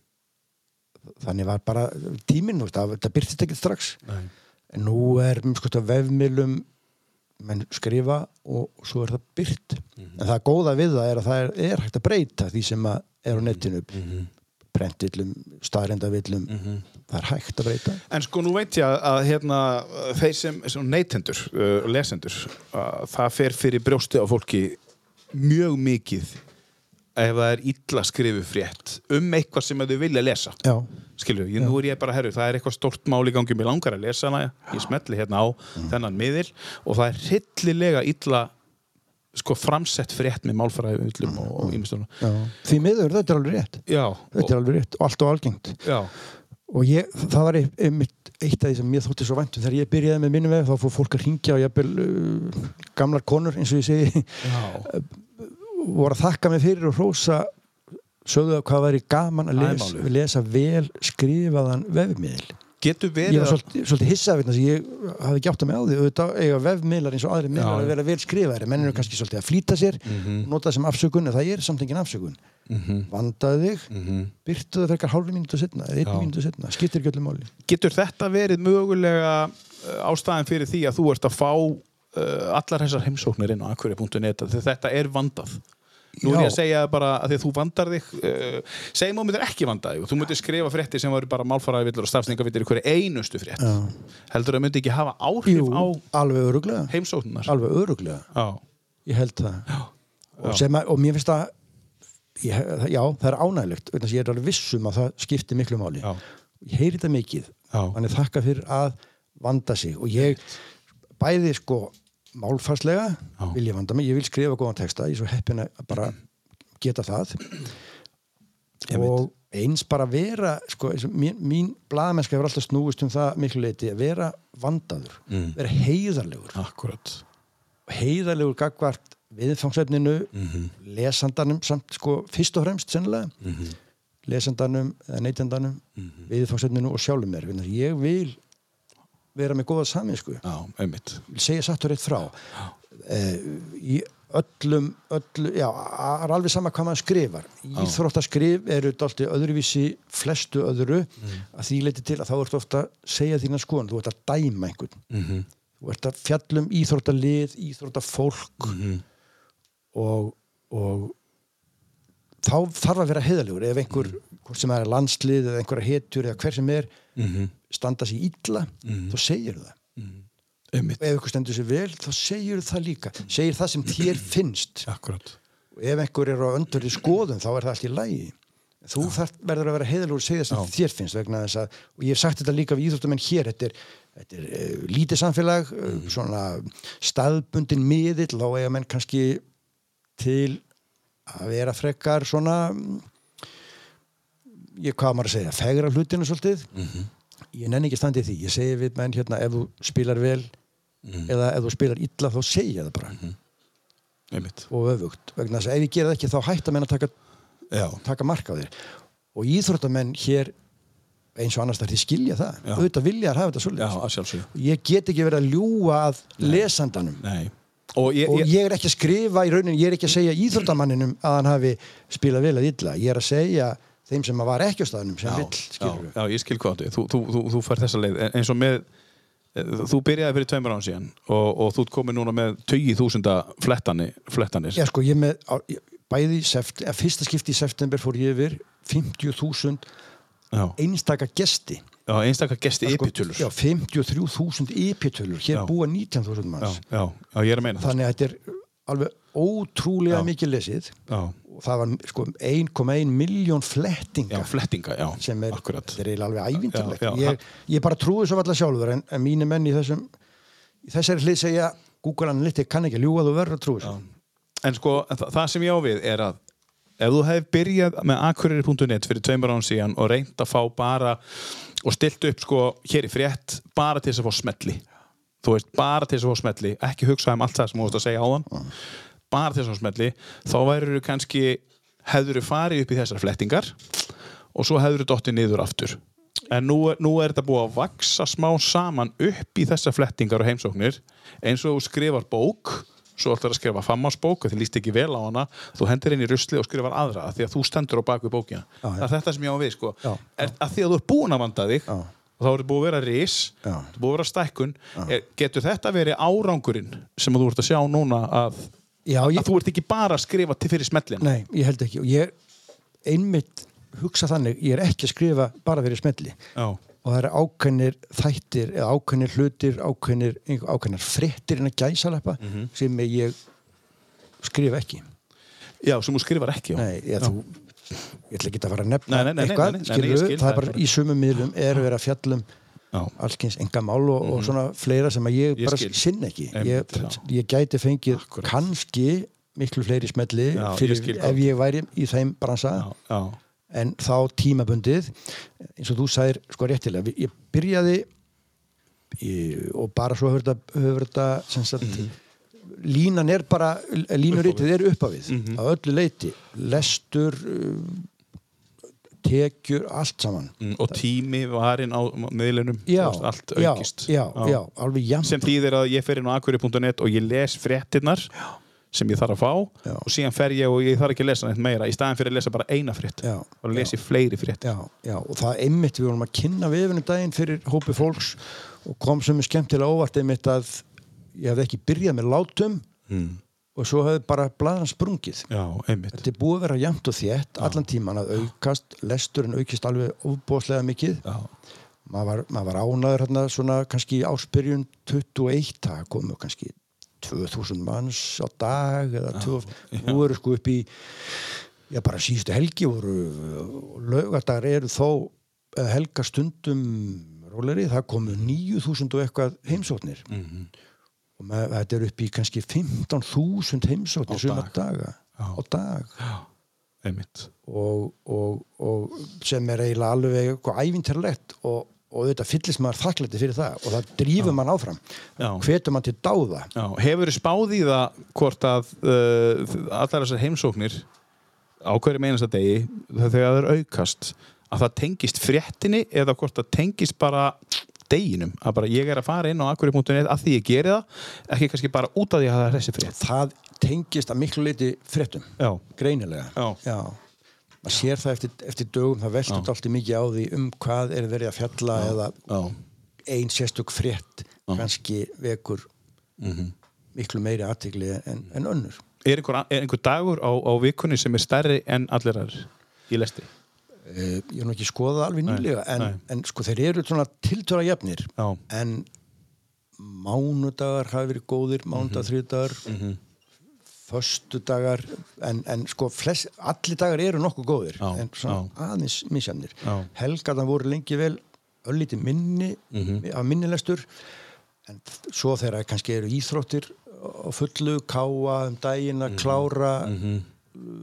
þannig var bara tíminn þú veist, það, það byrtist ekki strax Nei. en nú er sko, vefmilum menn skrifa og svo er það byrt en það góða við það er að það er, er hægt að breyta því sem að er á netinu mm -hmm. prentillum, staðrendavillum það er hægt að breyta En sko nú veit ég að, að hérna, þeir sem, sem neytendur, uh, lesendur, uh, það fer fyrir brjósti á fólki mjög mikið ef það er illa skrifu frétt um eitthvað sem þau vilja lesa. já, Skilju, ég, nú er ég bara herru, það er eitthvað stort mál í gangi, mér langar að lesa hana, ég smetli hérna á þennan miðil og það er hryllilega illa sko framsett frétt með málfæraði ullum og, og ímestunum. já. því miður þetta er alveg rétt Já, þetta og, er alveg rétt og allt og algengt já, og ég, það var einmitt eitt af því sem ég þótti svo væntum þegar ég byrjaði með minnum vef þá fór fólk að hringja og jafnvel uh, gamlar konur eins og ég segi já, voru að þakka mig fyrir og hrósa sögðu að hvað væri gaman að lesa, Æmálið. lesa vel skrifaðan vefmiðil getur verið ég var að- svolítið, svolítið hissað vegna þess að ég hafði ekki átt að með á því auðvitað eiga vefmiðlar eins og aðri miðlar Já. Mhm. að vera vel skrifaðir menn eru kannski svolítið að flýta sér nota það sem afsökun, en það er samt engin afsökun vandaðu þig mm -hmm. byrtu það frekar hálfri mínútu setna eða Mhm. Já. einn mínútu setna, skiptir ekki öllu máli Getur þetta verið mögulega uh, ástæðan fyrir því að þú ert að fá uh, allar þessar heimsóknir inn á akkurja.net þegar þetta er vandað? Nú er ég Já. að segja þér bara að því að þú vandar þig uh, segjum að þú myndir ekki vanda þig og þú myndir skrifa frétti sem var bara málfaraði villur og stafsningavillur í hverju einustu frétt heldur að myndi ekki hafa áhrif Jú, á alveg öruglega heimsóknar alveg öruglega, ég held það og, já. sem að, og mér finnst það ég, það- já, það er ánægilegt vegna þess að ég er alveg viss um að það skiptir miklu máli Já. ég heyri þetta mikið Já. þannig þakka fyrir að vanda sig og ég bæði sko málfarslega Já. vil ég vanda mig, ég vil skrifa góðan texta ég er svo heppin að bara geta það og eins bara vera sko, eins og mín, mín blaðamennska hefur alltaf snúist um það miklu leiti að vera vandaður, Mm. vera heiðarlegur Akkurat heiðarlegur gagvart viðfangsefninu lesandanum samt sko fyrst og fremst sennilega lesandanum eða neytendanum viðfangsefninu og sjálfum mér Vegna þess að ég vil vera með góða saminsku Já, einmitt vil segja satt og rétt frá uh, í öllum, öllu, já, a- er alveg sama hvað maður skrifar íþróttaskrif eru dalti öðruvísi flestu öðru að því leiti til að þá ertu ofta að segja þína skoðan, þú ert að dæma einhvern -hmm. þú ert að fjallum íþróttalið íþróttafólk og, og þá þarf að vera heiðalegur ef einhver, hvort sem það er landslið eða einhverja hetjur eða hver sem er standa sér illa, þá segir það Einmitt, og ef ykkur stendur sér vel þá segir það líka segir það sem þér finnst akkurat og ef einhver er á öndverði skoðum þá er það allt í lægi þú þarf, verður að vera heiðalur og segja það sem þér finnst vegna þess að, og ég hef sagt þetta líka við íþróttamenn hér, þetta er, þetta er uh, lítið samfélag, uh, svona staðbundin miðill, þá eiga menn kannski til að vera frekar svona mm, ég hvað á maður að segja, fegra hlutinu svolítið ég nenni ekki standið því, ég segi við menn hérna ef þú spilar vel eða ef þú spilar illa þá segja það bara einmitt. og öfugt vegna þess að ef ég gera það ekki þá hætta menn að taka, Já, taka mark á þér og íþróttamenn hér eins og annars þar því skilja það Já. auðvitað vilja að hafa þetta já, svolítið að sjálfsögðu. ég get ekki verið að ljúa að lesandanum Nei. Og ég, og ég, ég er ekki að skrifa í raunin ég er ekki að segja íþróttamanninum að hann hafi spilað vel að illa, ég er að segja þeim sem að var ekki á staðnum sem vill já, skilur við. já, ég skil hvað áttu. Þú, þú, þú, þú fær þessa leið. En- Eins og með, eh, þú byrjaði fyrir tveimur án síðan og, og þú ert komin núna með 20.000 flettani, flettanir. ég sko, ég með á- ég- bæði í seft, að fyrsta skipti í september fór ég yfir 50.000 Já. einstaka gesti já, einstakar gesti Það sko- ypitölur. já, 53.000 epitölur, hér Já. búa 19.000 manns já, já, já, ég er að meina það. þannig að þetta er alveg ótrúlega Já. mikið lesið Já, og það var sko 1,1 miljón já, flettinga flettinga, já, sem er, akkurat. þetta er eiginlega alveg ævindarlegt Já, já, ég, ég bara trúi svo alltaf sjálfur en, en mínu menn í þessum í þessari hlið segja Google Analytics kann ekki að ljúga þú verður að trúi þessu. En sko, þa það sem ég á við er að ef þú hefði byrjað með akureyri.net fyrir tveimur án síðan og reynd að fá bara og stilt upp sko hér í frétt bara til þess að fá smetli þú veist, bara til þess að fá smetli ekki hugsa um allt það sem þú veist að segja á þann bara til þess að fá smetli þá værið þú kannski, hefður þú farið upp í þessar flettingar og svo hefður þú dottið niður aftur en nú er, nú er þetta búið að vaksa smá saman upp í þessar flettingar og heimsóknir eins og þú skrifar bók svo ætlar að skrifa fammarsbók og þið líst ekki vel á hana þú hendir inn í rusli og skrifar aðra af því að þú stendur á baku bókina Já, já. það er þetta sem ég á við sko Já, já. Er, að því að þú ert búin að vanda þig Já. og þá ertu búið að vera ris Já. þú búið að vera stækkun er, getur þetta verið árangurinn sem þú ert að sjá núna að, já, að ég, þú ert ekki bara að skrifa til fyrir smellin nei, ég held ekki og ég einmitt hugsa þannig ég er ekki að skrifa bara fyrir smelli Já. og það eru ákveðnir þættir eða ákveðnir hlutir, ákveðnir einhver- ákveðnar fréttir en að gæsaleppa Mhm. sem ég skrifa ekki já, sem þú skrifar ekki já. Nei, ég, þú, ég ætla ekki að fara að nefna Nei, nei, nei, eitthvað, nei, nei, nei, skilur ég skil, það það er bara er bara- í sumum miðlum er verið að um fjallum Já. allskyns engamál og, og svona fleira sem að ég, Mhm. Ég bara skil. sinn ekki Einmitt, ég, já. ég gæti fengið kannski miklu fleiri smelli Já, ég fyrir, skil ef ég væri í þeim bransa Já, já, en þá tímabundið eins og þú sagðir sko réttilega við- ég byrjaði ég, og bara svo höfur þetta, höfur þetta sem sagt Mhm. línan er bara, línurítið er upp á við Mhm. á öllu leiti, lestur um, tekjur, allt saman Mm, og tími varinn á miðlunum já, Þú veist, allt já, aukist já, já, alveg jafn sem þýðir að ég fer inn á akureyri.net og ég les fréttinnar sem ég þarf að fá Já. og síðan fer ég og ég þarf ekki að lesa neitt meira í staðan fyrir að lesa bara eina frétt Já, og lesi fleiri frétt Já, já, og það einmitt við vorum að kynna vefunum daginn fyrir hópi fólks og kom sem er skemmtilega óvart einmitt að ég hafði ekki byrjað með látum mm. og svo hafði bara blaðan sprungið. já, einmitt Þetta er búið að vera jæmt og þétt allan tíman að aukast, lesturinn aukist alveg ofbóðslega mikið. já, Maður var, maður var ánaður hérna svona kannski í áspyrjun 21, það komu kannski 2000 manns á dag eða 2000, nú eru sko upp í já bara síðustu helgi voru lögadagar eru þó eh, helga stundum róleri, það komu 9000 og eitthvað heimsóknir Mhm. og með, þetta eru upp í kannski 15.000 heimsóknir Á suma dag. daga Já. á dag einmitt og, og, og sem er eiginlega alveg eitthvað ævintarlegt og, og þetta fyllist maður þakklætti fyrir það og það drífur mann áfram Já. hvetur mann til dáða Já, hefur spáð í það hvort að uh, allar þessar heimsóknir á hverjum einasta degi þegar það er aukast að það tengist fréttinni eða hvort það tengist bara deginum að bara ég er að fara inn á akkurri.net að því ég geri það ekki kannski bara út af því að það er þessi frétt það tengist að miklu leiti fréttum Já, greinilega Já. maður sér það eftir, eftir dögum það veldur alltaf mikið á því um hvað er verið að fjalla eða já, ein sérstök frétt kannski vekur Mhm. miklu meiri aðtigli en, en önnur er einhver, er einhver dagur á, á vikunni sem er stærri en allir aðrir í lesti? Eh, ég hef nú ekki skoðað það alveg Nei, nýlega en, nei. en sko þeir eru svona tiltöra jafnir Já. en mánudagar hafi verið góðir Mhm. mánudag, þriðdagar föstudagar en, en sko flest, allir dagar eru nokkuð góðir Já, en svona aðeins misjafnir Já. helgarnar voru lengi vel öllítið minni Mhm. af minnilestur en þ- svo þegar kannski eru íþróttir á fullu, káa um daginn Mhm. að klára mm -hmm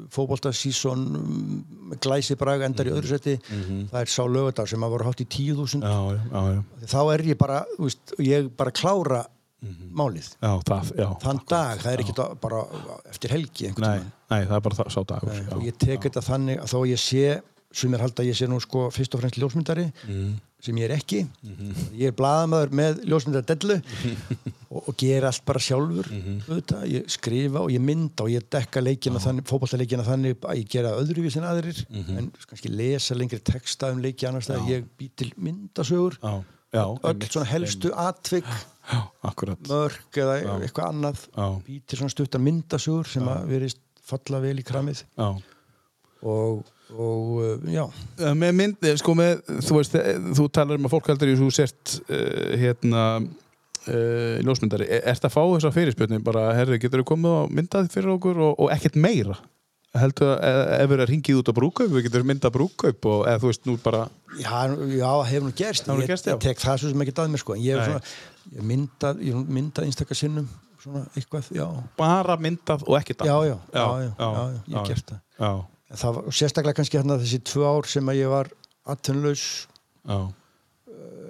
fótboltasísón glæsibrag mm, endar í öðru seti það er sá lögadar sem að voru hátt í 10.000 já, já, já. þá er ég bara, þú veist, ég bara klára málið já, það, já. þann dag, það er ekkert að- bara eftir helgi einhvern nei, tímann. nei, það er bara það, sá dagur Nei, sko. já. og ég tek þetta þannig að þó ég sé sem er halda að ég sé nú sko fyrst og fremst ljósmyndari Mhm. sem ég er ekki ég er blaðamæður [laughs] með ljósmyndardellu og, og gera allt bara sjálfur Mhm. auðvitað, ég skrifa og ég mynda og ég dekka leikina þannig, fótballtaleikina þannig að ég gera öðruvís en aðrir Mhm. en kannski lesa lengri texta um leiki annars þegar ég bý til myndasögur já, já, öll svona helstu atvik já, akkurat mörg eða eitthvað annað Já. bý til svona stuttar myndasögur sem að verist falla vel í kramið já. og, og uh, já, Eh, með mynd, eh, sko með þú veist, eh, þú talar um að fólk heldur í þú sért uh, hérna uh, ljósmyndari, er, ert að fá þessa fyrirspjörni bara, herri, getur þú komið og myndað fyrir okkur og, og ekkert meira heldur að eh, ef við erum hringið út á brúkaup við getum myndað brúkaup og eða þú veist nú bara, já, já það hefur nú gerst Það hefur nú ég, gerst, já. ég tek það svo sem ekki að mér sko en ég Nei. hef svona, ég myndað ég hef myndað einstakar sinnum svona eitthvað, já bara myndað og ekkert já, annað. já, já, já, já, já, ég hef já. gert það já, En það var og sérstaklega kannski hérna þessi tvö ár sem að ég var atvinnlaus já,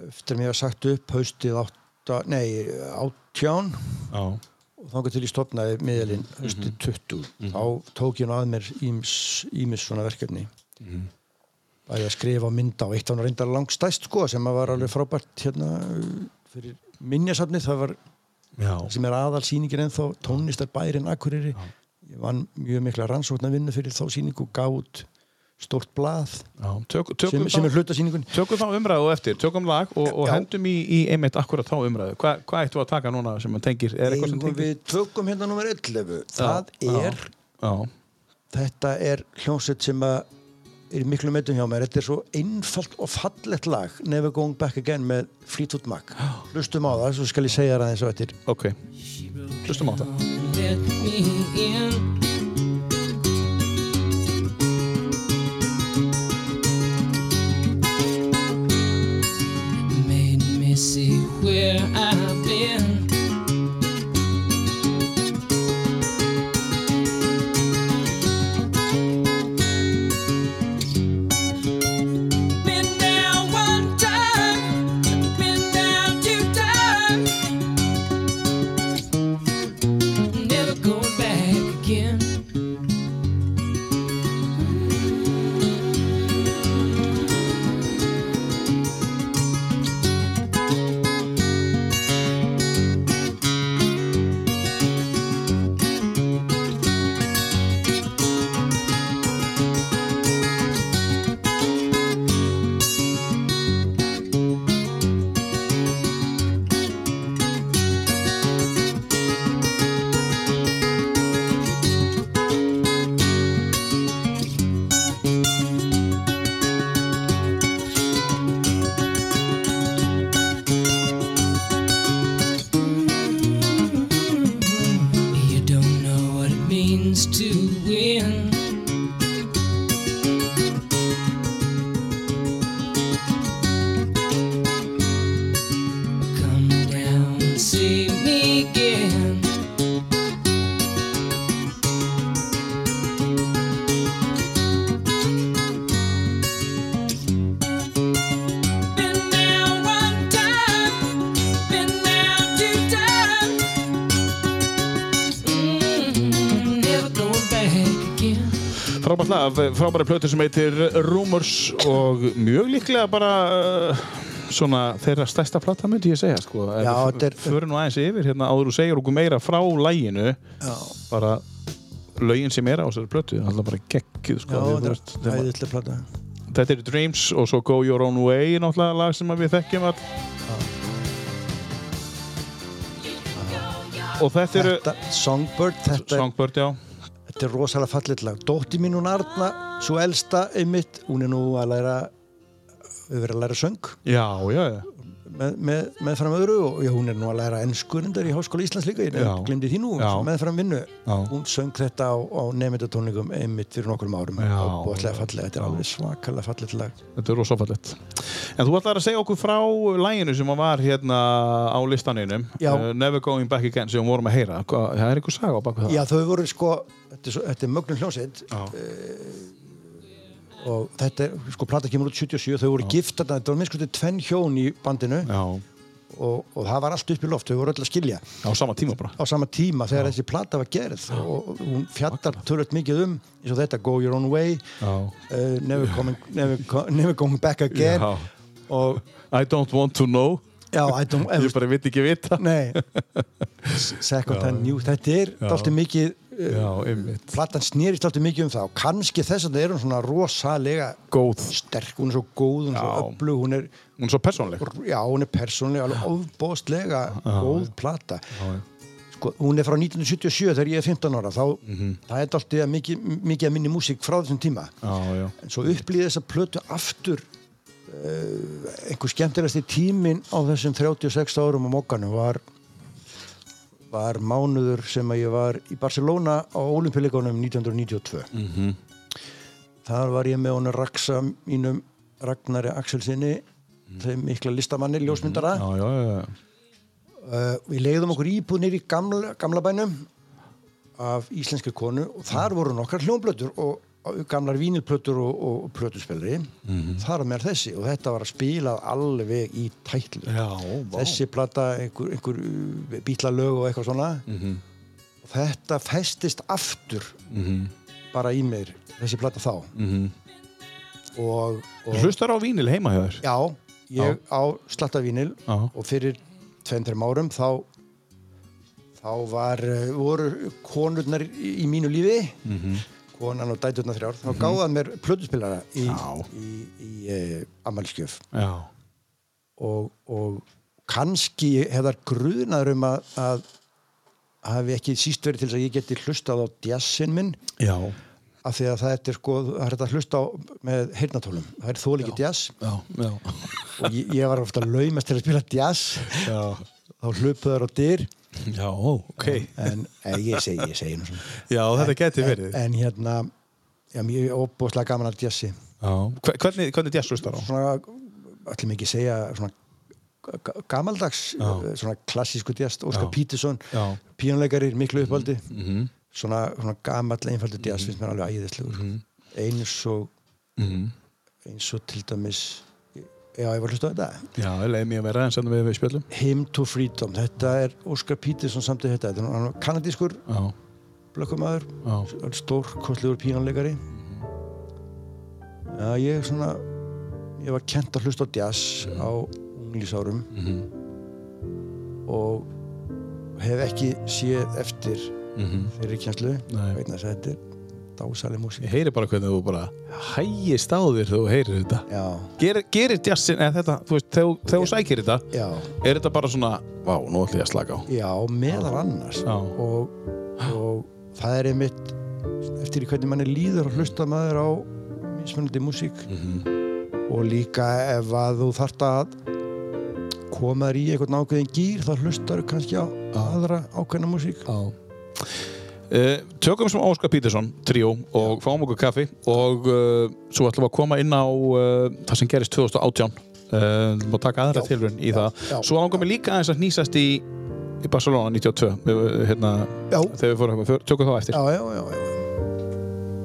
eftir að mér var sagt upp haustið átta, nei, áttján já, og þangar til ég stopnaði miðalinn Mhm. höstu 20 þá tók ég nú að mér ímis, ímis svona verkefni Mhm. bæði að skrifa og mynda og eitt af hann reyndar langstæst sko sem að var alveg frábært hérna uh, fyrir minjasafnið það var já, sem er aðal sýningin ennþá tónlistar bærin Akureyri ég vann mjög mikla rannsóknarvinnu fyrir þá sýningu og gaf út stórt blað já. Tök, tökum sem, sem er þá- hlutasýningun Tökum þá umræðu og eftir, tökum lag og, og Já. hendum í, í einmitt akkurat þá umræðu. Hva, hvað ættu að taka núna sem að tengir? Er eitthvað sem Eigum tengir? við tökum hérna nummer 11 það Já. er Já, þetta er hljómsveit sem að er í miklu meitum hjá mér, þetta er svo einfalt og fallett lag Never Going Back Again með [gasps] Fleetwood Mac hlustum á það, svo skal ég segja það eins og eftir ok. Hlustum á það. let me in. Made me see where I've been. Been down one time, been down two times. never going back again. You don't know what it means to win. Come down and see me again. Been down one time, been down two times. Mm, never going back again. Frábært lag, af frábæri plötu sem heitir Rumors og mjög líklega bara uh, svona þeirra stærsta plata myndi ég segja sko. Já, þetta þetta er- er... Föru nú aðeins yfir hérna áður og segir okkur meira frá læginu. Já. Bara lögin sem er á þessari plötu, alltaf bara geggjuð sko. Já, Því, þú þetta veist, er æðislega plata Þetta eru Dreams og svo Go Your Own Way náttúrulega lag sem að við þekkjum all Og þetta eru Þetta, Songbird, þetta, er- Songbird, já þetta er rosalega fallett lag Dótti mín hún Arna, svo elsta einmitt, hún er nú að læra við verðum að læra söng Já, já, já með, með, með fram öðru og já, hún er nú að læra ennskurindar í Háskóla Íslands líka ég Já. glemdi því nú, Já. með fram vinnu Já. hún söng þetta á, á nefndatónleikum einmitt fyrir nokkrum árum Já. og ætlaði fallega, þetta er alveg svakalega fallega lag Þetta er rosafallett En þú ætlar að segja okkur frá læginu sem að var hérna á listaninum Já. Eh, Never Going Back Again sem við vorum að heyra Hva, Það er einhver saga á baku það Já, þau voru sko, þetta er, svo- þetta er mögnum hljómsveit Já, og þetta er, sko, plata kemur út 77 þau voru gift, þarna, þetta var minnst sko tvenn hjón í bandinu já, og, og það var allt upp í loft, þau voru öll að skilja á sama tíma bara á sama tíma þegar þessi plata var gerð og og hún fjallar tölvöld mikið um eins og þetta Go Your Own Way Já. uh, never, coming, never, co- never Coming Back Again Já. og I don't want to know já, I don't ég bara veit ekki vita Nei, second hand new Þetta er dálítið mikið uh, já, einmitt Platan snýrist dálítið mikið um það og kannski þess að það er hún svona rosalega góð sterk, hún er svo góð, hún er svo Já. öflug hún er, hún er svo persónleg já, hún er persónlega alveg ofbóðslega góð plata sko, hún er frá 1977 þegar ég er 15 ára þá, Mhm. það er dálítið að mikið, mikið að minni músík frá þessum tíma já, já en svo upplýði þess að plötu aftur uh, einhver skemmtilegasti tímin á þessum 36 árum á mokkanum var var mánuður sem að ég var í Barcelona á olimpíuleikunum 1992 þar var ég með honum Raksa mínum Ragnari Axelsinni þeim mikla listamanni, ljósmyndara já, já, já, uh, við leiðum okkur íbúð nýri gamla, gamla bænum af íslenski konu og þar voru nokkar hljómblötur og og gamlar vínilplötur og, og, og plötuspilri þar á meðal þessi og þetta var að spila alveg í tætlu Já, vá. þessi plata, einhver, einhver bítlalög og eitthvað svona og þetta festist aftur bara í mér þessi plata þá og, og hlustar á vínil heima hjá þér Já, ég á slattavínil Já. og fyrir tveim-þreim árum þá þá var, eh, voru konurnar í í mínu lífi Mhm. konan og dæturnar þrjár þá gáðan mér plötuspilara í, Já. í, í e, ammælskjöf já, og, og kannski hefðar grunar um að, að hafi ekki síst verið til þess að ég geti hlustað á djassin minn já, af því að það er sko, það er hægt að hlusta á með heyrnatólum, það er þólíki djass já, já. og ég, ég var ofta laumast til að spila [laughs] jazz já. þá hlupu þær á dyr já ok en eh, ég segi, ég segi nú svona. já, þetta geti verið en hérna já, mér er óbúslega gaman að jazzi já. Hve- hvernig, hvernig jazz hlustar á? svona, ætlum ekki segja svona g- g- gamaldags eh, svona klassísku jazz, Óskar Já. Pítursson Já. Mhm, píjónleikari, miklu uppaldi svona, svona gamall, einfaldi jazz finnst mér alveg æðislegur sko. Mhm. eins og eins og til dæmis já, ég var að hlusta á þetta já, leið mér vera en sem við, við spjöllum Him to Freedom þetta er Óskar Pítursson samtið þetta Þetta er hann var kanadískur já, blökkumæður já, stórkostlegur pínuleikari já ég svona ég var kent að hlusta á jazz á unglísárum Mhm, og hef ekki séð eftir mhm. þeirri kjenslu Nei. vegna þess að þetta er dásaleg músík ég heyri bara hvernig þú bara hægist á þér þegar þú heyrir þetta já, Ger, gerir jazzin, eða þetta, þú veist, þegar þegar þú sækir þetta já, er þetta bara svona, vá, nú ætlum ég að slaka á já meðal annars Já. og, og það er einmitt eftir í hvernig manni líður að hlusta maður á mismunandi músík Mhm. og líka ef að þú þart að koma þér í einhvern ákveðin gýr þá hlustar kannski á aðra ákveðna músík Uh, tökum sem Óskar Pítursson, tríó og fáum okkur kaffi og uh, svo ætlum við að koma inn á uh, það sem gerist 2018 uh, og taka aðra Já, tilrun í já, það já, svo langar mig líka aðeins að nýsast í, í Barcelona 92 við, hérna, Já. þegar við fórum eitthvað, tökum það eftir já, já, já, já.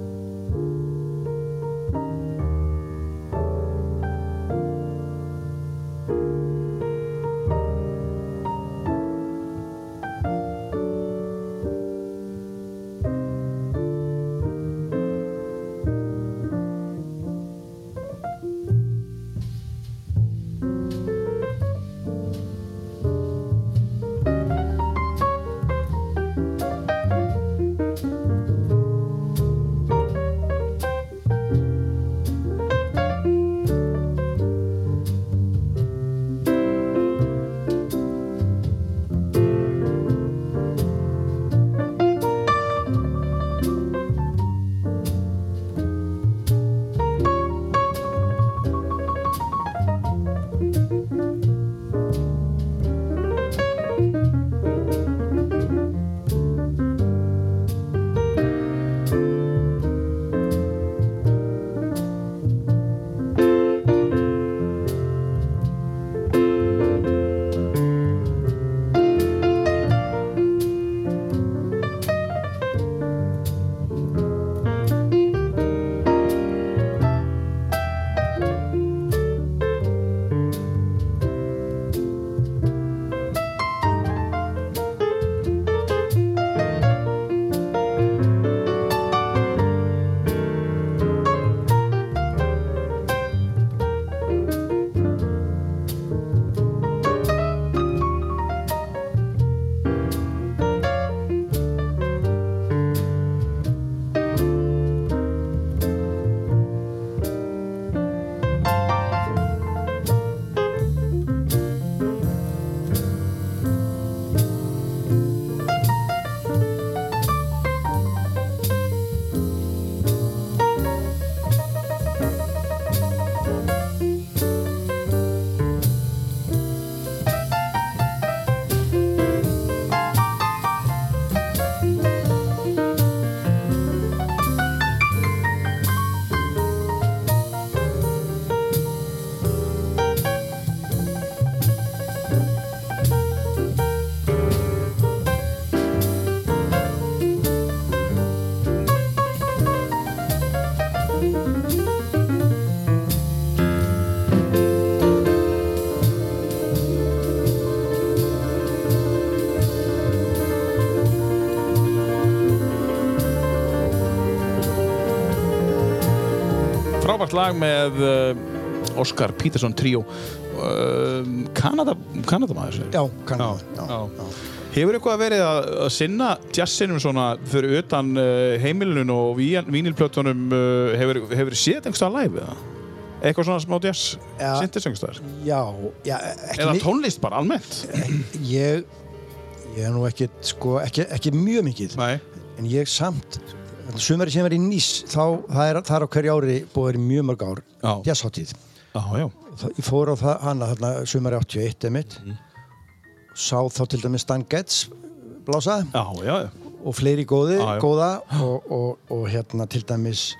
Frábært lag með uh, Oscar Peterson Trio uh, Kanada, Kanadamaður segir. Já, kannan. Já, já. Hefur eitthvað verið að, að sinna jazzinum svona fyrir utan uh, heimilunum og vían- vínilplötunum uh, hefur, hefur séð þetta einhverstað live eða? Eitthvað svona smá jazz Ja. sindist einhverstaðar? Já, já, e- ekki Eða mi- tónlist bara almennt? Ég, ég er nú ekkit, sko, ekki, ekki mjög mikið, Nei, en ég samt, sumari sem er í Nýs, þá það er, það er á hverju ári búið að vera í mjög mörg ár, Já. jazzháttíð. já, já Það- Ég fór á það, hana þarna sumari 81 emitt, Mhm. sá þá til dæmis Stan Getz blása Já, já, já og fleiri góði, Já, já. góða og, og, og hérna til dæmis,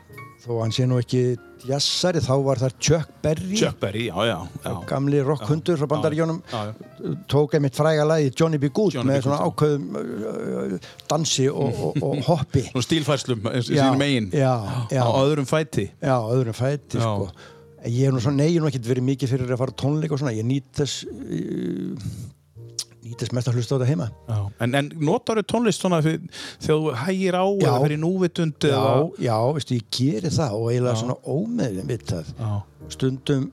þó hann sé nú ekki jazzari, þá var það Chuck Berry, Chuck Berry, já, já, já. gamli rockhundur frá bandaríjónum, Já, já. tók einmitt fræga lagi Johnny B. Good Johnny B. með Goode, svona já. ákveðum uh, uh, dansi og, og, og hoppi Nú stílfærslum í Já, sínum eigin já, já. Á öðrum fæti já, öðrum fæti Já. sko En ég er nú svona, nei, ég er nú ekkert verið mikið fyrir að fara á tónleik og svona, ég nýt þess uh, nýt þess mest að hlusta á þetta heima Já. En, en notar þú tónlist svona fyrir- þegar þú hægir á Já. eða fyrir núvitund já, eða... já, veistu, ég geri það og eiginlega svona ómeðin við það Já. stundum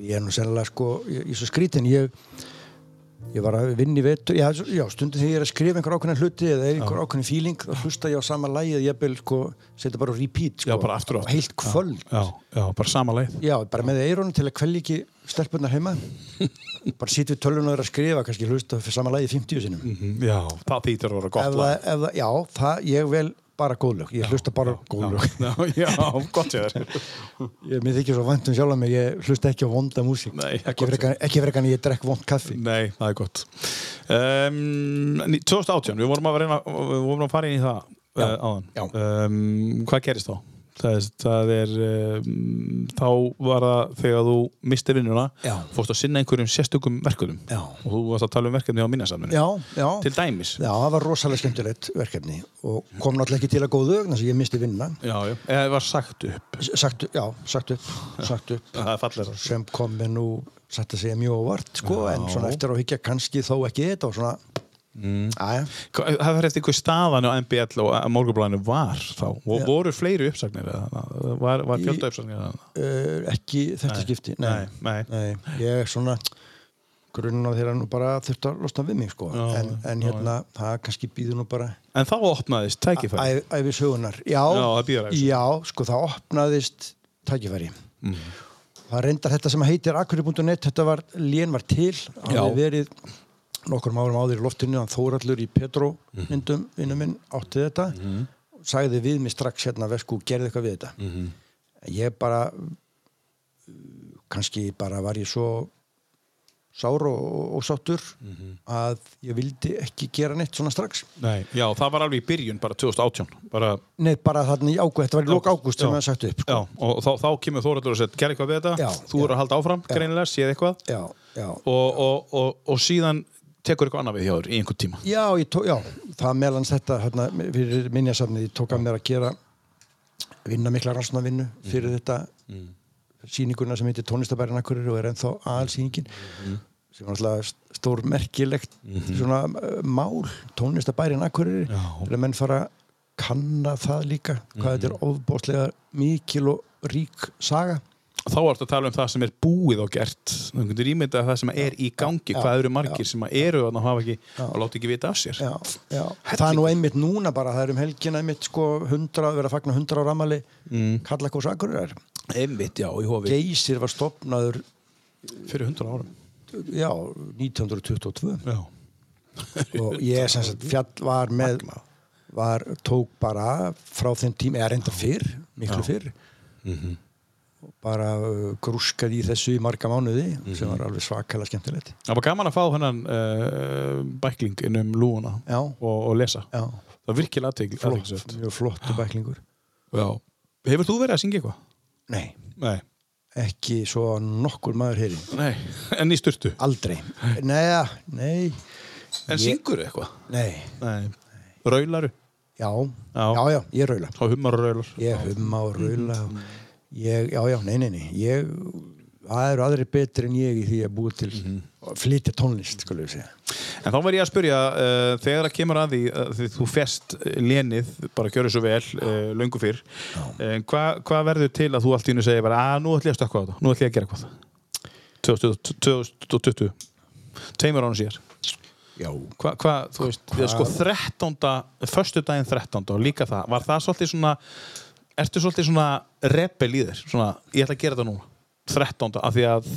ég er nú sennilega sko, ég ég er svo skrítin ég, ég var að vinna í vetur já, svo- já stundum þegar ég er að skrifa einhver ákveðin hluti eða er einhver ákveðin feeling þá hlusta ég á sama lagið, ég bel sko setja bara á repeat sko, Já, bara aftur og á aftur. heilt kvöld Já, já, bara sama leið Já, bara með eirónum til að kvelja ekki stelpunar [laughs] heima bara sitja við tölvun og er að skrifa kannski hlusta fyrir sama lagið 50 sinum Já, það þýtur að vera Mhm. ef, gott það, lag ef það, já, það, ég vel bara góðlög, ég hlusta bara góðlög Já, [laughs] já, gott sér ég, mér þykir svo vænt um sjálf að mig, ég hlusta ekki á vonda músík Nei, ekki gott. frekar- ekki verið kannan ég drekk vond kaffi Nei, það er gott um, ní- 2018, við vorum að, reyna, við vorum að fara inn í það uh, áðan já. Um, Hvað gerist þá? Það er, það er um, þá var það þegar þú misti vinnuna Já. fórst að sinna einhverjum sérstökum verkefnum Já. og þú varst að tala um verkefni á minnasamlunni já, já, til dæmis já, það var rosalega skemmtilegt verkefni og kom náttúrulega ekki til að góðu ögn þess að ég misti vinna Já, já, eða var sagt upp sagt, já, sagt upp, sagt upp Það er fallegra. sem kom með nú satt að segja mjög óvart sko, Já. en svona eftir á að higgja kannski þó ekki þetta og svona mm. aðja, Hva- Það fyrir eftir hver staðan á MBL og morgunblæðinu var þá og Já. voru fleiri uppsagnir eða? var, var fjölda uppsagnir eða? uh, ekki þetta skipti nei, nei. ég er svona grunna þeirra nú bara þurft að losna við mig sko, Já, en, en já, hérna það kannski býður nú bara En þá opnaðist tækifæri Æ- Ævi sögunar, já, Já, það býður ævi sögunar. já, sko það opnaðist tækifæri Mhm. það reyndar þetta sem heitir akkurri.net, þetta var, lén var til það Já. hafði verið nokkrum árum áður í loftinu, hann Þórallur í Petro Mhm. myndum, vinnu minn, átti þetta sagði við mig strax hérna vesku, gerði eitthvað við þetta Mhm. ég bara uh, kannski bara var ég svo sár og, og, og sáttur Mhm. að ég vildi ekki gera neitt svona strax Nei, já, það var alveg í byrjun bara 2018 bara, Nei, bara þarna í ágúst, þetta var í lók ágúst sem Já. það sagt upp. Sko. já, og þá, þá kemur Þóraldur og sett, gerð eitthvað við þetta Já, þú já. eru að halda áfram, greinilega, séð eitthvað Já, já. og, og, og, og síðan tekur eitthvað annað við hjá þér í einhvern tíma Já, ég tó, já, það meðlans þetta hérna, fyrir minnjasafnið, ég tók að mér að gera vinna mikla rannsónavinnu fyrir þetta mm. sýninguna sem heitir tónlistabærin akkurir og er ennþá aðalsýningin sem var alltaf stór merkilegt svona uh, mál tónlistabærin akkurir Já. þegar menn fara að kanna það líka hvað þetta er ofbóðslega mikil og rík saga þá ertu að tala um það sem er búið og gert þú getur ímyndað það sem er í gangi Já, hvað já, eru margir sem að eru að hafa ekki að láta ekki vita af sér já, já. það er nú einmitt núna bara það er um helgina einmitt sko 100, verið að fagna 100 ára ammali mm. Kallakós Akureyrar einmitt, já, í hofi Geysir var stopnaður fyrir 100 árum já, 1922 já, og ég sem sagt fjall var með var, tók bara frá þeim tíma, eða reyndar fyrr miklu fyrr og bara uh, grúskaði í þessu í marga mánuði sem var alveg svakalega skemmtilegt það var gaman að fá hennan uh, bækling inn um lúuna Já. og, og lesa já, það er virkilega aðtegl flott, mjög flottu bæklingur hefur þú verið að syngja eitthvað? nei, Nei. ekki svo að nokkur maður heyri Nei, en í sturtu aldrei, nei, nei En Ég- syngur eitthvað? Nei, Nei Raularu? já, Já. já, já, ég raula og hummar og raular ég humma og raula Mhm. og ég, já, já, nei, nei, nei ég, það eru aðri betri en ég í því að búi til Mhm. að flytja tónlist, skulum við segja En þá verð ég að spyrja, uh, þegar það kemur að því, uh, því þú fest lénið, bara gjörðu svo vel, uh, löngu fyrr, uh, hvað hva verður til að þú allt í hennu segir bara að nú ætlum ég að stökkva á þetta, nú ætlum ég að gera eitthvað? 2020, 2020, tveimur ánum síðar. já, Hvað, hva, þú veist, það er sko 13. förstu daginn 13. og líka það, var það svolítið svona, ertu svolítið svona rebel í þér, svona, ég ætla að gera þetta núna, 13. af því að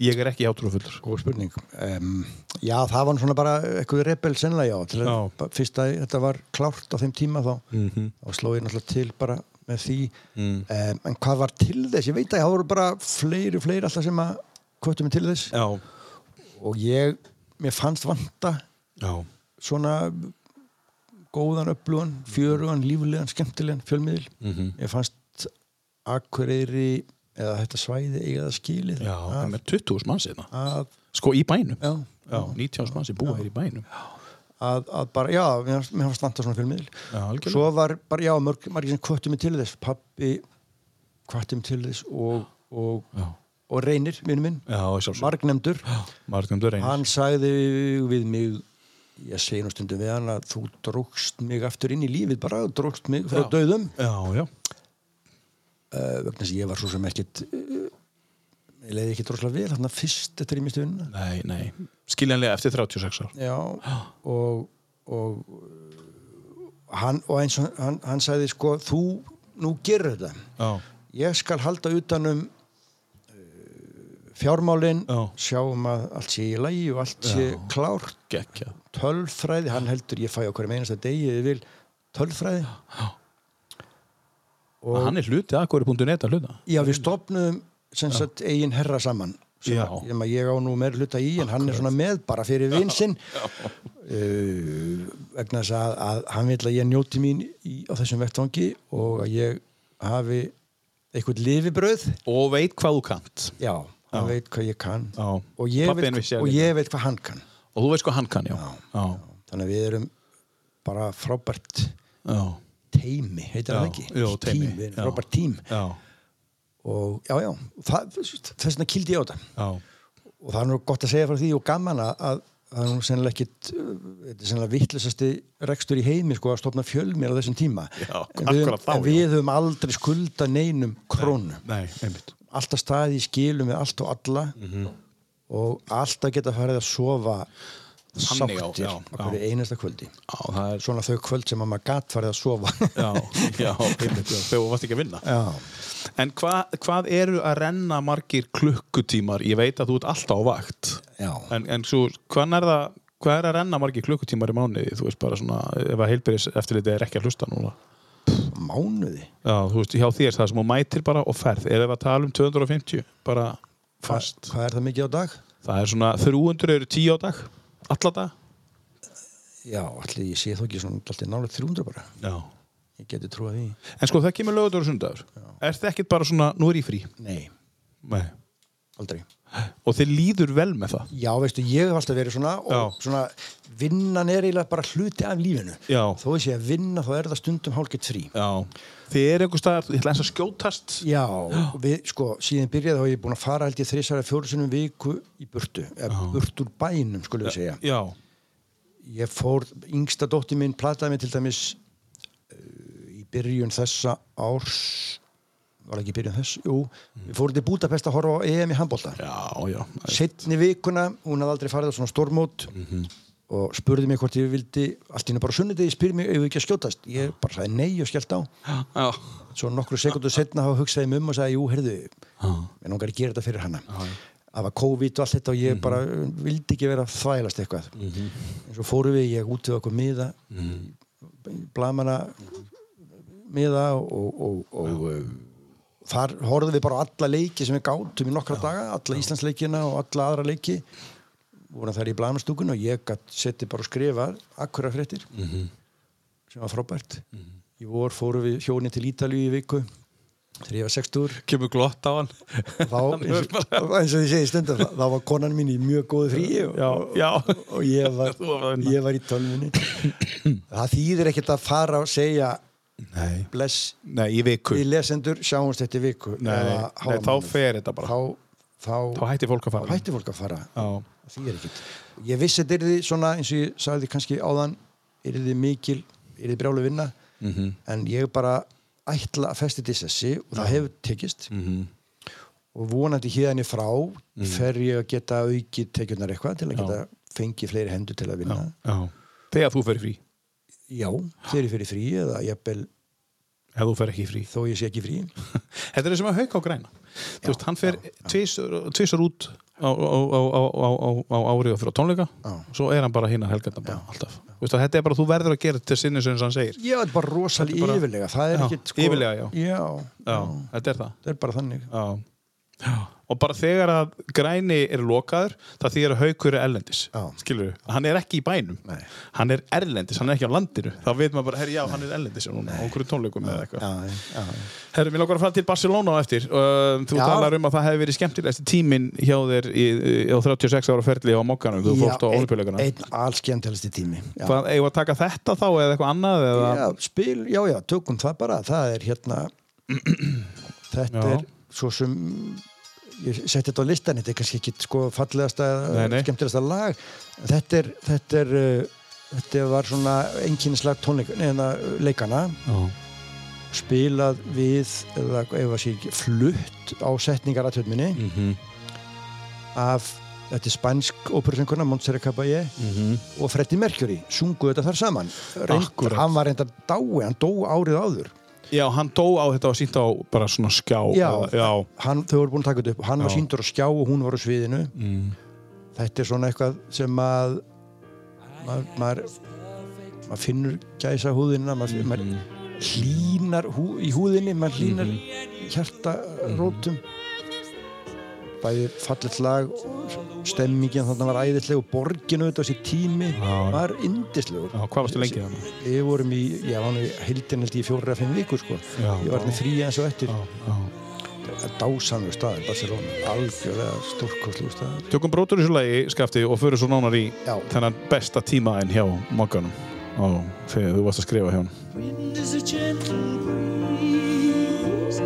ég er ekki hjátrúfullur. góð spurning um, já, það var nú svona bara eitthvað rebel sennilega, já, til Já. Mhm. að bara fyrst að þetta var klárt á þeim tíma þá og sló ég náttúrulega til bara með því um, en hvað var til þess, ég veit að það voru bara fleiri, fleiri alltaf sem að kvöttu mig til þess Já, og ég, mér fannst vanta já, svona góðan upplugan, fjörugan, líflegan, skemmtilegan fjölmiðil. Mhm. Ég fannst Akureyri eða þetta svæði eiga það skilið já, að, með 20.000 manns einna. að, Sko í bænum Já. já 19 manns er búið hér í bænum að, að bara, já, mér fannst- mér fannst vanta svona fjölmiðil. Já, algjörlega. Svo var bara, já, mörg, margir sem kvöttu mig til þess, pappi kvöttu mig til þess og, og, Já, og reynir, vinnum minn, já, sjálfsög margnemdur. Margum Dörrein Hann sagði við mig ég segi nú stundum við hann að þú drókst mig aftur inn í lífið bara, þú drókst mig frá Já. dauðum Já, já, uh, vegna þess að ég var svo sem ekkit uh, ég leiði ekki droslega vel þarna fyrst eftir ég misti vinna nei, nei Skiljanlega eftir 36 ár já, [gasps] og, og uh, hann, og eins og hann, hann sagði sko, þú nú gerir þetta Já, ég skal halda utanum uh, fjármálin Já. sjáum að allt sé í lagi og allt sé klárt gekkja tölfræði, hann heldur ég fæ á hverjum einasta degi ég vil tölfræði Og hann er hluti akkur.net að hluta Já, við stopnum sem sagt eigin herra saman sem Já. að- sem að ég á nú meir hluta í en hann er svona með bara fyrir vinsinn uh, vegna þess að, að hann vil að ég njóti mín í, á þessum vettvangi og að ég hafi eitthvað lifibröð Og veit hvað þú kant já, hann veit hvað ég kann Já. og ég, Pabbi hennar veit, vissi að og líka. ég veit hvað hann kann Og þú veist hvað hann kann, já Já, þannig að við erum bara frábært já, teimi, heitir Já, það ekki jú, teimi, Tím, við erum já. frábært tím já, og já, já, það, þess vegna kildi ég á þetta já. og það er nú gott að segja frá því og gaman að, að það er nú sennilega ekkit uh, þetta er sennilega vittlisasti rekstur í heimi sko að stofna fjölmir á þessum tíma Já, en, við, akkúrat þá, en já. við höfum aldrei skulda neinum krónu Nei, einmitt alltaf staði í skilum við allt og alla Mhm. og alltaf geta farið að sofa Þannig, já, sáttir já, á hverju einasta kvöldi Já, það er svona þau kvöld sem að maður gat farið að sofa Já, já, einmitt, já, þegar þú varst ekki að vinna já, En hva, hvað eru að renna margir klukkutímar? Ég veit að þú ert alltaf á vakt [laughs] Já. En, en svo, hvað er það hvað er að renna margir klukkutímar í mánuði? Þú veist bara svona, ef að heilbyrðis eftirlitið er ekki að hlusta núna mánuði Já, þú veist, hjá þér það sem hún mætir bara og ferð Erum við að tala um 250 bara Hva, fast hvað er það mikið á dag? Það er svona 300 eru 10 á dag Alla dag já, allir ég sé þó ekki svona allir nálega 300 bara Já ég geti trúið því En sko það kemur lögutur og sundagur Er það ekkert bara svona, nú er ég frí nei, Nei. aldrei Og þið líður vel með það Já, veistu, ég hef alltaf verið svona og Já. svona vinnan er eiginlega bara hluti af lífinu. Já. Þó ég sé að vinna þá er það stundum hálfgett frí. Já Þið er einhver staðar, ég ætla eins að skjótast Já, og við, sko, síðan byrjaði þá hef ég búin að fara held ég þrísara fjóru sinum viku í burtu, eða burt úr bænum, skulle við segja. Já Ég fór, yngsta dótti mín plataði mig til dæmis eh, í byrjun þessa árs, var það ekki í byrjun þess, jú, við fórum til Budapest að horfa á EM í handbólta. Já, já setni vikuna, hún hafði aldrei farið á svona stórmót og spurði mig hvort ég vildi, allt hérna bara sunnudegi spyrir mig ef ekki að skjótast, ég bara sagði nei og skellt á, Já svo nokkru sekundu setna þá hugsaði ég mig um og sagði, jú, herðu en hún gæti að gera þetta fyrir hana það var COVID og allt þetta og ég bara uh, vildi ekki vera að þvælast eitthvað en svo fórum við, ég út við okkur miða blamana miða og, og, og, og uh, þar horfðum við bara á alla leiki sem við gátum í nokkra daga, alla Íslandsleikina og alla aðra leiki voru þær í blanastúkun og ég gætt setti bara og skrifa akkura fréttir sem var frábært í vor fórum við hjónin til Ítalíu í viku þegar ég var 60 kemur glott á hann þá, eins og, eins og ég segi stundum þá var konan mín í mjög góðu frí og, já, og ég, var, Þú var að vinna. ég var í tölvunni það þýðir ekkert að fara og segja Nei, bless nei, í viku við lesendur sjáumst þetta viku Nei, eða nei, hálfan þá mánuð. fer þetta bara þá, þá, Þá hættir fólk að þá fara hætti fólk að fara Já, því er ekkert ég vissi þetta yrði svona eins og ég sagði kannski áðan yrði mikil, yrði brjálu vinna Mhm. -hmm. en ég bara ætla að festi til þessi og það hefur tekist -hmm. og vonandi híðan ég frá Mm. fer ég að geta aukið tekjurnar eitthvað til að geta fengið fleiri hendur til að vinna já Þegar þú fer í frí já, þegar ég fer í frí eða jafnvel Ef þú fer ekki í frí þó ég sé ekki í frí [laughs] Þetta er sem að hauka á græna Þú veist, hann fer tvisar tvisar út á, á, á, á, á, á, á árið og fyrir á tónleika Já. Svo er hann bara hinn að helgata bara alltaf Þú veist, að þetta er bara, þú verður að gera þetta til sinni sem hann segir ég er bara rosalega Þetta er bara- yfirlega það er Já, ekkert sko yfirlega, já. já, Já, þetta er það það er bara þannig Já. Og bara þegar að græni er lokaður, það þýðir að haukur er erlendis. Já. Skilur við? Hann er ekki í bænum. Nei. Hann er erlendis, hann er ekki á landinu. Þá veit maður bara, herri, já, hann er erlendis núna, á okkur tónleikum eða eitthvað. já, já, já. Herri, mér langar að fara til Barcelona á eftir. Uh, Þú Já. talar um að það hefði verið skemmtilegst tíminn hjá þér í, í, á 36 ára ferli á mokkanum. Þú fórst á einn- olupjöleikana. einn allskemmtilegsti tími já. Hvað, eigum við að taka þetta þá eða eitthvað annað? Eða? já, spil, já, já, tökum það bara það er hérna [clears throat] þetta Já. er svo sem ég setti þetta á listan þetta er kannski ekki sko fallegasta Nei, nei. skemmtilegasta lag þetta er, þetta er uh, þetta var svona einkinnislag tónleik hérna, neina leikana Já. spilað við eða ef að sé ekki flutt á setningar aðtöðminni af þetta er spænsk óperusönguna Montserrat Caballé og Freddie Mercury sungu þetta þar saman Reynd, Akkúrat. hann var reynda dái, hann dó árið áður já, hann dó á þetta og sínt á bara svona skjá. Já. eða- já. hann, þau voru búin að taka þetta upp hann var Já. Mm. síndur á skjá og hún var á sviðinu þetta er svona eitthvað sem að maður maður maður finnur gæsa húðina maður, Mm. maður hlínar hú, í húðinni maður hlínar Mhm. hjartarótum Mm. bæði fallet lag og stemmingin þarna var æðisleg og borginu þetta á sér tími Já. var yndislegur Já, hvað varstu lengi þarna? við vorum í, ég var nú í heildin held ég í fjóra að fimm vikur sko Já. ég var hérna frí eins og eftir Já, já. dásamlu staður Barcelona, algjörlega stórkostlu staður Tökum brótur í svo lagi, skafti, og förum svo nánar í Já. þennan besta tíma en hjá mokkanum. Ó, þegar þú varst að skrifa hjá hann. Wind is a gentle breeze.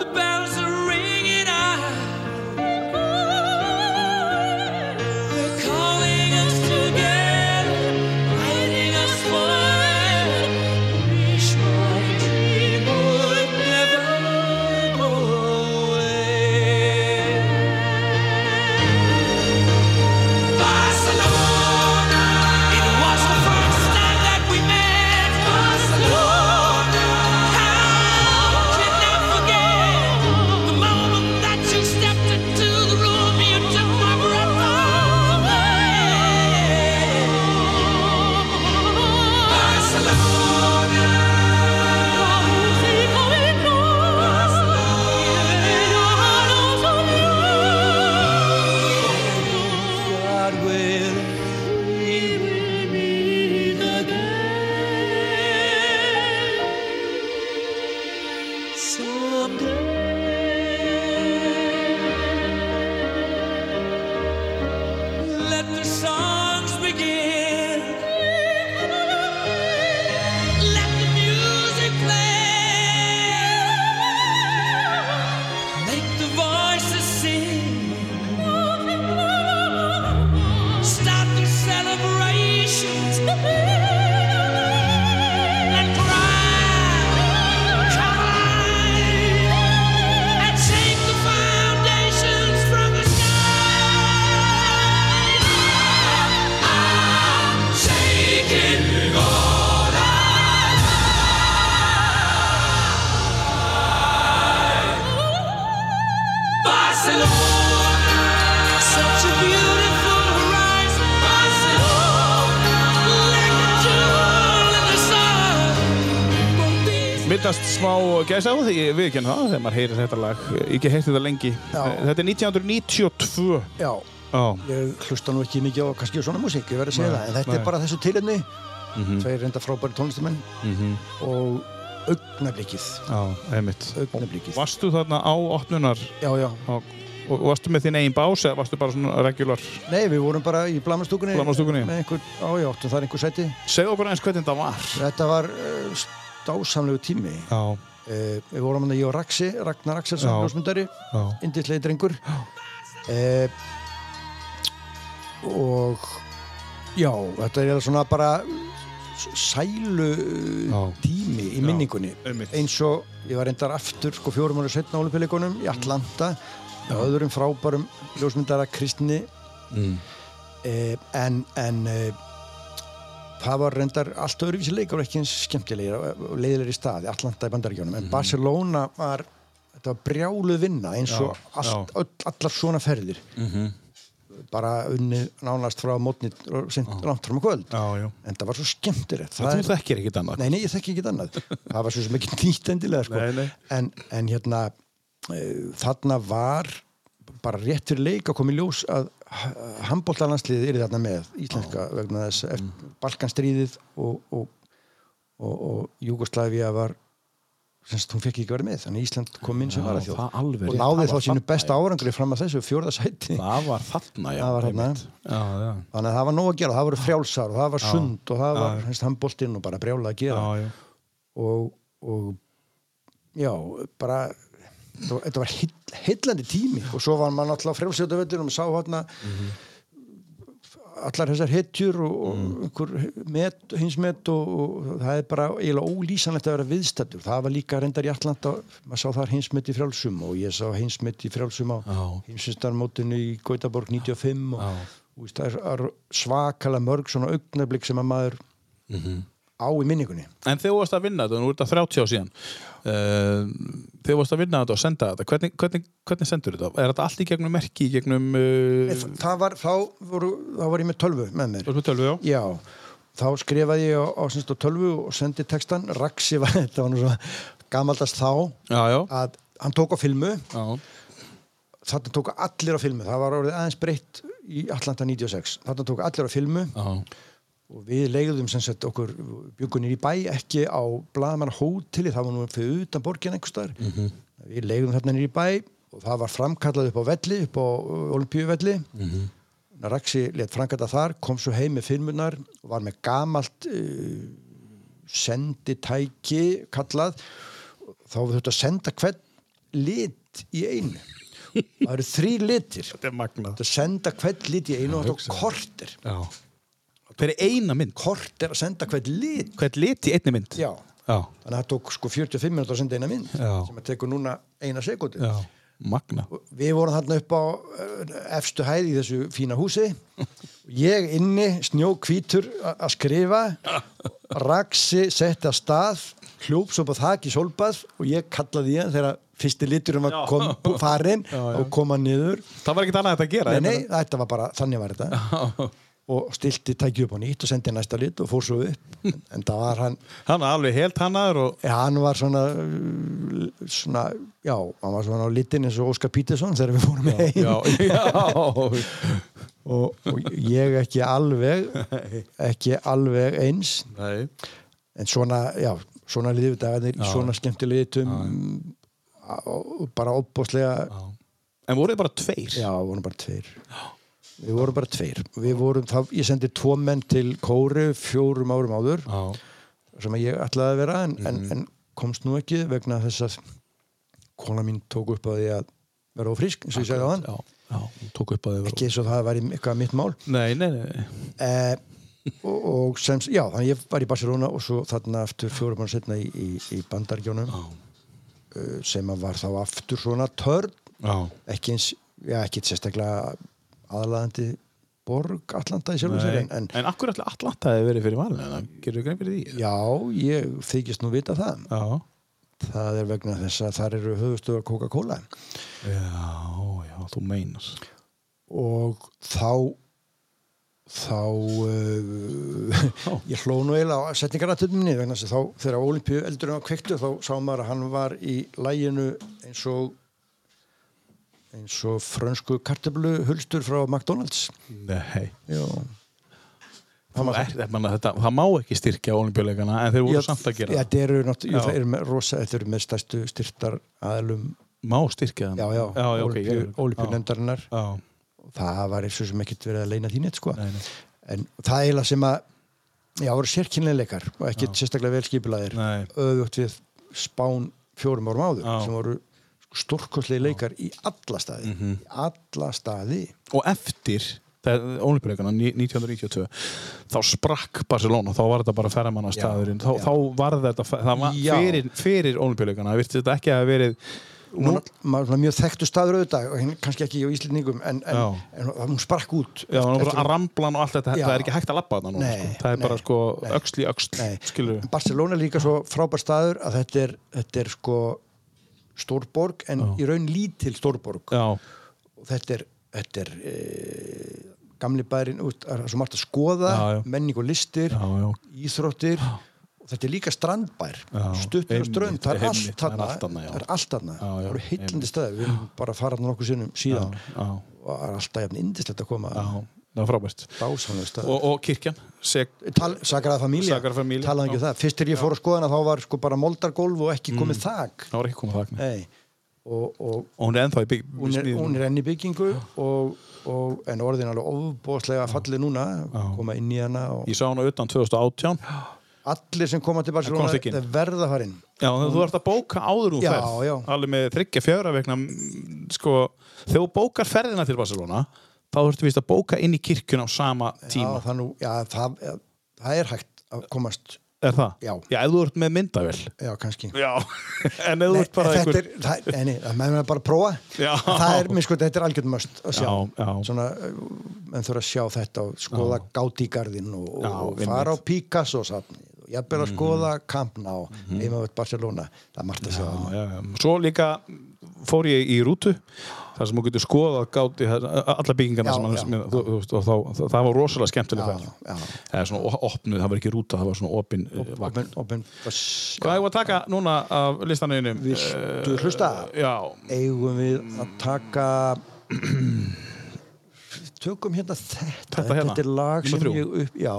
The bells are ringing out. They're calling us together, inviting us forward. Wish my dream would never go away. Barcelona. It was the first time that we met. Barcelona. How can I forget the moment that you stepped into the room? You took my breath away. Barcelona. God will we will meet again someday. Let the songs begin. Let the music play. Make the voices sing. Start the celebrations and cry, cry, and shake the foundations from the sky. I'm shaking all I love. Barcelona. Such a beautiful horizon, Barcelona, like a jewel in the sun. Won't these Mittast smá gæsa á því, við ekki það, þegar maður heyrir þetta lag. Ekki heyrt þetta lengi. Já. Þetta er 1992. já, Ó. ég hlusta nú ekki mikið á kannski svona músík, ég verð að segja Nei, það en þetta nei. er bara þessu tilhenni tveir reynda frábæri tónlistamenn Mhm. og augnablikið Já, einmitt. augnablikið, Varstu þarna á opnunar já já á, og og varstu með þinn eigin bás eða varstu bara svona regular? nei við vorum bara í blamastúkunni Blamastúkunni? með einhver, á já, áttum það einhver sæti Segðu okkur eins hvernig þetta var. þetta var uh, dásamlegu tími Já, uh, við vorum hann að ég og Raxi Ragnar Já. Axelsson, ljósmyndari já. indislegi drengur eh, og já, þetta er eiginlega svona bara s- sælu eh, Já. tími í minningunni einmitt. eins og ég var reyndar aftur sko fjórum ára setna olimpíuleikunum í Atlanta og öðrum frábærum ljósmyndara kristni Mm. eh, en, en eh, það var reyndar allt öðruvísi leikur ekki eins skemmtilegir og leiðilegir í staði, Atlanta í bandaríkjónum Mhm. en Barcelona var þetta var brjáluð vinna eins og Já, allt, já. Mhm. öll, allar svona ferðir -hmm. bara unni nánast frá mótni og sent langt fram á kvöld Já, já. en það var svo skemmtilegt Það þú þekkir ekkert annað. Nei, nei, ég þekki ekkert [laughs] annað. Það var svo sem ekki nýtt endilega, sko. Nei, nei. En, en hérna, uh, þarna var bara rétt fyrir leik að koma í ljós að handbóltalandsliðið er þarna með íslenska vegna Mm. þess eftir Balkanstríðið og, og, og, og Júgoslavia var sem sagt, hún fekk ekki verið með, þannig að Ísland kom inn sem Já, var að þjóð það alveg og rétt. náði Það þá var sínu þarna, besta árangri fram að þessu fjórðasæti Það var þarna, já. Það var þarna. einmitt. Já, já. þannig að það var nóg að gera, það voru frjálsar og það var sund og það já. var handbóltinn og bara brjála að gera Já, já. og, og já, bara þetta var- þetta var heill- heillandi tími og svo var maður alltaf frjálsjóta völlunum og sá hérna allar þessar hetjur og, og Mm. einhver met, hinsmet og, og það er bara eiginlega ólýsanlegt að vera viðstættur það var líka reyndar í Atlanta maður sá þar hinsmet í frjálsum og ég sá hinsmet í frjálsum á Já. heimsvistarmótinu í Gautaborg 95 og, Já. og það er- er svakalega mörg svona augnablik sem að maður Mhm. á í minningunni En þegar þú varst að vinna þetta, nú er þetta 30 ár síðan uh, Þegar þú varst að vinna þetta og senda þetta hvernig, hvernig, hvernig sendur þetta? Er þetta allt í gegnum merki, í gegnum Nei, uh, þa- það var, þá, voru, þá var ég með tölvu með mér Þú varst með tölvu, já? já, þá skrifaði ég á, á, semst á tölvu og sendi textan Raxi var, [laughs] þetta var nú svo gamaldast þá Já, já, að hann tók á filmu já. þarna tók allir á filmu, það var orðið aðeins breytt í Atlanta 96 þarna tók allir á filmu já. og við legðum sem sagt okkur bjökunir í bæ ekki á blaðamanna hóteli, það var nú fyrir utan borgin einhvers staðar, við legðum þarna nýri í bæ og það var framkallað upp á velli upp á olimpíuvelli mm -hmm. Raxi let framkalla þar kom svo heim með filmunar og var með gamalt uh, senditæki kallað þá við þurftum að senda hvern lit í einu það eru þrý litir Þetta er magnað að senda hvern lit í einu og þetta var kortir Já Fyrir eina mynd, kort er að senda hvert lit hvert lit í einni mynd já, já, þannig að það tók sko 45 minútur að senda eina mynd Já. sem að tekur núna eina sekundi já. magna við vorum þarna upp á eh, efstu hæð í þessu fína húsi [laughs] ég inni snjókvítur að skrifa raksi setti að stað hljóps upp á þak í sólbað og ég kallaði ég þegar fyrsti liturinn var kom, farin og koma niður Það var ekkert annað þetta að gera nei, ég nei, meina. þetta var bara, þannig var þetta og stilti tæki upp á nýtt og sendi næsta lit og fór svo upp [laughs] en, en það var hann Hann var alveg helt hannaður og Já, Eh, hann var svona, uh, svona já, hann var svona á litin eins og Óskar Pítursson þegar við fórum heim [laughs] Já, já Og, og ég ekki alveg ekki alveg eins Nei, en svona, já, svona liðið dagarnir í svona skemmtilegitum á- og bara opbóðslega en voruð þið bara tveir já, vorum bara tveir við vorum bara tveir við vorum, þá, ég sendi tvo menn til Kóru fjórum árum áður já, sem að ég ætlaði að vera en, Mhm. en, en komst nú ekki vegna þess að kona mín tók upp að ég að vera ófrísk eins og ég sagði á hann já, já. Tók upp að þið ekki eins og það væri eitthvað mitt mál Nei, nei, nei eh, og, og sem, já, þannig ég var í Barcelona og svo þarna aftur fjórum mann setna í, í, í bandargjónum eh, sem að var þá aftur svona törn Já, ekki eins, já, ekki sérstaklega aðlaðandi borg Atlanta í sjálfum sér Nei, en, en en akkur allir Atlanta hefði verið fyrir valinu gerur þú grein fyrir því? já, ég þykist nú vita það já, það er vegna þess að þar eru höfustöðar Coca-Cola já, já þú meinas og þá þá uh, ég hló nú eiginlega á setningaraturnum minni vegna þess að þá þegar Olympiu eldurinn var kveiktu þá sá maður að hann var í læginu eins og eins og frönsku kartöflu hulstur frá McDonalds Nei. Já, Það, er, er, manna, þetta, það má ekki styrkja olimpíuleikana en þeir voru samt að gera það. Þetta eru náttúrulega, Já. það eru með rosa, þetta eru með stærstu styrtar aðlum, Má styrkja það? já, já, já, já ok, ég- ólipjunendarinnar. Já, já. Það var eins og sem ekkert verið að leina þínet, sko. Nei, nei. En það er eiginlega sem að, já, voru sérkynleileikar og ekkert sérstaklega vel skipilaðir. Nei. Öðvögt við spán fjórum árum áður, Já. sem voru stórkostlegi leikar í alla staði. Mhm. Í alla staði. og eftir olimpíuleikana 1992 þá sprakk Barcelona, þá var þetta bara ferramanna staðurinn, þá, já. þá var þetta fe- það var Já. fyrir, fyrir olimpíuleikana virti þetta ekki að hafa verið Nú, maður svona mjög þekktu staður auðvitað og hinn- kannski ekki á Íslendingum en, en, Já. en hún sprakk út já, það var eftir- bara að ramblan og allt þetta Já. það er ekki hægt að labba þarna núna, Nei, sko. það er bara nei, sko nei. öxl í öxl, Nei. skilur við Barcelona er líka svo frábær staður að þetta er, þetta er sko stórborg en í raun lítil stórborg já, og þetta er, þetta er e, gamli bærin út, það er svo margt að skoða Já, já. menning og listir, já, já, íþróttir og þetta er líka strandbær Já, stuttur og einmitt, strönd, það er einmitt, það allt er allt þarna, þarna já. það er allt þarna, Já, já, það eru heitlandi staði við erum bara að fara þarna nokkuð sinnum síðan já, og það er alltaf jafn indislegt að koma já, það var frábært dásanlega stað og, og kirkjan, seg Tal, Sagrada Familia, Sagrada Familia, talaðu ekki já. Mm. um það fyrst er ég fór að skoðana þá var sko bara moldargólf og ekki komið þak það var ekki komið þakna Nei. og, og og hún er ennþá í bygg hún, er, smíðinni. hún er enn í byggingu og, og, en orðin alveg ofbóðslega fallið núna koma inn í hana og ég sá hana utan 2018 allir sem koma til Barcelona komst ekki inn. það verða farinn Já, þannig að þú ert að bóka áður úr Já, ferð já. alveg með þryggja fjöra vegna mm, sko, þegar þú bókar ferðina til Barcelona þá ertu vist að bóka inn í kirkjun á sama já, tíma, það, nú, já, það, það er hægt að komast er það? Já. ef þú ert með myndavel já, kannski Já, [laughs] en ef Nei, þú en ert bara þetta einhver er, það, nei, nei, það meðum við bara að prófa Já. það er, minn sko, þetta er algjörn möst að sjá, Já, já. svona uh, menn þurfa að sjá þetta og skoða gátígarðin og, Já, og einmitt. Mhm. fara á Picasso safnið og jafnvel að skoða kampna og mm Barcelona það er margt að sjá þarna. Já, já. Svo líka fór ég í rútu þar sem þú getur skoðað gáti alla byggingarna Já, sem hann já. sem- þú- þú veist, og þá, það, það var rosalega skemmtileg Já, ferð já. eða svona o- opnuð, það var ekki rúta það var svona opin eh, vagn Open, open, bus- Hvað hefur að taka núna af listanauðinum? Viltu hlusta? Já, eigum við að taka [clears throat] tökum hérna þetta Þetta hérna, er lag sem númer þrjú. ég upp, já,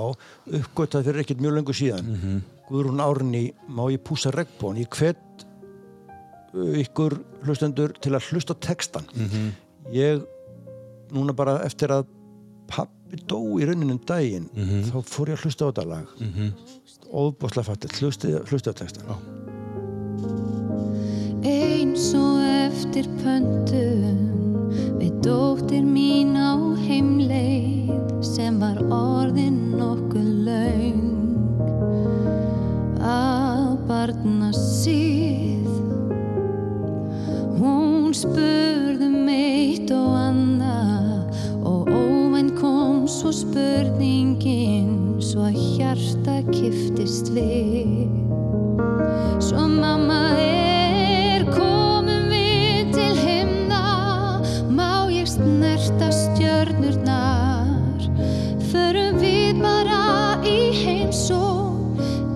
uppgötað fyrir ekkert mjög lengur síðan Guðrún Árni, má ég púsa regnbón ég hvet uh, ykkur hlustendur til að hlusta á textan ég núna bara eftir að pappi dó í rauninum daginn þá fór ég að hlusta á þetta lag mm -hmm. óbúslega fattið, hlusta á textan eins og eftir pöntun við dóttir mín á heimleið sem var orðin nokkuð laung að barna síð hún spurði um eitt og annað og óvænt kom svo spurningin svo að hjarta kiftist við Svo mamma er komin við til himna Má ég snerta stjörnurnar Förum við bara í heimsó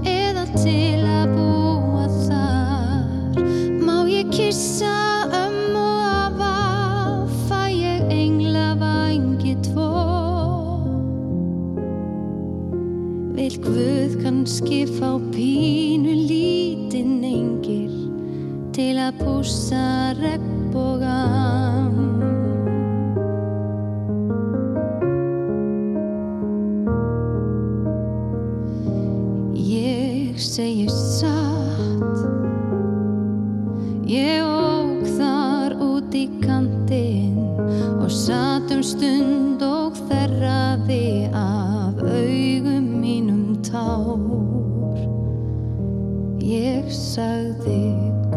Eða til að búa þar Má ég kissa ömmu og afa Fæ ég engla vangi tvo Vil Guð kannski fá pínu lítinn engil til að pússa regnbógan? Ég segi satt, ég óg þar út í kantinn og satt um stund og þerraði af augum mínum tár. Ég sagði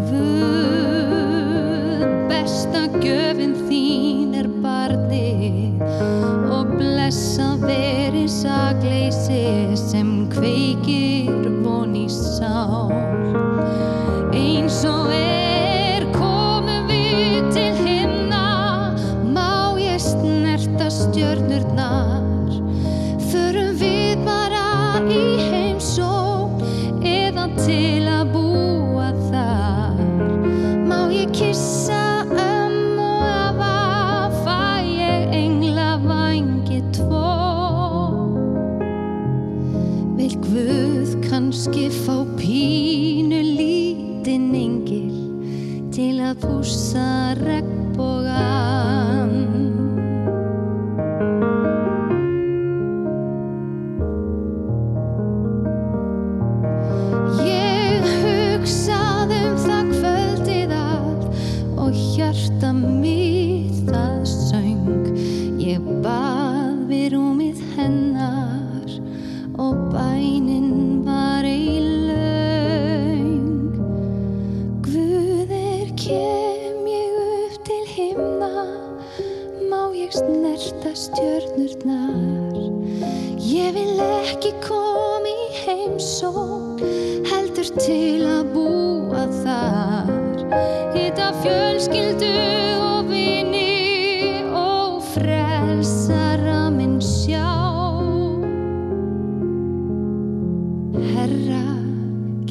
Guð, besta gjöfin þín er barnið og blessað veri sakleysi sem kveikir von í sál eins og er komum við til himna má ég snerta stjörnurnar förum við bara í heimsókn eða til að búa þar má ég kissa ömmu og afa Vil Guð kannski fá pínu lítinn engil til að pússa regnbógan? Ég hugsað um það kvöldið allt og hjarta mitt það söng. Ég bað við rúmið hennar og bænin var í laung. Guðir kem ég upp til himna, má ég snerta stjörnurnar. Ég vil ekki koma í heimsókn heldur til að búa þar Hitta fjölskyldu og vini og frelsara minn sjá Herra,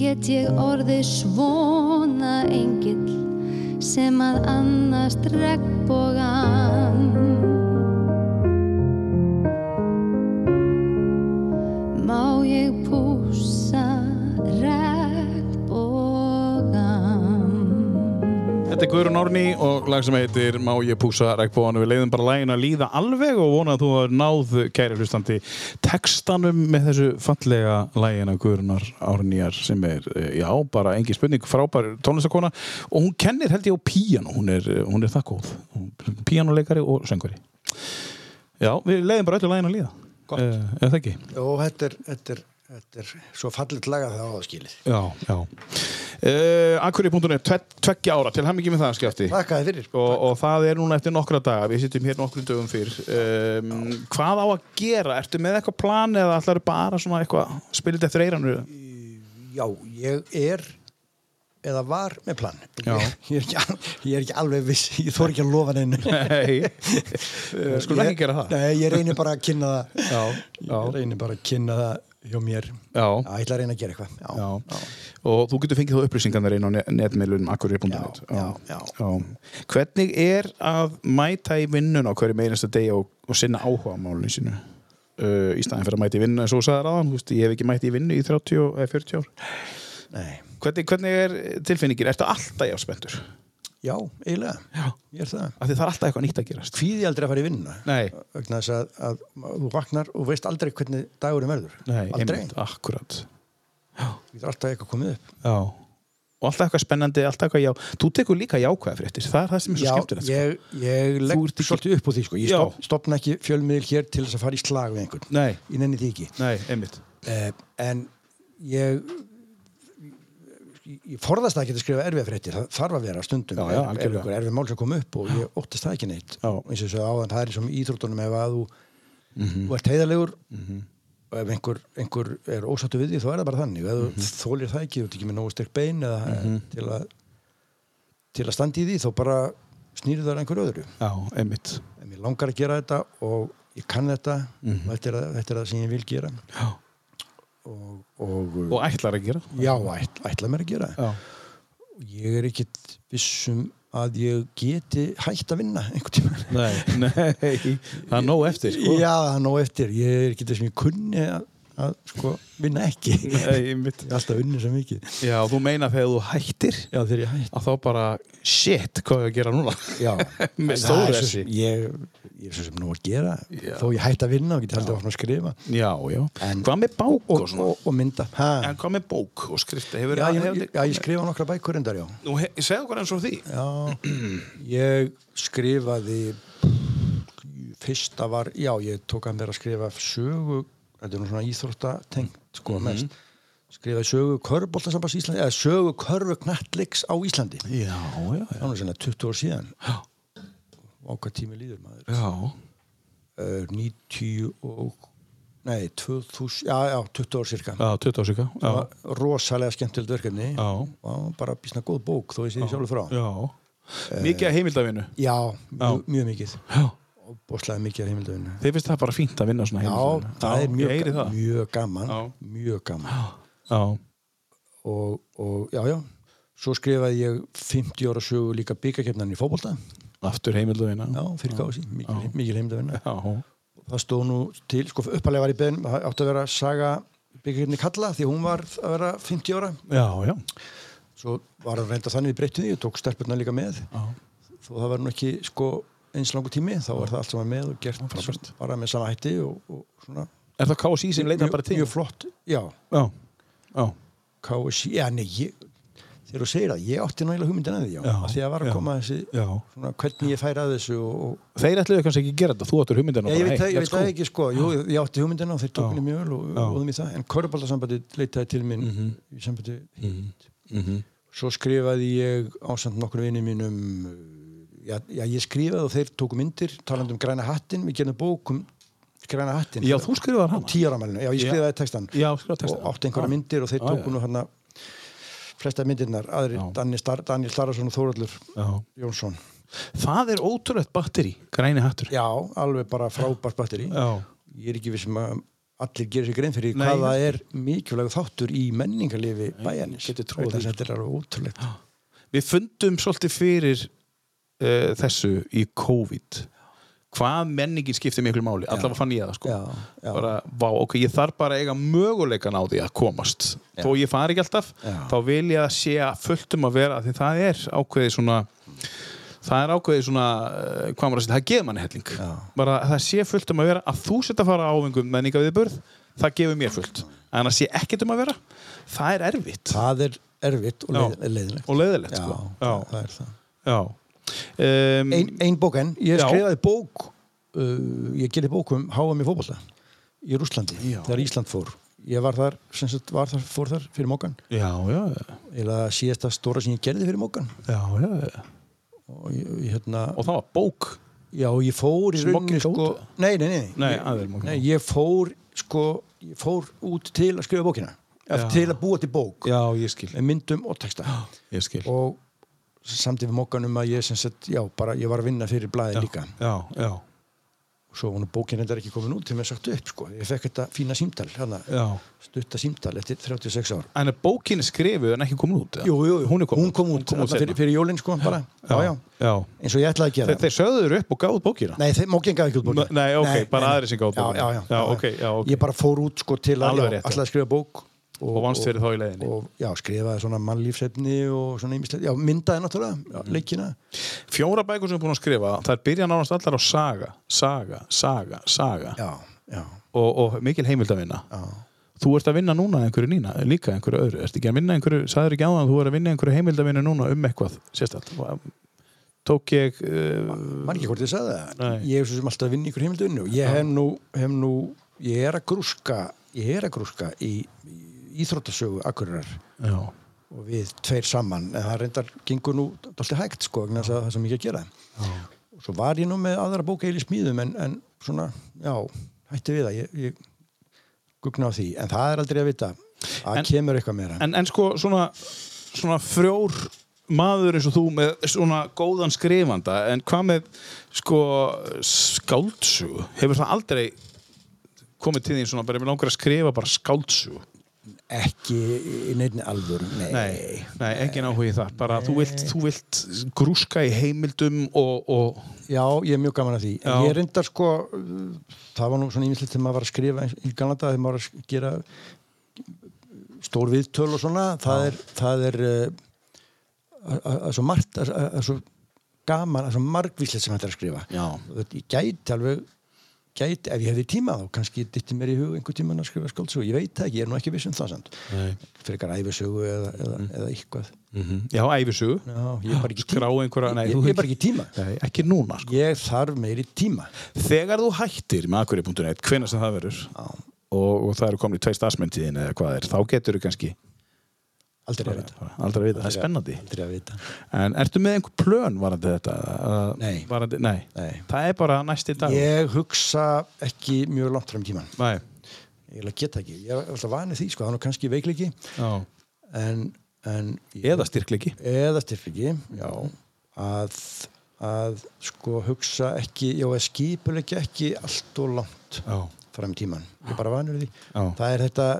get ég orðið svona engill sem að annast regnbógan Má ég púsa regnbógan Þetta er Guðrún Orni og lag sem heitir Má ég púsa regnbóðan Við leiðum bara lægin að líða alveg og vona að þú hafir náð kæri hlustandi textanum með þessu fallega lægin af Guðrunar Orniar sem er, eh, já, bara engi spurning frábær tónlistakona og hún kennir held ég á píano, hún er, eh, hún er það góð píanoleikari og söngveri Já, við leiðum bara öllu lægin að líða Gott. Eh, Eða það ekki? og þetta er, þetta er, þetta er svo fallit lagað það á það skilið Já, já uh, Akkurri.net, tve, tveggja ára til hamingi með það skjátti Takk að þið fyrir og, og það er núna eftir nokkra daga við sittum hér nokkrum dögum fyrr um, hvað á að gera, ertu með eitthvað plan eða allar bara svona eitthvað spilið eftir eiranu Já, ég er eða var með plan Já. ég, ég, er ekki, al- ég er ekki alveg viss, ég þór ekki að lofa neinu nei, [laughs] við skulum Ég- ekki gera það Nei, ég reynir bara að kynna það Já, já. Ég reynir bara að kynna það hjá mér Já. Já, ég ætla að reyna að gera eitthvað já. og þú getur fengið þá upplýsingarnar inn á netmeilunum akkurri.net Já, já, já. hvernig er að mæta í vinnun á hverjum einasta degi og, og sinna áhuga málunum sínu uh, í staðin fyrir að mæta í vinnu eins og þú sagðir aðan, þú veist, ég hef ekki mætt í vinnu í 30 eða 40 ár Nei. hvernig, hvernig er tilfinningin, ertu alltaf jáspendur? Já, eiginlega Já. Ég er það af því það er alltaf eitthvað nýtt að gerast Kvíði aldrei að fara í vinnuna Nei. vegna þess að, að þú vaknar og veist aldrei hvernig dagurinn verður Aldrei, einmitt, akkurat þú getur alltaf eitthvað komið upp já. og alltaf eitthvað spennandi, alltaf eitthvað já þú tekur líka jákvæða fréttir, það er það sem er svo skemmtilegt sko. ég, ég Þú ert legg ekki- svolítið upp úr því sko. Ég Já. stopp, stoppna ekki fjölmiðil hér til þess að fara í slag við einhvern Nei. Ég nenni því ekki Nei, einmitt eh, En ég ég forðast ekki að skrifa erfið fréttir það þarf að vera stundum Já, já, er, er algjörlega. einhver erfið mál sem kom upp og ég óttist það ekki neitt Já. eins og þess að áðan það er sem í íþróttunum ef að þú, Mhm. þú ert heiðarlegur og ef einhver, einhver er ósattu við því þá er það bara þannig ef Mhm. þú þólir það ekki, þú ert ekki með nógu sterk bein eða, eh, til, að, til að standa í því þá bara snýrðu það einhver öðru já, einmitt en mér langar að gera þetta og ég kann þetta Mhm. og þetta er, að- þetta er það sem ég vil gera já. og, og og ætlar að gera Já, ætla, ætla mér að gera það. já. Ég er ekkit vissum að ég geti hægt að vinna einhvern tíma. Nei. það er nóg eftir sko. Já, það er nóg eftir. Ég er ekkit þessum ég kunni að, að sko, vinna ekki. Nei, einmitt. Ég er alltaf unni svo mikið. já, þú meina þegar þú hættir Já, þegar ég hægt. að þá bara, shit, hvað er að gera núna Já, [laughs] Með En það stóru er svo essi. sem- Ég, ég er svo sem nú að gera. Já. Þó ég hægt að vinna og geti haldið áfram að skrifa. já, já, En- hvað með bók og, Og, sko, svona? og, og mynda. Ha. en hvað með bók og skrifta hefur Já, ég, ég, já, ég skrifa nokkra bækur endar, já. Nú, he- segðu okkur eins og því Já, ég skrifaði fyrsta var, já, ég tók að mér að skrifa sögu, þetta er nú svona íþrótta tengt, sko, Mhm. mest skrifaði sögu körboltasambas Íslandi eða sögu körfu knattleiks á Íslandi það já, já, var nú svona 20 ár síðan og hvað tími líður maður já, uh, 90 og nei, 2000, já, já, 20 ár cirka já 20 ásika Það já, var rosalega skemmtilegt verkefni Já. og bara býsna góð bók þó ég sé sjálfur frá já. Eh. mikið að heimildavinu já, mjög, mjög mikið já. og bóðslega mikið af heimildavinu þeir finnst það bara fínt að vinna svona Já, heimildavinu það er ég mjög, heyri ga- það mjög gaman Já. mjög gaman já, og, og já, já svo skrifaði ég 50 ára sögu líka byggakefnan í fótbolta aftur heimildavina já, fyrir kási, mikil, mikil heimdavinna já, það stóð nú til, sko uppalega var í beðin, það átti að vera saga byggirni Kalla því hún var að vera 50 ára Já, já. svo var það reynda þannig við breyttum því og tók stelpurnar líka með þó það var nú ekki sko eins langur tími þá var það allt saman með og gert frábært. bara með sama hætti og, og svona Er það KSI sem leitar bara til? mjög flott, já Já, já. KSI, já nei ég, þegar þú segir það, ég átti náttúrulega hugmyndin að því já, Já, að því að var að já, koma þessi já. svona, hvernig ég færi að þessu og, og Þeir ætluðu kannski ekki að gera þetta, þú áttur hugmyndina Já, ég veit, það, ég let's veit það go. ekki sko, Jú, ég átti hugmyndina og þeir tók Já. henni mjög vel og Já. Mhm. óðum í það en Körbáltasambandi leitaði til mín í sambandi svo skrifaði ég ásamt nokkur vinið mínum uh, já, já, ég skrifaði og þeir tóku myndir talandi um græna hattin, við gerum bókum græna hattin Já, þú skrifaði hana. tíaramælinu, já, ég Já. skrifaði textan Já, skrifaði textan. og átti einhverja Já. myndir og þeir Já, tóku Ah, já. nú hérna flesta myndirnar, aðri Já. Daniel, Star, Daniel Starason og Þóraldur Já. Jónsson Það er ótrúlegt batteri, græni hattur. já, alveg bara frábært batteri ég er ekki vissum að allir gerir sér grein fyrir Nei, hvað ég það er mikilvæg þáttur í menningarlifi bæjarnis getur trúað því, Vegna þess að þetta er alveg ótrúlegt Við fundum svolítið fyrir uh, þessu í COVID. Hvað menningin skiptir miklu máli? Allavega fann ég það, sko. Já, já. Bara, vá, ok, ég þarf bara að eiga möguleikan á því að komast. Já. Þó ég fari ekki alltaf, Já. þá vil ég að sé að fullt um að vera, af því það er ákveðið svona... Það er ákveðið svona, eh, hvað maður að segja, það gefur manni helling. Já. Bara að það sé fullt um að vera, að þú setja að fara á áfengum menninga við börð, það gefur mér fullt. En að sé ekkert um að vera, það er erfitt það er erfitt og Já. leið, leiðilegt og leiðilegt. já, sko. það er það Já um, ein, ein bók enn, ég Já. skrifaði bók uh, ég gerði bók um HM í fótbolta í Rúslandi, Já. þegar Ísland fór ég var þar, sem sagt, var þar, fór þar fyrir mókan, Já, já, eða síðasta stóra sem ég gerði fyrir mókan já, já og ég, ég, hérna, Og það var bók Já, ég fór í Sem rauninni Moggi sko, gátu? nei, nei, nei, Nei, aðrir ég, Moggi. nei, ég fór sko, ég fór út til að skrifa bókina Já. til að búa til bók Já, ég skil með myndum og texta [gasps] Ég skil og samt við mokkanum að ég sem sett, já, bara ég var að vinna fyrir blaði líka Já, já, svo hún bókin er ekki komin út til mér sagt upp sko, ég fekk þetta fína símtal hana, já stutta símtal eftir 36 ár En er bókin skrifuð en ekki komin út? eða? jú, jú, jú, Hún er komin hún kom út, hún kom út þarna fyrir, seinna. fyrir jólinn sko, bara, já, já, já eins og ég ætlaði að gera Þeir, þeir sögður upp og gáðu bókina? Nei, þeir mokkin gaf ekki út bókina Nei, nei, ok, bara aðrir sem gáfu bókina. já, já, já, Já, ok, já, ok. Ég bara fór út sko til að Alveg já, rétt, já. ætlaði að skrifa bók Og vannst fyrir þá í leiðinni. og, Já, skrifaði svona mannlífsefni og svona ýmislegt Já, myndaði náttúrulega, Mm. já, leikina Fjóra bækur sem er búin að skrifa Það byrja nánast allar á saga Saga, saga, saga Já, já, og, og mikil heimild að vinna já Þú ert að vinna núna að einhverju nína, líka einhverju öðru Ertu ekki að vinna einhverju, sagður ekki áðan Þú ert að vinna einhverju heimildavinu núna um eitthvað Sérstætt Tók ég uh, Man ekki hvort ég sagði það Nei. Ég er svo sem alltaf að vinna ykkur heimildunni og ég hef nú, hef nú ég er að grúska ég er að grúska í, í íþróttasögu Akureyrar Já, og við tveir saman en það reyndar gengur nú alltaf hægt sko vegna þess að það sem ég að gera og svo var ég nú með aðra bók eil í smíðum en, en svona, já, hætti við það ég, ég gugna á því en það er aldrei að vita að En- kemur eitthvað meira en, en sko svona, svona frjór maður eins og þú með svona góðan skrifanda en hvað með sko skáldsug hefur það aldrei komið til því svona bara með langar að skrifa bara skáldsug ekki í neinni alvöru nei, nei, nei engin áhugi þar bara þú vilt, þú vilt grúska í heimildum og, og já, ég er mjög gaman að því Já. en ég reyndar sko uh, það var nú svona ímislegt þegar maður var að skrifa eins- í ganlanda þegar maður var að gera stór viðtöl og svona það er, það er uh, að- að að svo margt að- að að svo gaman, að svo margvíslegt sem hægt er að skrifa Já. Og þetta- ég gæti alveg gæti, ef ég hefði tíma þá kannski dytti mér í hug einhver tíma að skrifa skáldsögu ég veit það ekki, ég er nú ekki viss um það samt Nei. fyrir eitthvað æfisögu eða, eða, Mm. eða eitthvað já, æfisug Já, ég er bara ekki skrá einhverja nei, ég, þú ég hefur er bara ekki tíma Nei, ekki núna sko. ég þarf meiri tíma Þegar þú hættir með akkurri.net hvenær sem það verður og, og það eru komin í tvei stafsmyndtíðin eða hvað er þá getur þú kannski aldrei að vita bara, aldrei að vita, það er spennandi aldrei að vita En ertu með einhver plön varandi þetta? Að- Nei. varandi, nei. Nei. Það er bara næsti dag ég hugsa ekki mjög langt fram í tíman Nei. ég eiginlega get það ekki, ég er alltaf vanið því sko, það er nú kannski veikleiki Já. en, en Eða styrkleiki eða styrfiki já, að, að sko hugsa ekki já, að skipuleiki ekki allt og langt Já. fram í tíman, ég er bara vanur því Já. það er þetta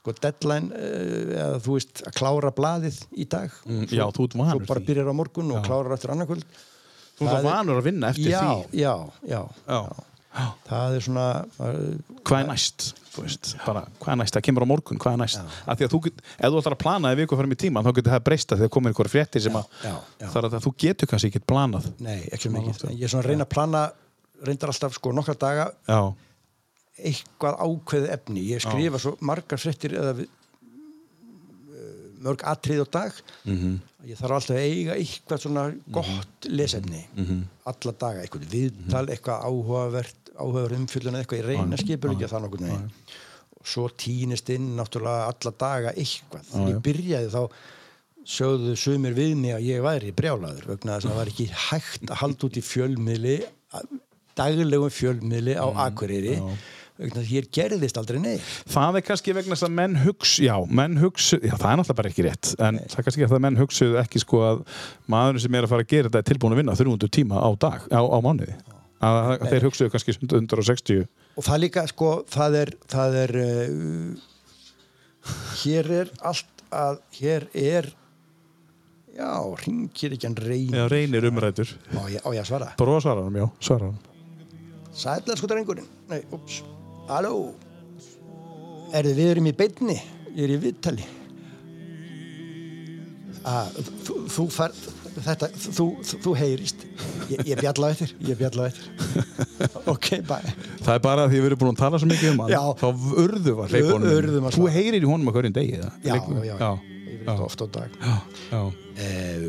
sko deadline eh, eða þú veist að klára blaðið í dag Mm, já, þú ert vanur svo bara því. byrjar á morgun og klárar eftir annarkvöld Þú Það ert er- vanur að vinna eftir já, því já, já, Já. það er svona eh, maður- hvað er næst Þú veist, bara, hvað er næst, það kemur á morgun, hvað er næst af því að þú get, ef þú ætlar að plana þig viku fram í tíma þá getur það breyst að þegar komir einhver fréttir sem að Já, já. þar að það- þú getur kannski ekkert planað nei, ekki svo mikið En ég er svona að reyna að plana reyndar alltaf sko nokkra daga já, eitthvað ákveðið efni ég skrifa svo margar fréttir eða við, eh, mörg atrið á dag -hmm. ég þarf alltaf að eiga eitthvað svona gott lesefni -hmm. alla daga, eitthvað viðtal eitthvað áhugavert, áhugaverð umfjöllun eða eitthvað, ég reyna skipur ekki að það nokkuð neginn svo týnist inn náttúrulega alla daga eitthvað þegar ég byrjaði þá sögðu sumir við mig að ég væri brjálaður vegna þess að það var ekki hægt að halda út í fjölmiðli daglegum fjölmiðli á Akureyri vegna þess að hér gerðist aldrei neitt það er kannski vegna þess að menn hugsu já, menn hugsu, já það er náttúrulega bara ekki rétt en það er kannski að það að menn hugsu ekki sko að maðurinn sem er að fara að gera þetta er tilbúin að vinna 300 tíma á dag, á, á mánuði að, að þeir hugsuðu kannski 160 og það líka sko það er, það er uh, hér er allt að hér er já, ringir ekki hann reyn já, reynir umrætur á ég, á ég að svara bara svara hann, já, svara hann Sætlar sko drengurinn Nei, ups Halló Erðu við erum í beinni? Ég er í viðtali ah, Þú, þú far Þetta, þú, þú, þú heyrist Ég, ég bjalla á eftir Ég bjalla á eftir Ok, bye Það er bara að því að við erum búin að tala svo mikið um hann Já. þá urðu var leikonum Ur- urðum að Þú svara. heyrir í honum að hverjum degi eða? Já, Leikunum. já, Ég verið þetta oft á dag já, já. eh,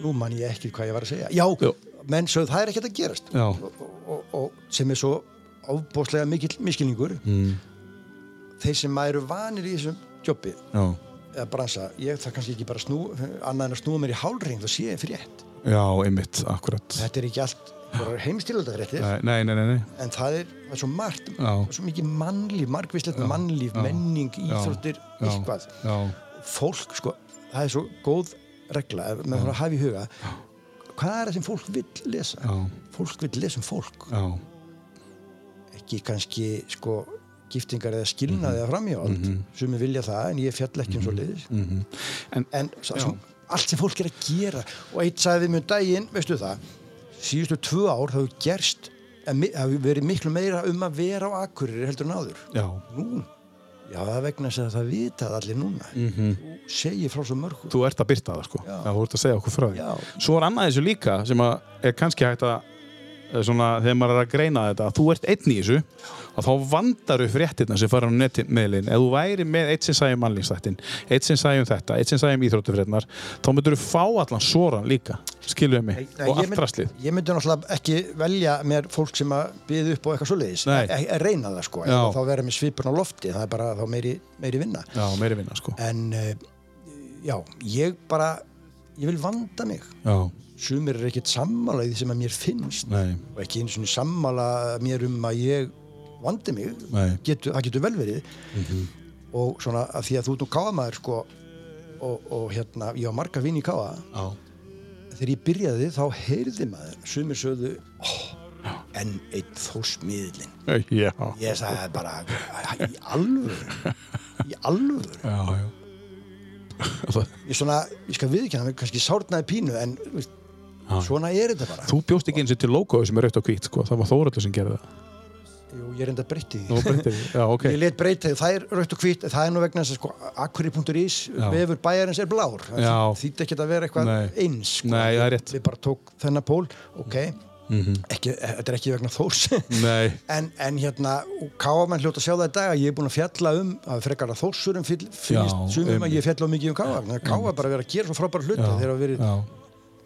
Nú man ég ekki hvað ég var að segja Já, Jú. menn sögðu það er ekkert að gerast Já. og, og, og, sem er svo ábóðslega mikill miskilningur mm. Þeir sem eru vanir í þessum jobbi Já. eða bransa, ég þarf kannski ekki bara að snú, annað en að snúa mér í hálring þá sé ég frétt. já, einmitt, akkurat Þetta er ekki allt heimstilöldafréttir, Nei, nei, nei, nei. en það er, það er svo margt, Já. svo mikið mannlíf, margvíslegt mannlíf, menning, íþróttir, Já. eitthvað. Já, Fólk, sko, það er svo góð regla, ef maður þarf að hafa í huga, hvað er það sem fólk vill lesa? Já. Fólk vill lesa um fólk, já, ekki kannski, sko, giftingar eða skilnað Mhm. eða framhjóld, mm sumi vilja það, en ég fjall ekki um svo liðis. Mhm. en en svo, svo, allt sem fólk er að gera og eitt sagði við mjög daginn, veistu það síðustu tvö ár það hefur gerst en mi- það hefur verið miklu meira um að vera á akkurir heldur en áður já, nú, já það er vegna þess að það vitað allir núna mm Mhm. -hmm. segir frá svo mörgu þú ert að byrta það sko já. þú ert að segja okkur frá því Já. Svo er annað í þessu líka sem að er kannski hægt að eh, svona, þegar maður er að greina þetta að þú ert einn í þessu og þá vandar upp fréttirna sem fara á netmiðlin ef þú væri með eitt sem sagði um mannlýnstættin eitt sem sagði um þetta, eitt sem sagði um íþróttufrétnar þá myndur þú fá allan svoran líka skiluðu mig, Nei, og ég mynd- allt rastlið Ég myndi náttúrulega ekki velja mér fólk sem að byði upp á eitthvað svoleiðis Nei. að að reyna það sko, Já. Eða þá vera með svipun á lofti það er bara þá meiri, meiri vinna Já, meiri vinna sko en eh, já, ég bara ég vil vanda mig Já, sumir er ekkert sammála í því sem að mér finnst Nei. og ekki eins og sammála mér um að ég vandi mig Nei. Mhm. getur, það getur vel verið og svona að því að þú ert nú káðamaður sko og, og hérna, ég á marga vinn í káða já, þegar ég byrjaði þá heyrði maður sumir sögðu oh, enn einn þórsmiðlin já, ég sagði bara í alvöru í alvöru já, já. [laughs] Það- ég, svona, ég skal viðkjanna mig, kannski sárnaði pínu en þú veist, svona er þetta bara Þú bjóst ekki eins og til logoðu sem er rautt og hvít sko. það var Þóraldur sem gerði það Jú, ég er enda breytti því Nú breytir því. Já, ok Ég let breyta því, það er raukt og hvitt það er nú vegna þess að sko, akkurri.is vefur bæjarins er blár Já. þýtti ekki að vera eitthvað Nei. eins sko. Nei, það er rétt. Mhm. Við bara tók þennan pól, ok ekki, þetta er ekki vegna þórs [laughs] Nei, en, en hérna, káamenn hljóta að sjá það í dag að ég er búin að fjalla um að frekar að þórsurum fyll- finnist Já, sumum einmitt. að ég fjalla of mikið um káa káa bara verið að gera svo frábæra hluti þegar að verið já,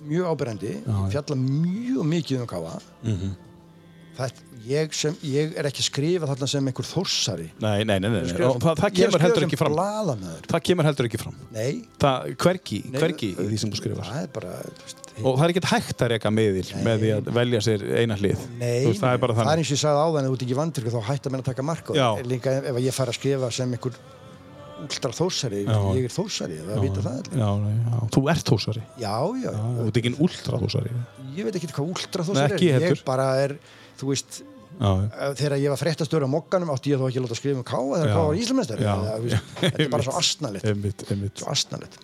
mjög ábyrjandi, fjalla mjög mikið um káa Mhm. Það, ég, sem, ég er ekki að skrifa þarna sem einhver þórsari nei, nei, nei, nei. nei. skrifa Og sem- Það, það Ég er að kemur heldur skrifa ekki sem fram blaðamaður. Það kemur heldur ekki fram Nei, Það, hvergi, nei, hvergi í því sem þú skrifar Það er bara, þú veist, Og það er ekkert hægt að reka miðil með því að velja sér eina hlið nei, Þú veist, Það er bara það er þannig eins og ég sagði áðan ef þú ert ekki vandvirk þá hættar mér að taka mark á Já. þér. líka ef ef ég fara að skrifa sem einhver úldra þórsari, Já. ég er þórsari það vita það allir. Já, nei, já. Þú ert húsari Já, já, Þú ert ekki en ultra húsari ég veit ekki hvað úldra Nei, þórsari ekki er, heldur. ég bara er þú veist, Já, eh, þegar ég var fréttastöru á mokkanum átti ég þá ekki að láta skrifa um káa þegar Já. káa var íslumestari Já. [laughs] þetta er bara svo astnalegt einmitt, einmitt svo astnalegt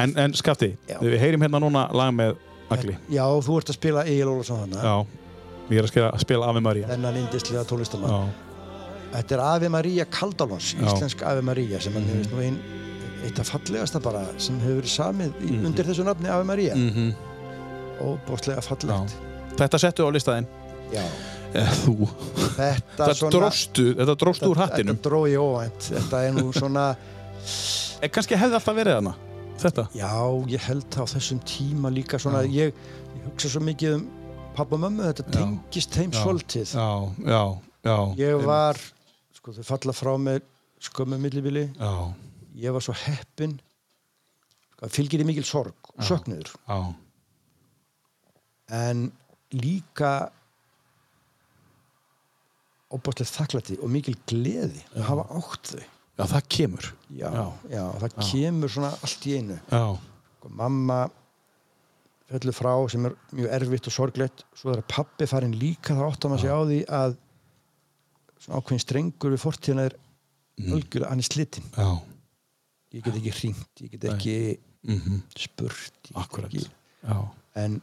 En, en Skafti, Já. við heyrim hérna núna lag með Agli Já, þú ert að spila Egil Ólafsson þannig Já, Ég er að spila, spila Ave Maria. þennan indislega tólistamann. Já, Þetta er Ave Maria Kaldalons, Já. íslensk Ave Maria sem hann hefur nú ein, eitt af fallegasta bara sem hefur verið samið í, undir þessu nafni Ave Maria. Mm Mhm. Óbórslega já. fallegt. Þetta settu á listaðinn. Já. Eh, Þú. Þetta Þetta dróstu, þetta dróstu úr hattinum. Þetta drói óvænt. Þetta er nú svona, En Eh, kannski hefði alltaf verið þarna. Þetta. já, ég held það á þessum tíma líka svona, ég, ég hugsa svo mikið um pappa og mömmu, þetta tengist þeim svolítið. Já, já, já. Ég var, sko þau falla frá mér skömmu millibili, Já, ég var svo heppin sko, það fylgir í mikil sorg og söknuður já, en líka opastlegt þakklæti og mikil gleði að hafa átt þau já, það kemur. já, já. Já. það kemur svona allt í einu Já, sko, mamma fellur frá sem er mjög erfitt og sorglegt svo þegar pappi farin líka þá átt að maður sé á því að svona ákveðin strengur við fortíðina er algjörlega hann er slitinn já, ég get ekki hringt, ég get ekki spurt ég get akkurat. ekki, Mhm. Já, en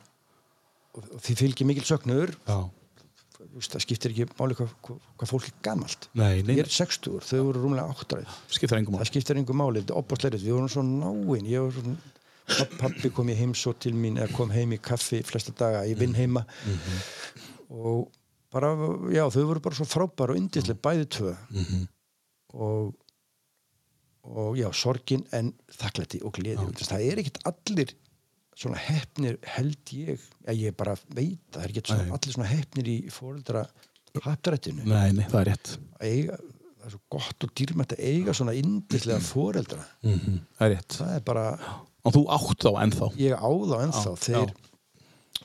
og, og því fylgir mikil söknur já. þú veist, það skiptir ekki máli hvað hva, hva fólk er gamalt Nei, nei, ég er 60, þau voru rúmlega 8 skiptir engum á. það skiptir engu máli, þetta er opbásleirið við vorum svo náinn ég var svona papp- Pabbi kom í heimsó til mín eða kom heim í kaffi flesta daga, ég Mhm. vinn heima og bara já, þau voru bara svo frábær og yndislega Mhm. bæði tvö og og já, sorgin en þakklæti og gleði, Þú veist, það er ekkert allir svona hefnir held ég að ég bara veit það, það er ekkert svona, Nei. allir svona hefnir í fóreldra hattrættinu Nei, nei, það er rétt. að eiga, það er svo gott og dýrmætt að eiga svona [clears throat] yndislega foreldra Mhm. Það er rétt. það er bara, Og þú átt þá ennþá. ég á þá ennþá Já, þeir,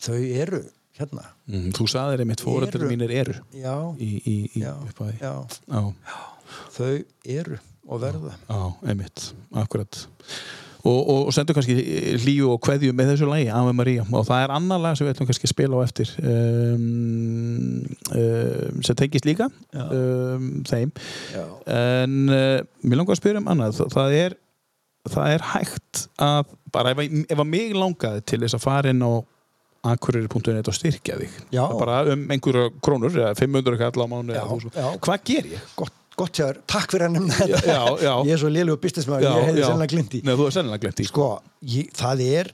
þau eru hérna, Mm, þú saðir einmitt fóreldrar Eru. mínir eru já, í, í, í já, upphæði. já Já, þau eru og verða já, einmitt, akkurat. Og, og, og sendu kannski líu og kveðju með þessu lagi, Ave Maria. Og það er annar lag sem við ætlum kannski að spila á eftir um, um, sem tengist líka um, þeim. já, En uh, mér langar að spyrja um annað. Það, það er það er hægt að bara ef, að- ef að mig langaði til þess að fara inn á akureyri.net og styrkja þig Já. bara um einhverja krónur eða 500 kall á mánu Já, eða þúsund. já. hvað ger ég? gott, gott hjá þér, takk fyrir að nefna þetta já, já. ég er svo lélugur businessmaður, ég hefði sennilega glindi Nei, þú hefði sennilega glimt í sko, ég, það er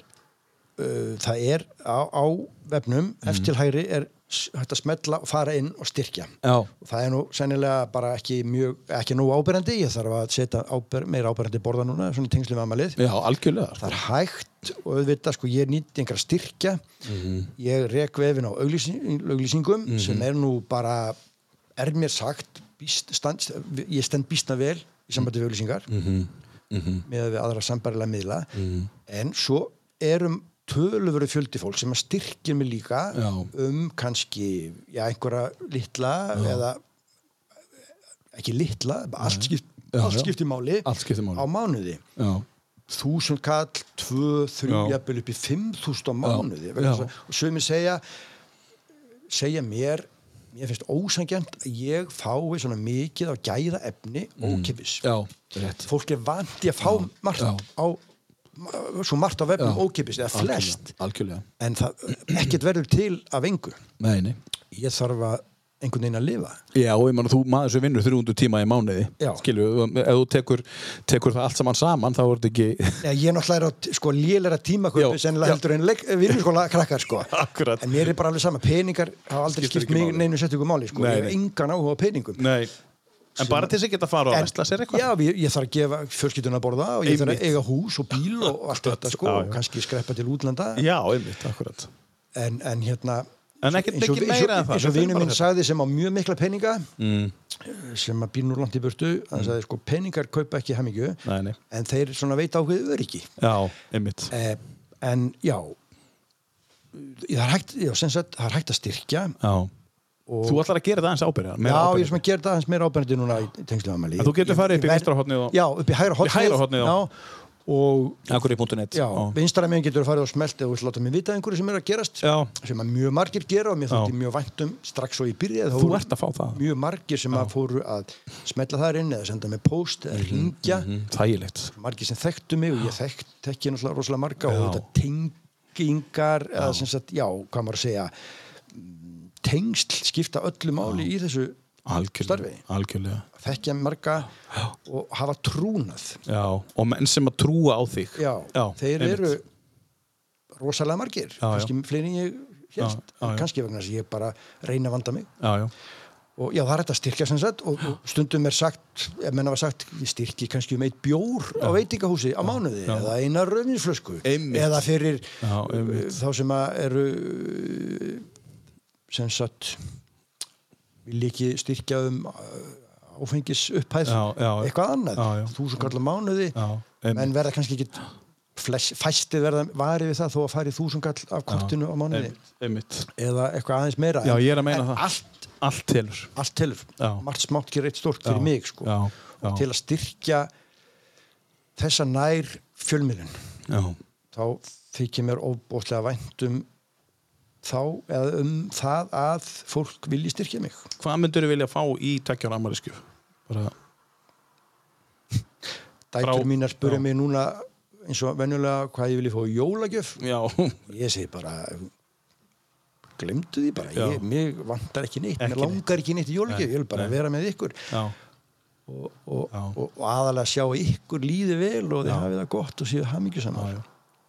uh, það er á, á vefnum, eftir til hægri er s- hægt að smetla og fara inn og styrkja Já, og það er nú sennilega bara ekki mjög ekki nú áberandi, ég þarf að setja áber, meira áberandi borða núna, svona í tengslum aðmalið já algjörlega sko. það er hægt og auðvitað sko ég nýtti einhver styrkja Mhm. ég rek vefin á auglýsing, auglýsingum sem er nú bara er mér sagt býst, stand, ég stend býstna vel í sambandi við auglýsingar Mhm. með við aðra sambarilega miðla en svo erum töluföru fjöldi fólk sem að styrkja mig líka Já. um kannski já, einhverja litla eða ekki litla, allt, skipt, Já, allt já. skipti máli Allt skiptir máli. á mánuði Já, þúsund kall, tvö, þrjú, Já. jafnvel upp í fimm þúsund á mánuði. Já. vegna þess að- Og sögum segja, segja mér, mér finnst ósangjant að ég fái svona mikið af gæða efni ókipis. Mm. já, rétt Fólk er vant í að fá margt Já. á, svo margt af efnum Já. ókipis, eða flest, Algjörlega, algjörlega. en það ekkert verður til af engu. Nei, nei. Ég þarf að einhvern veginn að lifa. Já, og ég man að þú maður sem vinnur 300 tíma í mánuði Já. Skilju, ef þú tekur, tekur það allt saman saman þá er þetta ekki Nei, ég er náttúrulega er á sko, lélæra tímaköpi Já, sennilega já. heldur en leik- vinnuskóla krakkar sko. [laughs] Akkurat. En mér er bara alveg sama, peningar hafa aldrei Skiptir ekki skipt mig máli. neinu settingu máli sko. Nei, Ég nei. hef engan áhuga á peningum. Nei, en bara til þess að geta að fara og vestla sér eitthvað Já, ég, ég þarf að gefa fjölskyldun að borða og ég þarf að Einmitt. eiga hús og bíl [laughs] og allt þetta sko Já, já. og kannski skreppa til útlanda Já, einmitt, akkurat en, en hérna En ekkert eins og- ekki eins og- meira en það, eins og þetta er vinur bara þetta. minn Mm. sagði sem á mjög mikla peninga sem að býr nú langt í burtu hann sagði sko peningar kaupa ekki hamingju Nei, nei. en þeir svona veita ákveðu öryggi Já, einmitt Eh, en já það er hægt, já, sem sagt, það er hægt að styrkja Já og Þú ætlar að gera það eins ábyrða já, ég er sem að gera það hans meira ábærandi núna í tengslu afmæli En þú getur Ég- farið ég upp í verð- vinstra hornið og- já, upp í hægra Í hotnið, hægra hornið, já. og Akureyri.net já, vinstra meginn getur farið og smelt eða þú vill láta mig vita einhverju sem er að gerast Já. sem að mjög margir gera og mér Já. þótti mjög vænt um strax og í byrjaði þá Þú voru ert að fá það. mjög margir sem að fóru að smelta þar inn eða senda mig post Mhm, eða ringja Mm, Þægilegt margir sem þekktu mig og ég þekkt, þekki náttúrulega rosalega marga Já. og þetta tengingar eða sem sagt, já, hvað maður að segja mm, tengsl skipta öllu máli í þessu algjörlega, Starfi. algjörlega. þekkja marga og hafa trúnað Já, og menn sem að trúa á þig já, þeir einmitt. eru rosalega margir já. kannski fleiri en ég hérst Já, já, já. kannski vegna þess að ég bara reyna að vanda mig já, já, og já, það er þetta að styrkja sem sagt og, og stundum er sagt, ef menna var sagt ég styrki kannski um eitt bjór á veitingahúsi á mánuði eða eina rauninflösku Einmitt. eða fyrir já, uh, einmitt. þá sem að eru uh, sem sagt vil ekki styrkja um uh, áfengis upphæð Já, já. eitthvað annað, Já, já. þúsund kallar mánuði Já, menn einmitt. verða kannski ekki flest, fæsti verða varið við það þó að fari þúsund kall af kortinu á mánuði einmitt, einmitt. eða eitthvað aðeins meira Já, en- ég er að meina en það. allt allt telur allt telur, Já. margt smátt gerir eitt stórt Já, fyrir mig sko, já, já. og til að styrkja þessa nær fjölmiðlun já, þá þykir mér óbóðlega vænt um þá eða um það að fólk vilji styrkja mig hvað myndur þið vilja fá í takkjára amariskjöf bara, Frá- dætur mínar spurja já. mig núna eins og venjulega hvað ég vilji fá í jólagjöf já, ég segi bara glemdu því bara, Já. ég, mig vantar ekki neitt Ekki mér langar ekki neitt í jólagjöf, Nei, ég vil bara nei. vera með ykkur já, og, og, Já. og, og aðalega sjá að ykkur líði vel og þið Já. hafið það gott og séu hamingju Já, saman já.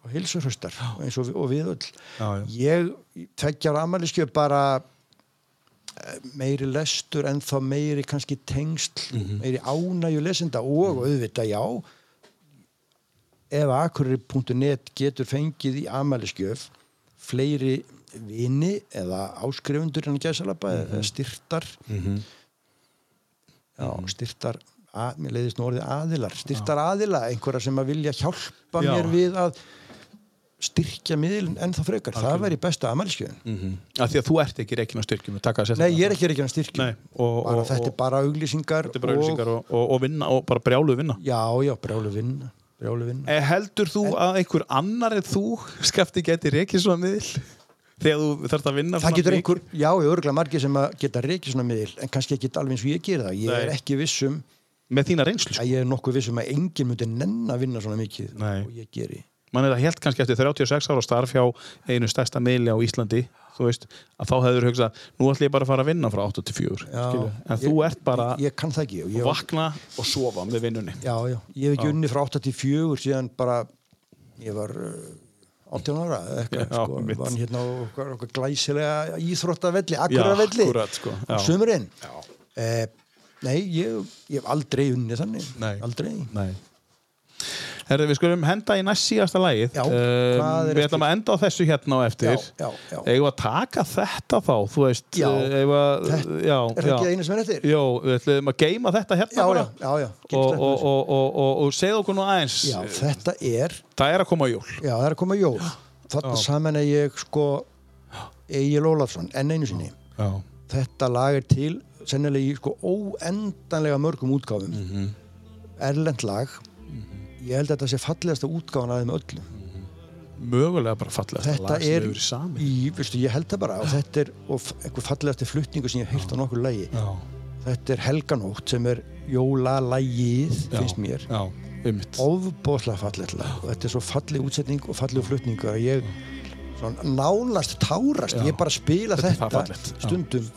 og hilsurhustar eins og, við- og við öll Já, já. ég tekjar amaliskjöf bara eh, meiri lestur en þá meiri kannski tengsl Mhm. meiri ánægju lesenda og auðvitað já ef akurri.net getur fengið í amaliskjöf fleiri vini eða áskrifundur en gæsalabba eða Mhm. styrtar já, Mhm. styrtar að, mér leiðist nú orðið aðilar styrtar aðila, einhverja sem að vilja hjálpa Já. mér við að styrkja miðlun ennþá frekar, það væri besta amalskjöðin mhm. af því að þú ert ekki reikin á styrkjum taka að Nei, ég er ekki reikjan styrkjum Nei, og- bara, og- þetta er og- bara auglýsingar og, og, og, og vinna og bara brjálu vinna já, já, brjálu vinna brjálu vinna Eh, Heldur þú að einhver annar en þú skafti geti reikið svona miðl þegar þú þarft að vinna það svona getur mikið? einhver, já, ég örgulega margir sem að geta reikið svona miðl, en kannski ekki alveg eins og ég gera það ég Nei. er ekki vissum, með þína reynslu sko. að ég er nokkuð vissum að enginn myndi nenn að vinna svona mikið Nei. og ég geri mann er að held kannski eftir 36 ára starf hjá einu stærsta miðli á Íslandi þú veist, að þá hefur hugsað nú ætlum ég bara að fara að vinna frá 8 til 4 Já. skilju. en þú Ég- ert bara ég, ég kann það ekki og ég, að vakna og sofa með vinnunni Já, já, ég hef ekki unni frá 84 síðan bara ég var uh, 18 ára eða eitthvað, Já, sko, mitt. var hérna á okkar, okkar glæsilega íþróttavelli, akkuravelli akkúrat, sko, já. sumurinn eh, Nei, ég, ég hef aldrei unni þannig, Nei. aldrei Nei Herri, við skulum henda í næst síðasta lagið Já, Eh, hvað er Við ætlum eftir? að enda á þessu hérna á eftir Já, já, já. Eigum við að taka þetta þá, þú veist Já. eh, eigum við að, Þetta- já, er það já. ekki einu sem er eftir? Jó, við ætlum að geima þetta hérna Já, bara já, já, Og, já, getum og, sleppt og, þessu. og, og, og segðu okkur nú aðeins Já, þetta er Það er að koma jól Já, það er að koma jól Þarna saman að ég sko Egil Ólafsson, enn einu sinni Já, þetta lag er til sennilega í sko óendanlega mörgum útgáfum Mm. erlend lag Mhm. ég held að þetta sé fallegasta útgáfan af þeim öllum mögulega bara fallega þetta er í... í, veistu, ég held það bara og þetta er og f- einhver fallegasti flutningu sem ég hef heyrt á nokkur lagi Já, þetta er Helganótt sem er jólalagið já, finnst mér Já, einmitt ofbóðslega fallegt lag og þetta er svo falleg útsetning og falleg flutningu að ég svona, nánast tárast Já. ég bara spila Þetta er það þetta, fallegt, já. stundum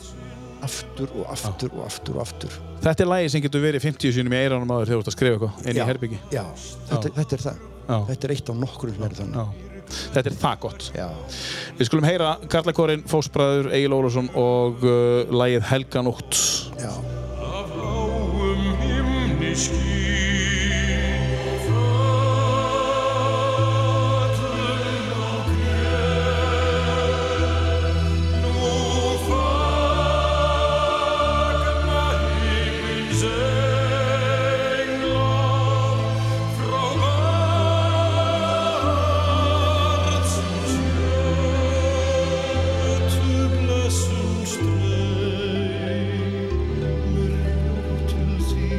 aftur og aftur og aftur og aftur Þetta er lagið sem getur verið 50 sinum í eiranum áður þegar þú ert að skrifa eitthvað inn Já, í herbyggi já, þetta, þetta er það Já. þetta er eitt af nokkrum sem eru þannig Já, þetta er það gott já. Við skulum heyra Karlakorinn, Fósbræður, Egil Ólafsson og uh, lægið Helganótt. Já. Af bláum himni skín föllum á gler. Nú fagna himins englar frá barnsins götu blessun streið. Til þín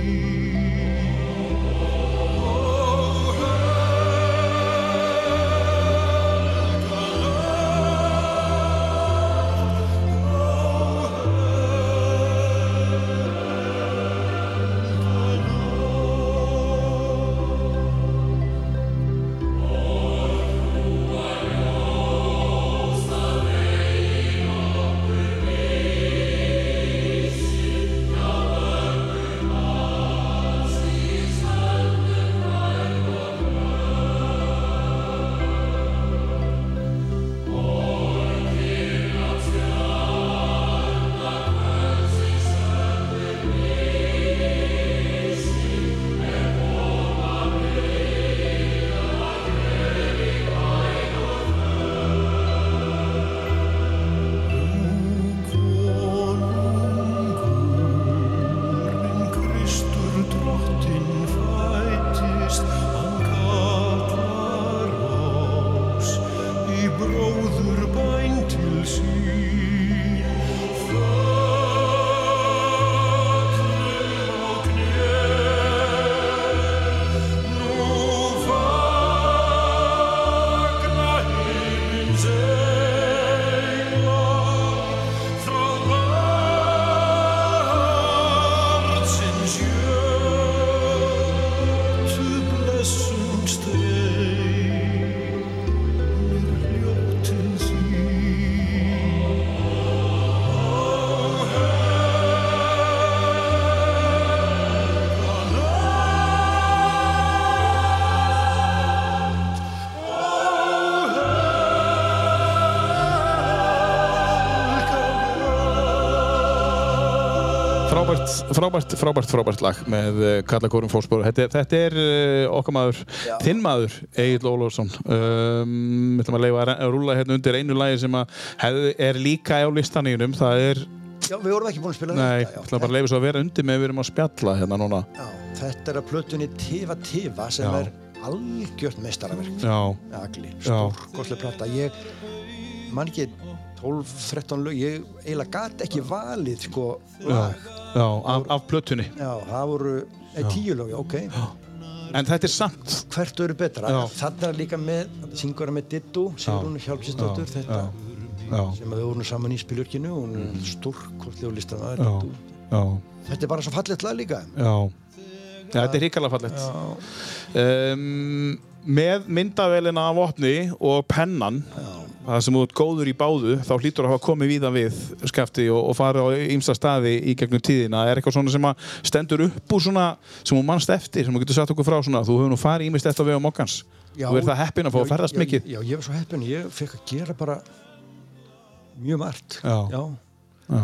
frábært, frábært, frábært, frábært lag með uh, Kallakórum Fósbóru. Þetta, er- þetta er uh, okkar maður, þinn maður, Egil Ólafsson. Um, við ætlum að leifa að re- að rúla hérna undir einu lagi sem að hef, er líka á listanínum. Það er, Já, við vorum ekki búin að spila nei, þetta, ég já. ætlum bara að leifa svo að vera undir með við erum að spjalla hérna núna. Já, þetta er að plötunni Tifa Tifa sem Já. er algjört meistaraverk Já, Agli, Já. stórkostlega plata ég man ekki 12-13 lög, ég eiginlega gat ekki valið sko já, lag já, af, af plötunni. Já, það voru nei, tíu lög, ok En þetta er samt, Hvert eru betra? Já. Þarna er líka með, syngur hann með Dittu Sigrún Hjálpsistóttur, þetta já, Mm. sem við vorum saman í spilurkinu hún er stórkostlega listamaður já, Diddú. já, Þetta er bara svo fallegt lag líka já. Já, þetta er hrikalega fallegt. um, með myndavélina af opni og pennan það sem þú ert góður í báðu þá hlýtur að hafa komið víðan við skafti og, og farið á ýmsa staði í gegnum tíðina er eitthvað svona sem að stendur upp úr svona sem hún mannst eftir sem hún getur satt okkur frá svona þú hefur nú farið ímist eftir að vega mokkans þú er það heppin að fá Já, að ferðast já, mikið Já, ég var svo heppin, ég fekk að gera bara mjög margt Já. já,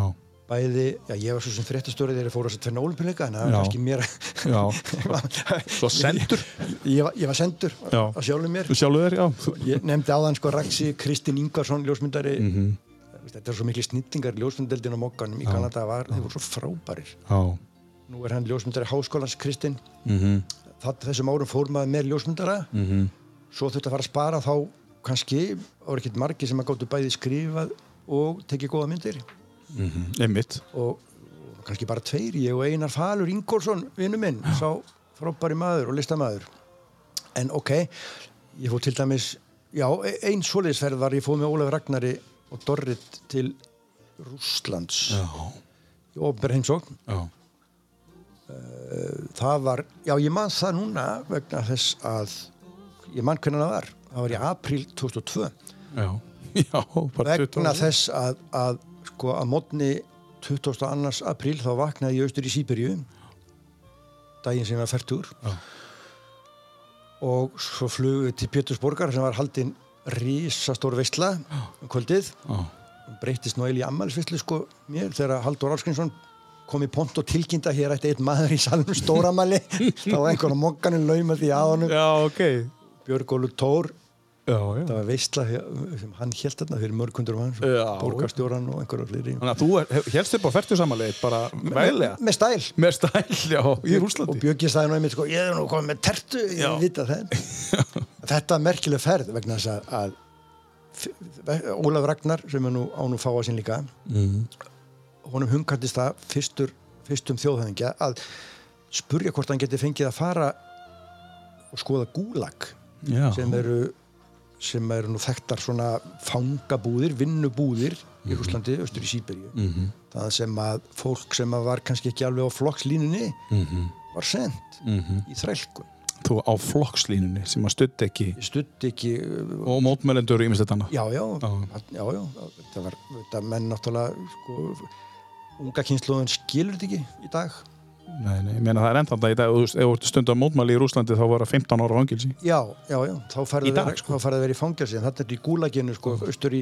bæði, já, ég var svo sem fréttastörið þegar ég fór á þess að tvenna ólimpileika en það Já. var kannski mér já, [laughs] að [laughs] svo sendur ég, var- ég var sendur Já. á sjálfum mér þú sjálfur þér, já, þú- ég nefndi áðan sko Raxi Kristinn Ingvarsson ljósmyndari Mhm. þetta er svo mikli snillingar ljósmyndeldin á mokkanum í Kanada var, þeir voru svo frábærir já, nú er hann ljósmyndari háskólans Kristinn mhm, það, þessum árum fór maður með ljósmyndara mhm, svo þurfti að fara að spara þá kannski, það voru ekkert margir sem að gáttu bæði skrifað og tekið góða myndir einmitt og og kannski bara tveir, ég og Einar Falur Ingolson, vinnu minn, sá frábæri maður og listamaður en ok, ég fór til dæmis já, e- ein svoleiðisferð var ég fóð með Ólaf Ragnari og Dorrit til Rússlands já, í ofnber heimsókn já, það var, já ég man það núna vegna þess að ég man hvernig það var, það var í apríl 2002 já [laughs] já, bara 20 vegna ára. þess að, að sko að mótni 22. apríl þá vaknaði ég austur í Sýberíu daginn sem ég var færtur Já. og svo flugum við til Pétursborgar sem var haldin risastór veistla um kvöldið já, Hún breyttist nú eil í ammælisvislu sko mér þegar Haldur Áskinsson kom í pont og tilkynnta hér ætti einn maður í [laughs] salnum stóramæli þá var einhvern á mokkanum lauma því að honum já, ok Björg Ólu Tór já, já það var veistla sem hann held þarna fyrir mörgundur manns Já. borgarstjóran og einhverjar fleiri Þannig að þú er- hef- hélst upp á færtugsamalegið bara veglega með stæl með stæl, já, í og Rúslandi Björgi sagði nú einmitt sko, ég er nú komið með tertu Já. ég vita [laughs] það þetta er merkileg ferð vegna þess að, að f- Ólaf Ragnar sem er nú á nú fáa sín líka Mhm. honum hungkantist það fyrstur, fyrstum þjóðhöfingja að spurja hvort hann geti fengið að fara og skoða gúlag Já, sem eru sem eru nú þekktar svona fangabúðir, vinnubúðir Mhm. í Rúslandi, austur í Sýberíu -hmm. það sem að fólk sem að var kannski ekki alveg á flokkslínunni Mhm. -hmm. var sent í þrælkun þú á flokkslínunni sem að stutt ekki ég stutti ekki uh, og mótmælendur og ymist þetta annað já, já, já, já þetta var, þetta menn náttúrulega sko, unga kynsluðun skilur þetta ekki í dag Nei, nei, ég meina það er ennþá það í dag, ef þú ert stund á mótmæli í Rúslandi þá voru það 15 ára fangilsi já, já, já, þá Í færðu dag, vera- sko. þá færðu að vera í fangelsi en þetta er í gúlaginu, sko, austur í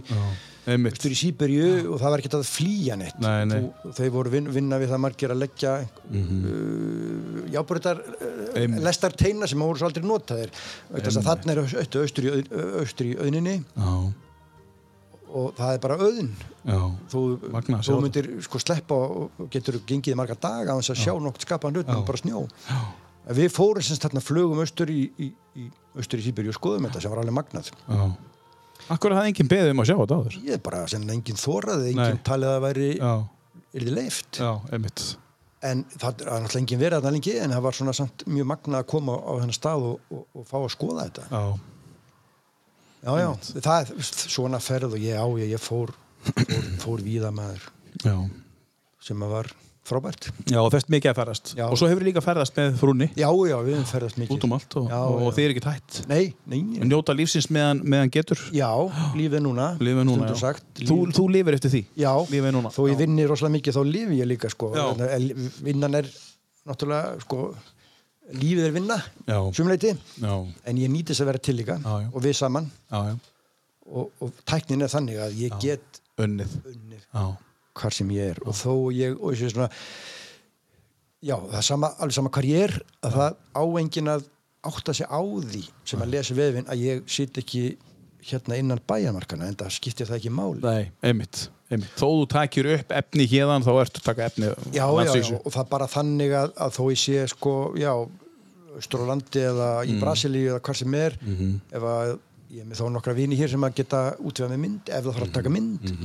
Einmitt, eftir í Sýberíu og það var ekkert að flýja neitt Nei, nei. Mhm. Þú, þau voru vin, vinna við það margir að leggja mm -hmm. uh, jábreytar uh, Einmitt. lestar teina sem voru svo aldrei notaðir Vegna þess að þarna er austur, austur, í, auð- austur í auðninni já, og það er bara auðn já, þú, Magnað að sjá þú myndir sko sleppa og getur gengið í marga daga á þess að sjá nokt skapaðan hlutum, bara snjó já. við fórum sem sagt þarna flugum austur í, í, í austur í Sýberíu og skoðum þetta sem var alveg magnað já Akkur er það enginn beðið um að sjá þetta áður ég er bara sem enginn þóraði, enginn Nei. talið að það væri Já, er þið leift já, einmitt en það það er náttúrulega enginn verið að það lengi en það var svona samt mjög magna að koma á þennan stað og, og, og fá að skoða þetta Já, já, já, það er svona ferð og ég á ég, ég fór, fór, [clears throat] fór víða maður já sem að var frábært Já, og þess mikið að ferðast Já. Og svo hefur líka ferðast með frúnni já, já, við höfum ferðast mikið út um allt og, Já, og, og já. þið er ekki tætt nei, nei, nei. Njóta lífsins meðan, meðan getur já, lífið núna Lifið núna, stundum já. sagt, þú, líf- þú lifir eftir því já, Lífið núna þó ég vinni rosalega mikið þá lifi ég líka sko Já. Þannig að li- vinnan er náttúrulega sko lífið er vinna Já. sumleiti Já, en ég nýtis að vera til líka Já, já. og við saman já, já og, og tæknin er þannig að ég get Unnið unnið Já, hvar sem ég er og þó ég og ég sé svona já, það er sama, alveg sama hvar ég er að það á enginn að átta sig á því sem að lesa vefinn að ég sit ekki hérna innan bæjarmarkana en það skiptir það ekki máli Nei, einmitt, einmitt. Þó þú takir upp efni hérðan þá ertu að taka efni já, já, já, og það er bara þannig að, að þó ég sé sko, já Östurlandi eða Mm. í Brasilíu eða hvað sem er Mhm. ef að ég er með þá nokkra vini hér sem að geta útvega með mynd ef það þarf að taka Mhm. mynd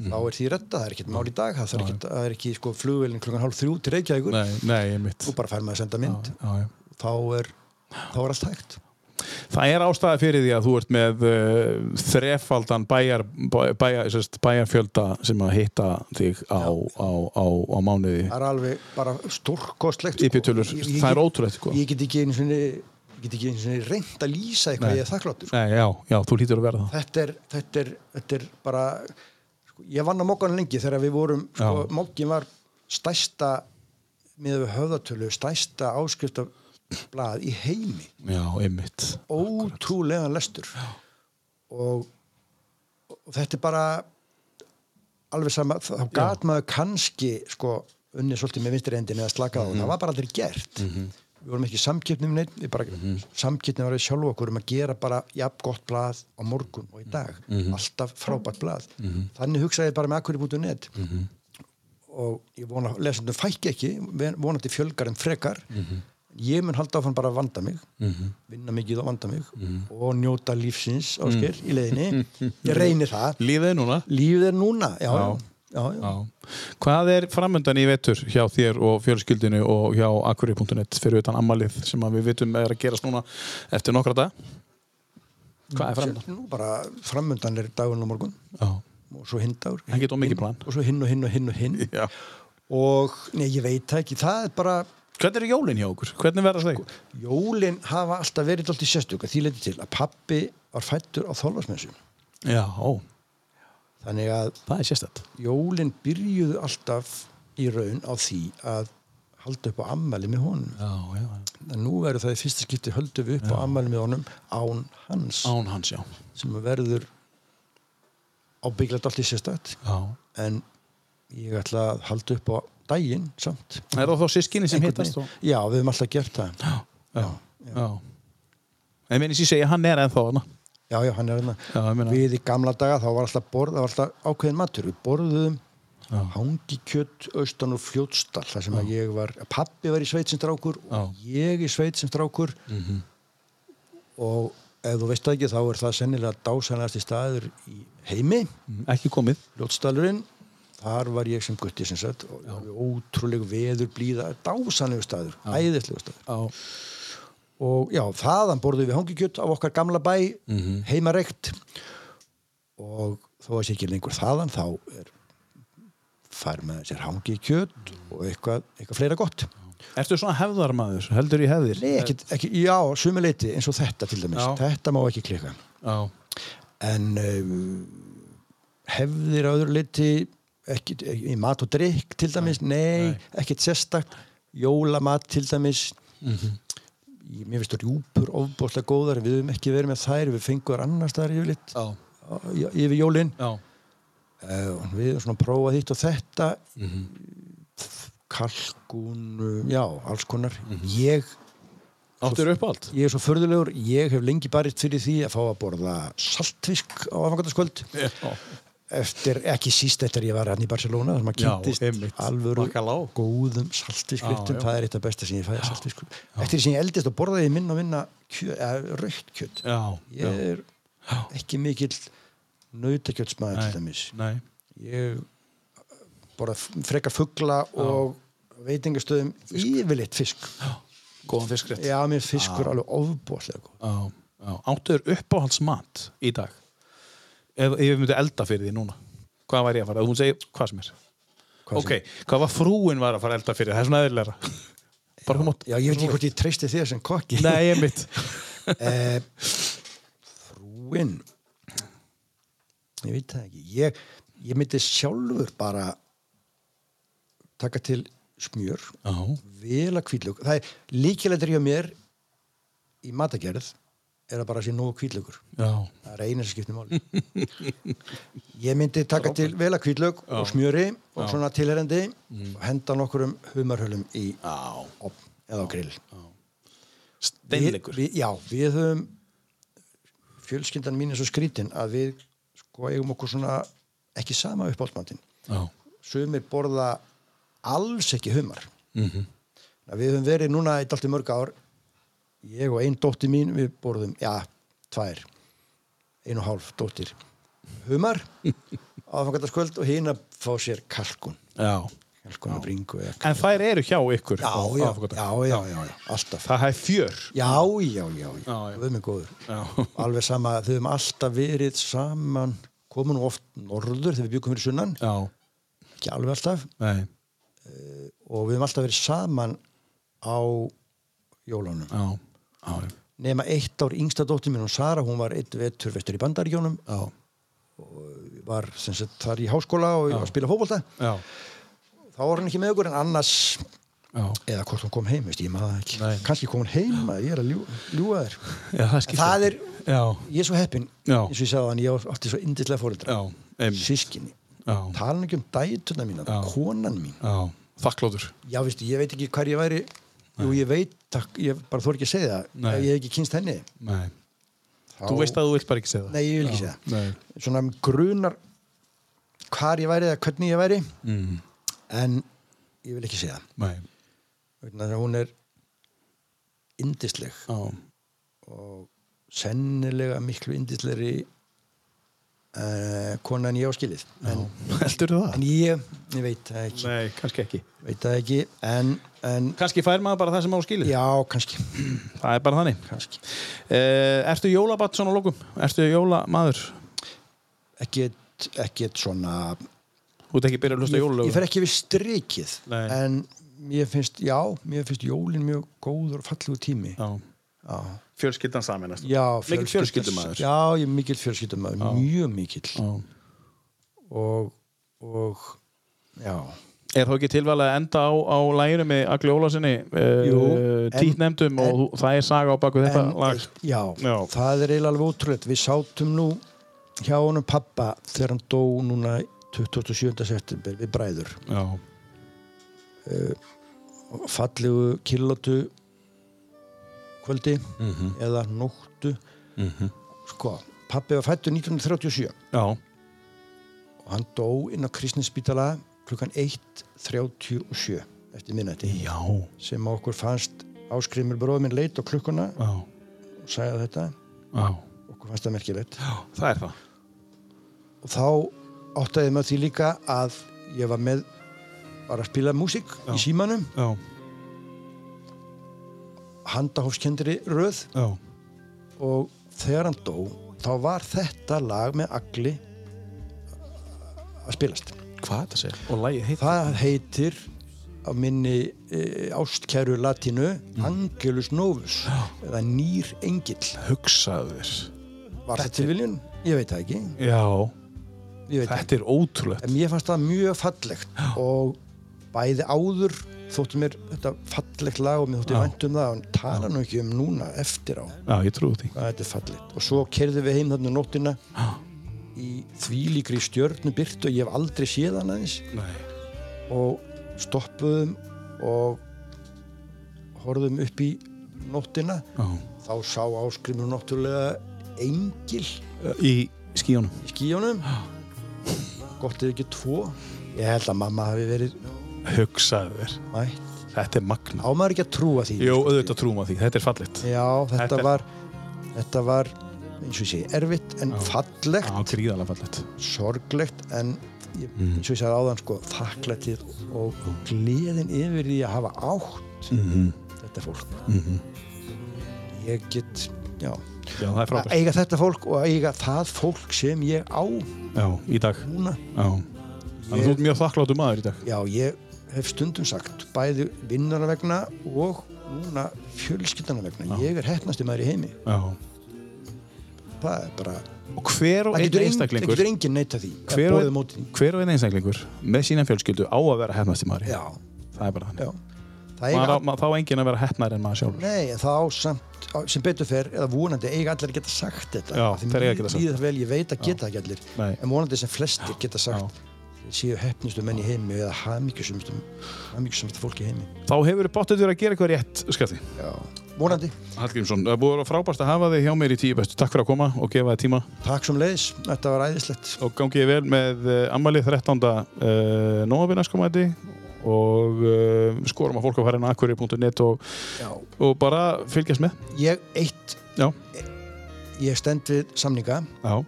þá er því retta, það er ekkert mál í dag það er ekki, það er ekki sko flugvelin klukkan hálf þrjú til Reykjavíkur, Nei, nei, einmitt þú bara fær maður að senda mynd já, já. þá er, þá er allt hægt Það er ástæða fyrir því að þú ert með uh, þrefaldan bæjar, bæjar, bæjar, sérst, bæjarfjölda sem að hitta þig á, á, á, á mánuði það er alveg bara stórkostlegt sko. í pitulur, Ég- ég- það er ótrúlegt sko. ég get ekki einu svona get ekki einu svona reynd að lýsa eitthvað Nei. ég er þakkláttur sko. Nei, já, já, þú hlýtur að vera það þetta er, þetta er, þetta er bara sko, ég vann á mokkanum lengi þegar við vorum sko, Já. mokkin var stæsta með við höfðatölu stæsta áskriftablað í heimi Já, einmitt ótrúlegan lestur og, og þetta er bara alveg sama þá gat maður kannski sko unnið svolítið með vinstri endin eða slakað á það var bara aldrei gert við vorum ekki samkipnum neitt við bara, mm var við sjálf okkur um að gera bara jafn gott blað á morgun og í dag alltaf frábært blað þannig hugsaði ég bara með akkurri.net mm -hmm. og ég vona lesendum fækki ekki, vonandi fjölgar en frekar ég mun halda áfram bara að vanda mig vinna mikið og vanda mig og njóta lífsins ásker í leiðinni ég reynir það Lífið er núna lífið er núna já, já. Já, já. Já. Hvað er framöndan í vetur hjá þér og fjölskyldinu og hjá akkurri.net fyrir utan ammalið sem að við vitum er að gerast núna eftir nokkra dag? Hvað er framöndan? Nú bara framöndan er dagurinn á morgun Já. og svo hinn dagur Ekki of mikið plan. og svo hinn og hinn og hinn og hinn Já. og nei, ég veit það ekki, það er bara Hvernig eru jólin hjá okkur? Hvernig verða þeir? jólin hafa alltaf verið alltaf sérstök að því leiti til að pappi var fættur á þólfarsmessu Já, ó, þannig að það er sérstætt. jólin byrjuðu alltaf í raun á því að halda upp á ammæli með honum Já, já. en nú verður það í fyrsta skipti höldum við upp á ammæli með honum án hans Án hans, já. sem verður ábygglegt allt í sérstætt já. en ég ætla að halda upp á daginn samt Er það þá sískinni sem Einhvern hittast? veginn. Já, við höfum alltaf gert það Já, já. já. En minnist ég segi að hann er ennþá hana. Já, já, hann er Já, ég hérna meina- Við í gamla daga þá var alltaf borð það var alltaf ákveðin matur, við borðum Já. hangikjött austan og fljótstall þar sem að ég var, pappi var í sveit sem strákur og ég í sveit sem strákur Mhm. og ef þú veist það ekki þá er það sennilega dásanlegasti staður í heimi Ekki komið. Ljótstallurinn þar var ég sem gutti sem sagt og alveg ótrúleg veður blíða dásanlegu staður, æðislegu staður Já. og já, þaðan borðum við hangikjött af okkar gamla bæ, Mhm. heimarekt og þó að sé ekki lengur þaðan þá er fær með sér hangikjött og eitthvað, eitthvað fleira gott Ertu svona hefðarmaður? Heldur í hefðir? Nei, ekki, ekki, já, sumuleiti eins og þetta til dæmis, Já. þetta má ekki klika Já. en um, hefðir að öðru liti ekki, ekki, í mat og drikk til dæmis, nei, nei. ekkert sérstakt jólamat til dæmis Ég- mér finnst rjúpur ofbóðslega góðar, við höfum ekki verið með þær við fengum þær annars þar yfirleitt Já. á- í- yfir jólin Já. uh, við höfum svona prófað hitt og þetta kalkun um, já, alls konar ég, Áttur upp allt? ég er svo förðulegur ég hef lengi barist fyrir því að fá að borða saltfisk á afangandaskvöld Já. eftir, ekki síst eftir ég var hann í Barcelona þar maður Já, einmitt. kynntist alvöru Bacalao. góðum saltfiskréttum, Já, já. það er eitt af besta sem ég fæði saltfisk eftir því sem ég eldist og borðaði ég minna og minna kjö, eða, raukt kjött Já. ég já. er ekki mikill nautakjötsmaður til dæmis Nei. ég borða frekar fugla og veitingastöðum yfirleitt fisk Góðan fiskrétt. já, mér finnst fiskur alveg ofbóðslega góð Já, já. Áttuður uppáhaldsmat í dag ef, ef ég myndi elda fyrir því núna hvað væri ég að fara, Ef hún segir hvað sem er Hvað ok, sem- hvað var frúin var að fara að elda fyrir það er svona eðlilega bara kom átt já, ég veit ekki hvort ég treysti þér sem kokki Nei, ég mitt Eh, frúin ég veit það ekki ég, ég myndi sjálfur bara taka til smjör Já, vel að kvítlug það er líkilegtur hjá mér í matagerð er það bara að sé nógu kvíðlaugur Já. það er eina sem skiptir máli [laughs] ég myndi taka til vel að kvíðlaug og smjöri og svona tilherendi og henda nokkurum humarhölum í Mm. Já. opn eða á grill Steinleikur. Við, við, já, við höfum fjölskyndan mín er svo skrítin að við sko eigum okkur svona ekki sama uppáhaldsmandin Já. sumir borða alls ekki humar mm Mhm. við höfum verið núna í dalti mörg ár ég og einn dóttir mín við borðum, já, tvær ein og hálf dóttir humar áfangandarskvöld og hina fá sér kalkun Já. kalkun og bringu eða En þær eru hjá ykkur. já, á- já, aðfangadag. já, já, já, já, alltaf Það er fjör. já, já, já, já, já. við erum góður Já. alveg sama, þau hefum alltaf verið saman, komin nú oft norður þegar við byggum fyrir sunnan, Já. ekki alveg alltaf Nei. og við hefum alltaf verið saman á jólunum Já. Já. já. nema eitt ár yngsta dóttir mín og Sara, hún var eitt vetur vestur í bandaríjónum Já. var sem sagt þar í háskóla og að spila fótbolta Já. þá var hann ekki með okkur en annars Já. eða hvort hún kom heim, veist, ég maður það ekki Nei. kannski kom hún heim, maður, ég er að ljú, ljúa þér Já, það skiptir. það er, Já. ég er svo heppin Já. eins og ég sagði hann, ég átti svo indislega fóreldra Já. Einmitt. sískinni, Já. talan ekki um dætuna mína Já. konan mín Já. Þakklóður. já, veistu, ég veit ekki hvar ég væri jú, ég veit, takk, ég bara þór ekki að segja það Nei. ef ég hef ekki kynst henni Nei. Þú veist að þú vilt bara ekki segja það. Nei, ég vil ekki segja það. Nei. svona mig grunar hvar ég væri eða hvernig ég væri Mm. en ég vil ekki segja það Nei. vegna þess að hún er indisleg Já. og sennilega miklu indislegri uh, kona en ég á skilið en, Heldur það? en ég, ég veit það ekki Nei, kannski ekki. veit það ekki en, en Kannski fær maður bara það sem á skilið. já, kannski, Það er bara þannig. kannski. Uh, ertu jólabatt svona lókum? Ertu jólamaður? ekkert, ekkert svona Þú ert ekki byrjað að hlusta ég, jólulögum? ég fer ekki við strikið Nei. en mér finnst, já, mér finnst jólin mjög góður og fallegu tími Já. já. Fjölskyldan saminast. Já, Mikill fjölskyldas- fjölskyldumaður. Já, ég er mikill fjölskyldumaður, mjög mikill og, og já, Er þá ekki tilvalið að enda á, á læginu með Agli Ólasinni Jú, uh, en- títnefndum og þú- það er saga á baku þetta En lag? eitt- já, Já. það er eiginlega alveg ótrúlegt við sátum nú hjá honum pappa þegar hann dó núna 27. september við bræður Já. fallegu kilótu kvöldi eða nóttu sko, pappi var fættur 1937 Já. og hann dó inn á Kristninspítala klukkan 1.37 eftir minnætti Já. sem á okkur fannst áskrimur bróður minn leit á klukkuna Já. og sagði þetta Já. okkur fannst það merkilegt Það er það. og þá áttaði maður því líka að ég var með var að spila músík í símanum Já. handahófskendri röð Já. og þegar hann dó þá var þetta lag með agli að spilast Hvað þetta segir? Og lægið heitir? það heitir á minni e, ástkæru latínu Angelus Novus eða nýr engill Hugsaðu þér. var þetta tilviljun? Ég veit það ekki, Já. ég veit það Þetta er ótrúlegt. en mér fannst það mjög fallegt og bæði áður þótti mér þetta fallegt lag og mér þótti vænt um það en tala nú ekki um núna eftir á Já, ég trúi því. hvað þetta er fallegt og svo kerði við heim þarna um nóttina í þvílíkri stjörnubyrtu og ég hef aldrei séð hann aðeins Nei. og stoppuðum og horfðum upp í nóttina Já. þá sá áskrimur náttúrulega engil Í skíunum. í skíjónum gott eða ekki tvo ég held að mamma hafi verið Hugsaðu þér. mætt Þetta er magna. ámaður ekki að trúa því Jó, auðvitað trúum að því. Þetta er fallegt. já, þetta, Þetta- var þetta var eins og ég segi erfitt en fallegt Já, gríðarlega fallegt. sorglegt en ég, Mhm. eins og ég sagði áðan sko þakklætið og gleðin yfir því að hafa átt Mhm. þetta fólk ég get já, Já, það er að frábært. eiga þetta fólk og að eiga það fólk sem ég á Já, í dag. núna Já. Þannig að þú ert mjög þakkláttu maður í dag. já, ég hef stundum sagt bæði vinnarna vegna og núna fjölskyldana vegna ég er hettnasti maður í heimi Já. það er bara, Og hver og einn það getur, ein, það einstaklingur getur enginn neita því hver og, bóðið einn, móti því hver og einn einstaklingur með sína fjölskyldu á að vera hefnast í maður já, það er bara þannig já, Það maður, eiga, á- maður, þá enginn að vera heppnar en maður sjálfur nei, en það á samt, á- sem betur fer, eða vonandi, eiga allir að geta sagt þetta. Já, Af því þeir eiga að mér geta sagt líður vel, ég veit að geta það ekki allir. Nei. En vonandi sem flestir geta sagt, séu hefnustu menn í heimi eða hamingjusumistu, hamingjusumistu fólki í heimi. Þá hefur þú bóttið verið að gera eitthvað rétt, skatti Já. Vonandi. Hallgrímsson, það er búið að vera frábært að hafa þig hjá mér í tíu bestu Takk fyrir að koma og gefa þig tíma Takk sem leiðis, þetta var æðislegt. og gangið vel með uh, ammali 13. Uh, nómabir næstkomandi og uh, skorum að fólk að fara inn á akkurir.net og, Já. og bara fylgjast með Ég, eitt, Já, ég stend við samninga. já,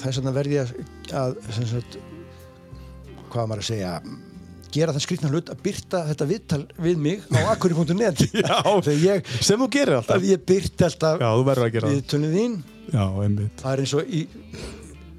þess vegna verði ég að- að sem sagt, hvað á maður að segja gera það skrýtna hlut að byrta þetta viðtal við mig [laughs] á akkurri.net þegar ég, sem þú gerir alltaf að ég byrti Já, alltaf þú verður að gera það viðtölum þín Já, einmitt það er eins og í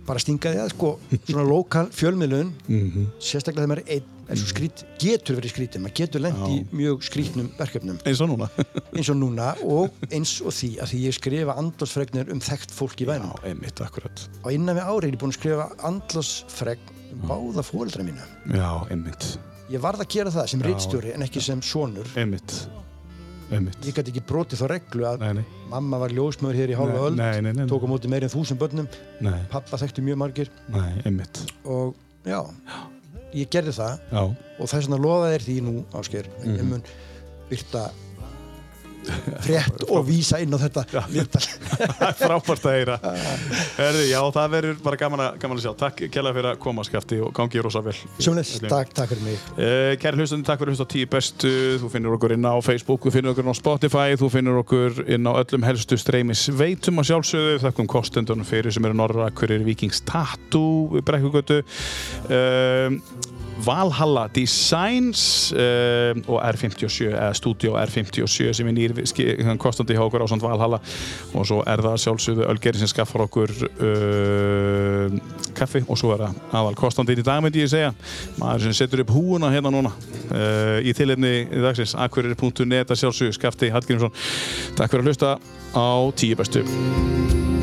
bara stingaði að sko svona lokal fjölmiðlun Mhm. sérstaklega þegar maður er einn eins og skrýt, getur verið skrýtin, maður getur lent í mjög skrýtnum verkefnum Eins og núna eins og núna og eins og því að því ég skrifa andlásfregnir um þekkt fólk í vænum einmitt, akkurat og innan við árið er ég búin að skrifa andlásfregn um Mm. báða fóreldra mína Já, einmitt, Ég varð að gera það sem rittstjóri en ekki sem sonur. einmitt Einmitt Ég gæti ekki brotið þá reglu að Nei, nei, mamma var ljósmöður hér í hálfa Nei, öll, nei, nei, nei. tók á móti meirinn þúsund börnum, nei, pappa þekkti mjög margir nei, einmitt og já, ég gerði það Já, og þess vegna lofaði þér því nú, Ásker, að ég mun byrta frétt og vísa inn á þetta viðtal. það er frábært að heyra Herði, já, það verður bara gaman að, gaman að sjá Takk kjærlega fyrir að koma, Skafti og gangi rosa vel Sjónleis, takk, takk fyrir mig. Eh, Kæri hlustandi, takk fyrir að hlusta á tíu bestu Þú finnur okkur inn á Facebook, þú finnur okkur inn á Spotify Þú finnur okkur inn á öllum helstu streymis veitum að sjálfsögðu Þakkum kostendunum fyrir sem eru Norra Hverjir Vikings Tattoo, Brekkugötu um, Valhalla Designs um, og R57 eða Studio R57 sem er nýr ski- hérna, kostandi hjá okkur ásand Valhalla og svo er það að sjálfsögðu Ölgeri sem skaffar okkur um, kaffi og svo er það aðal kostandi í dag myndi ég segja maður sem setur upp húuna hérna núna uh, í tilhefni dagsins akkurir.net að sjálfsögðu Skafti Hallgrímsson Takk fyrir að hlusta á tíu bestu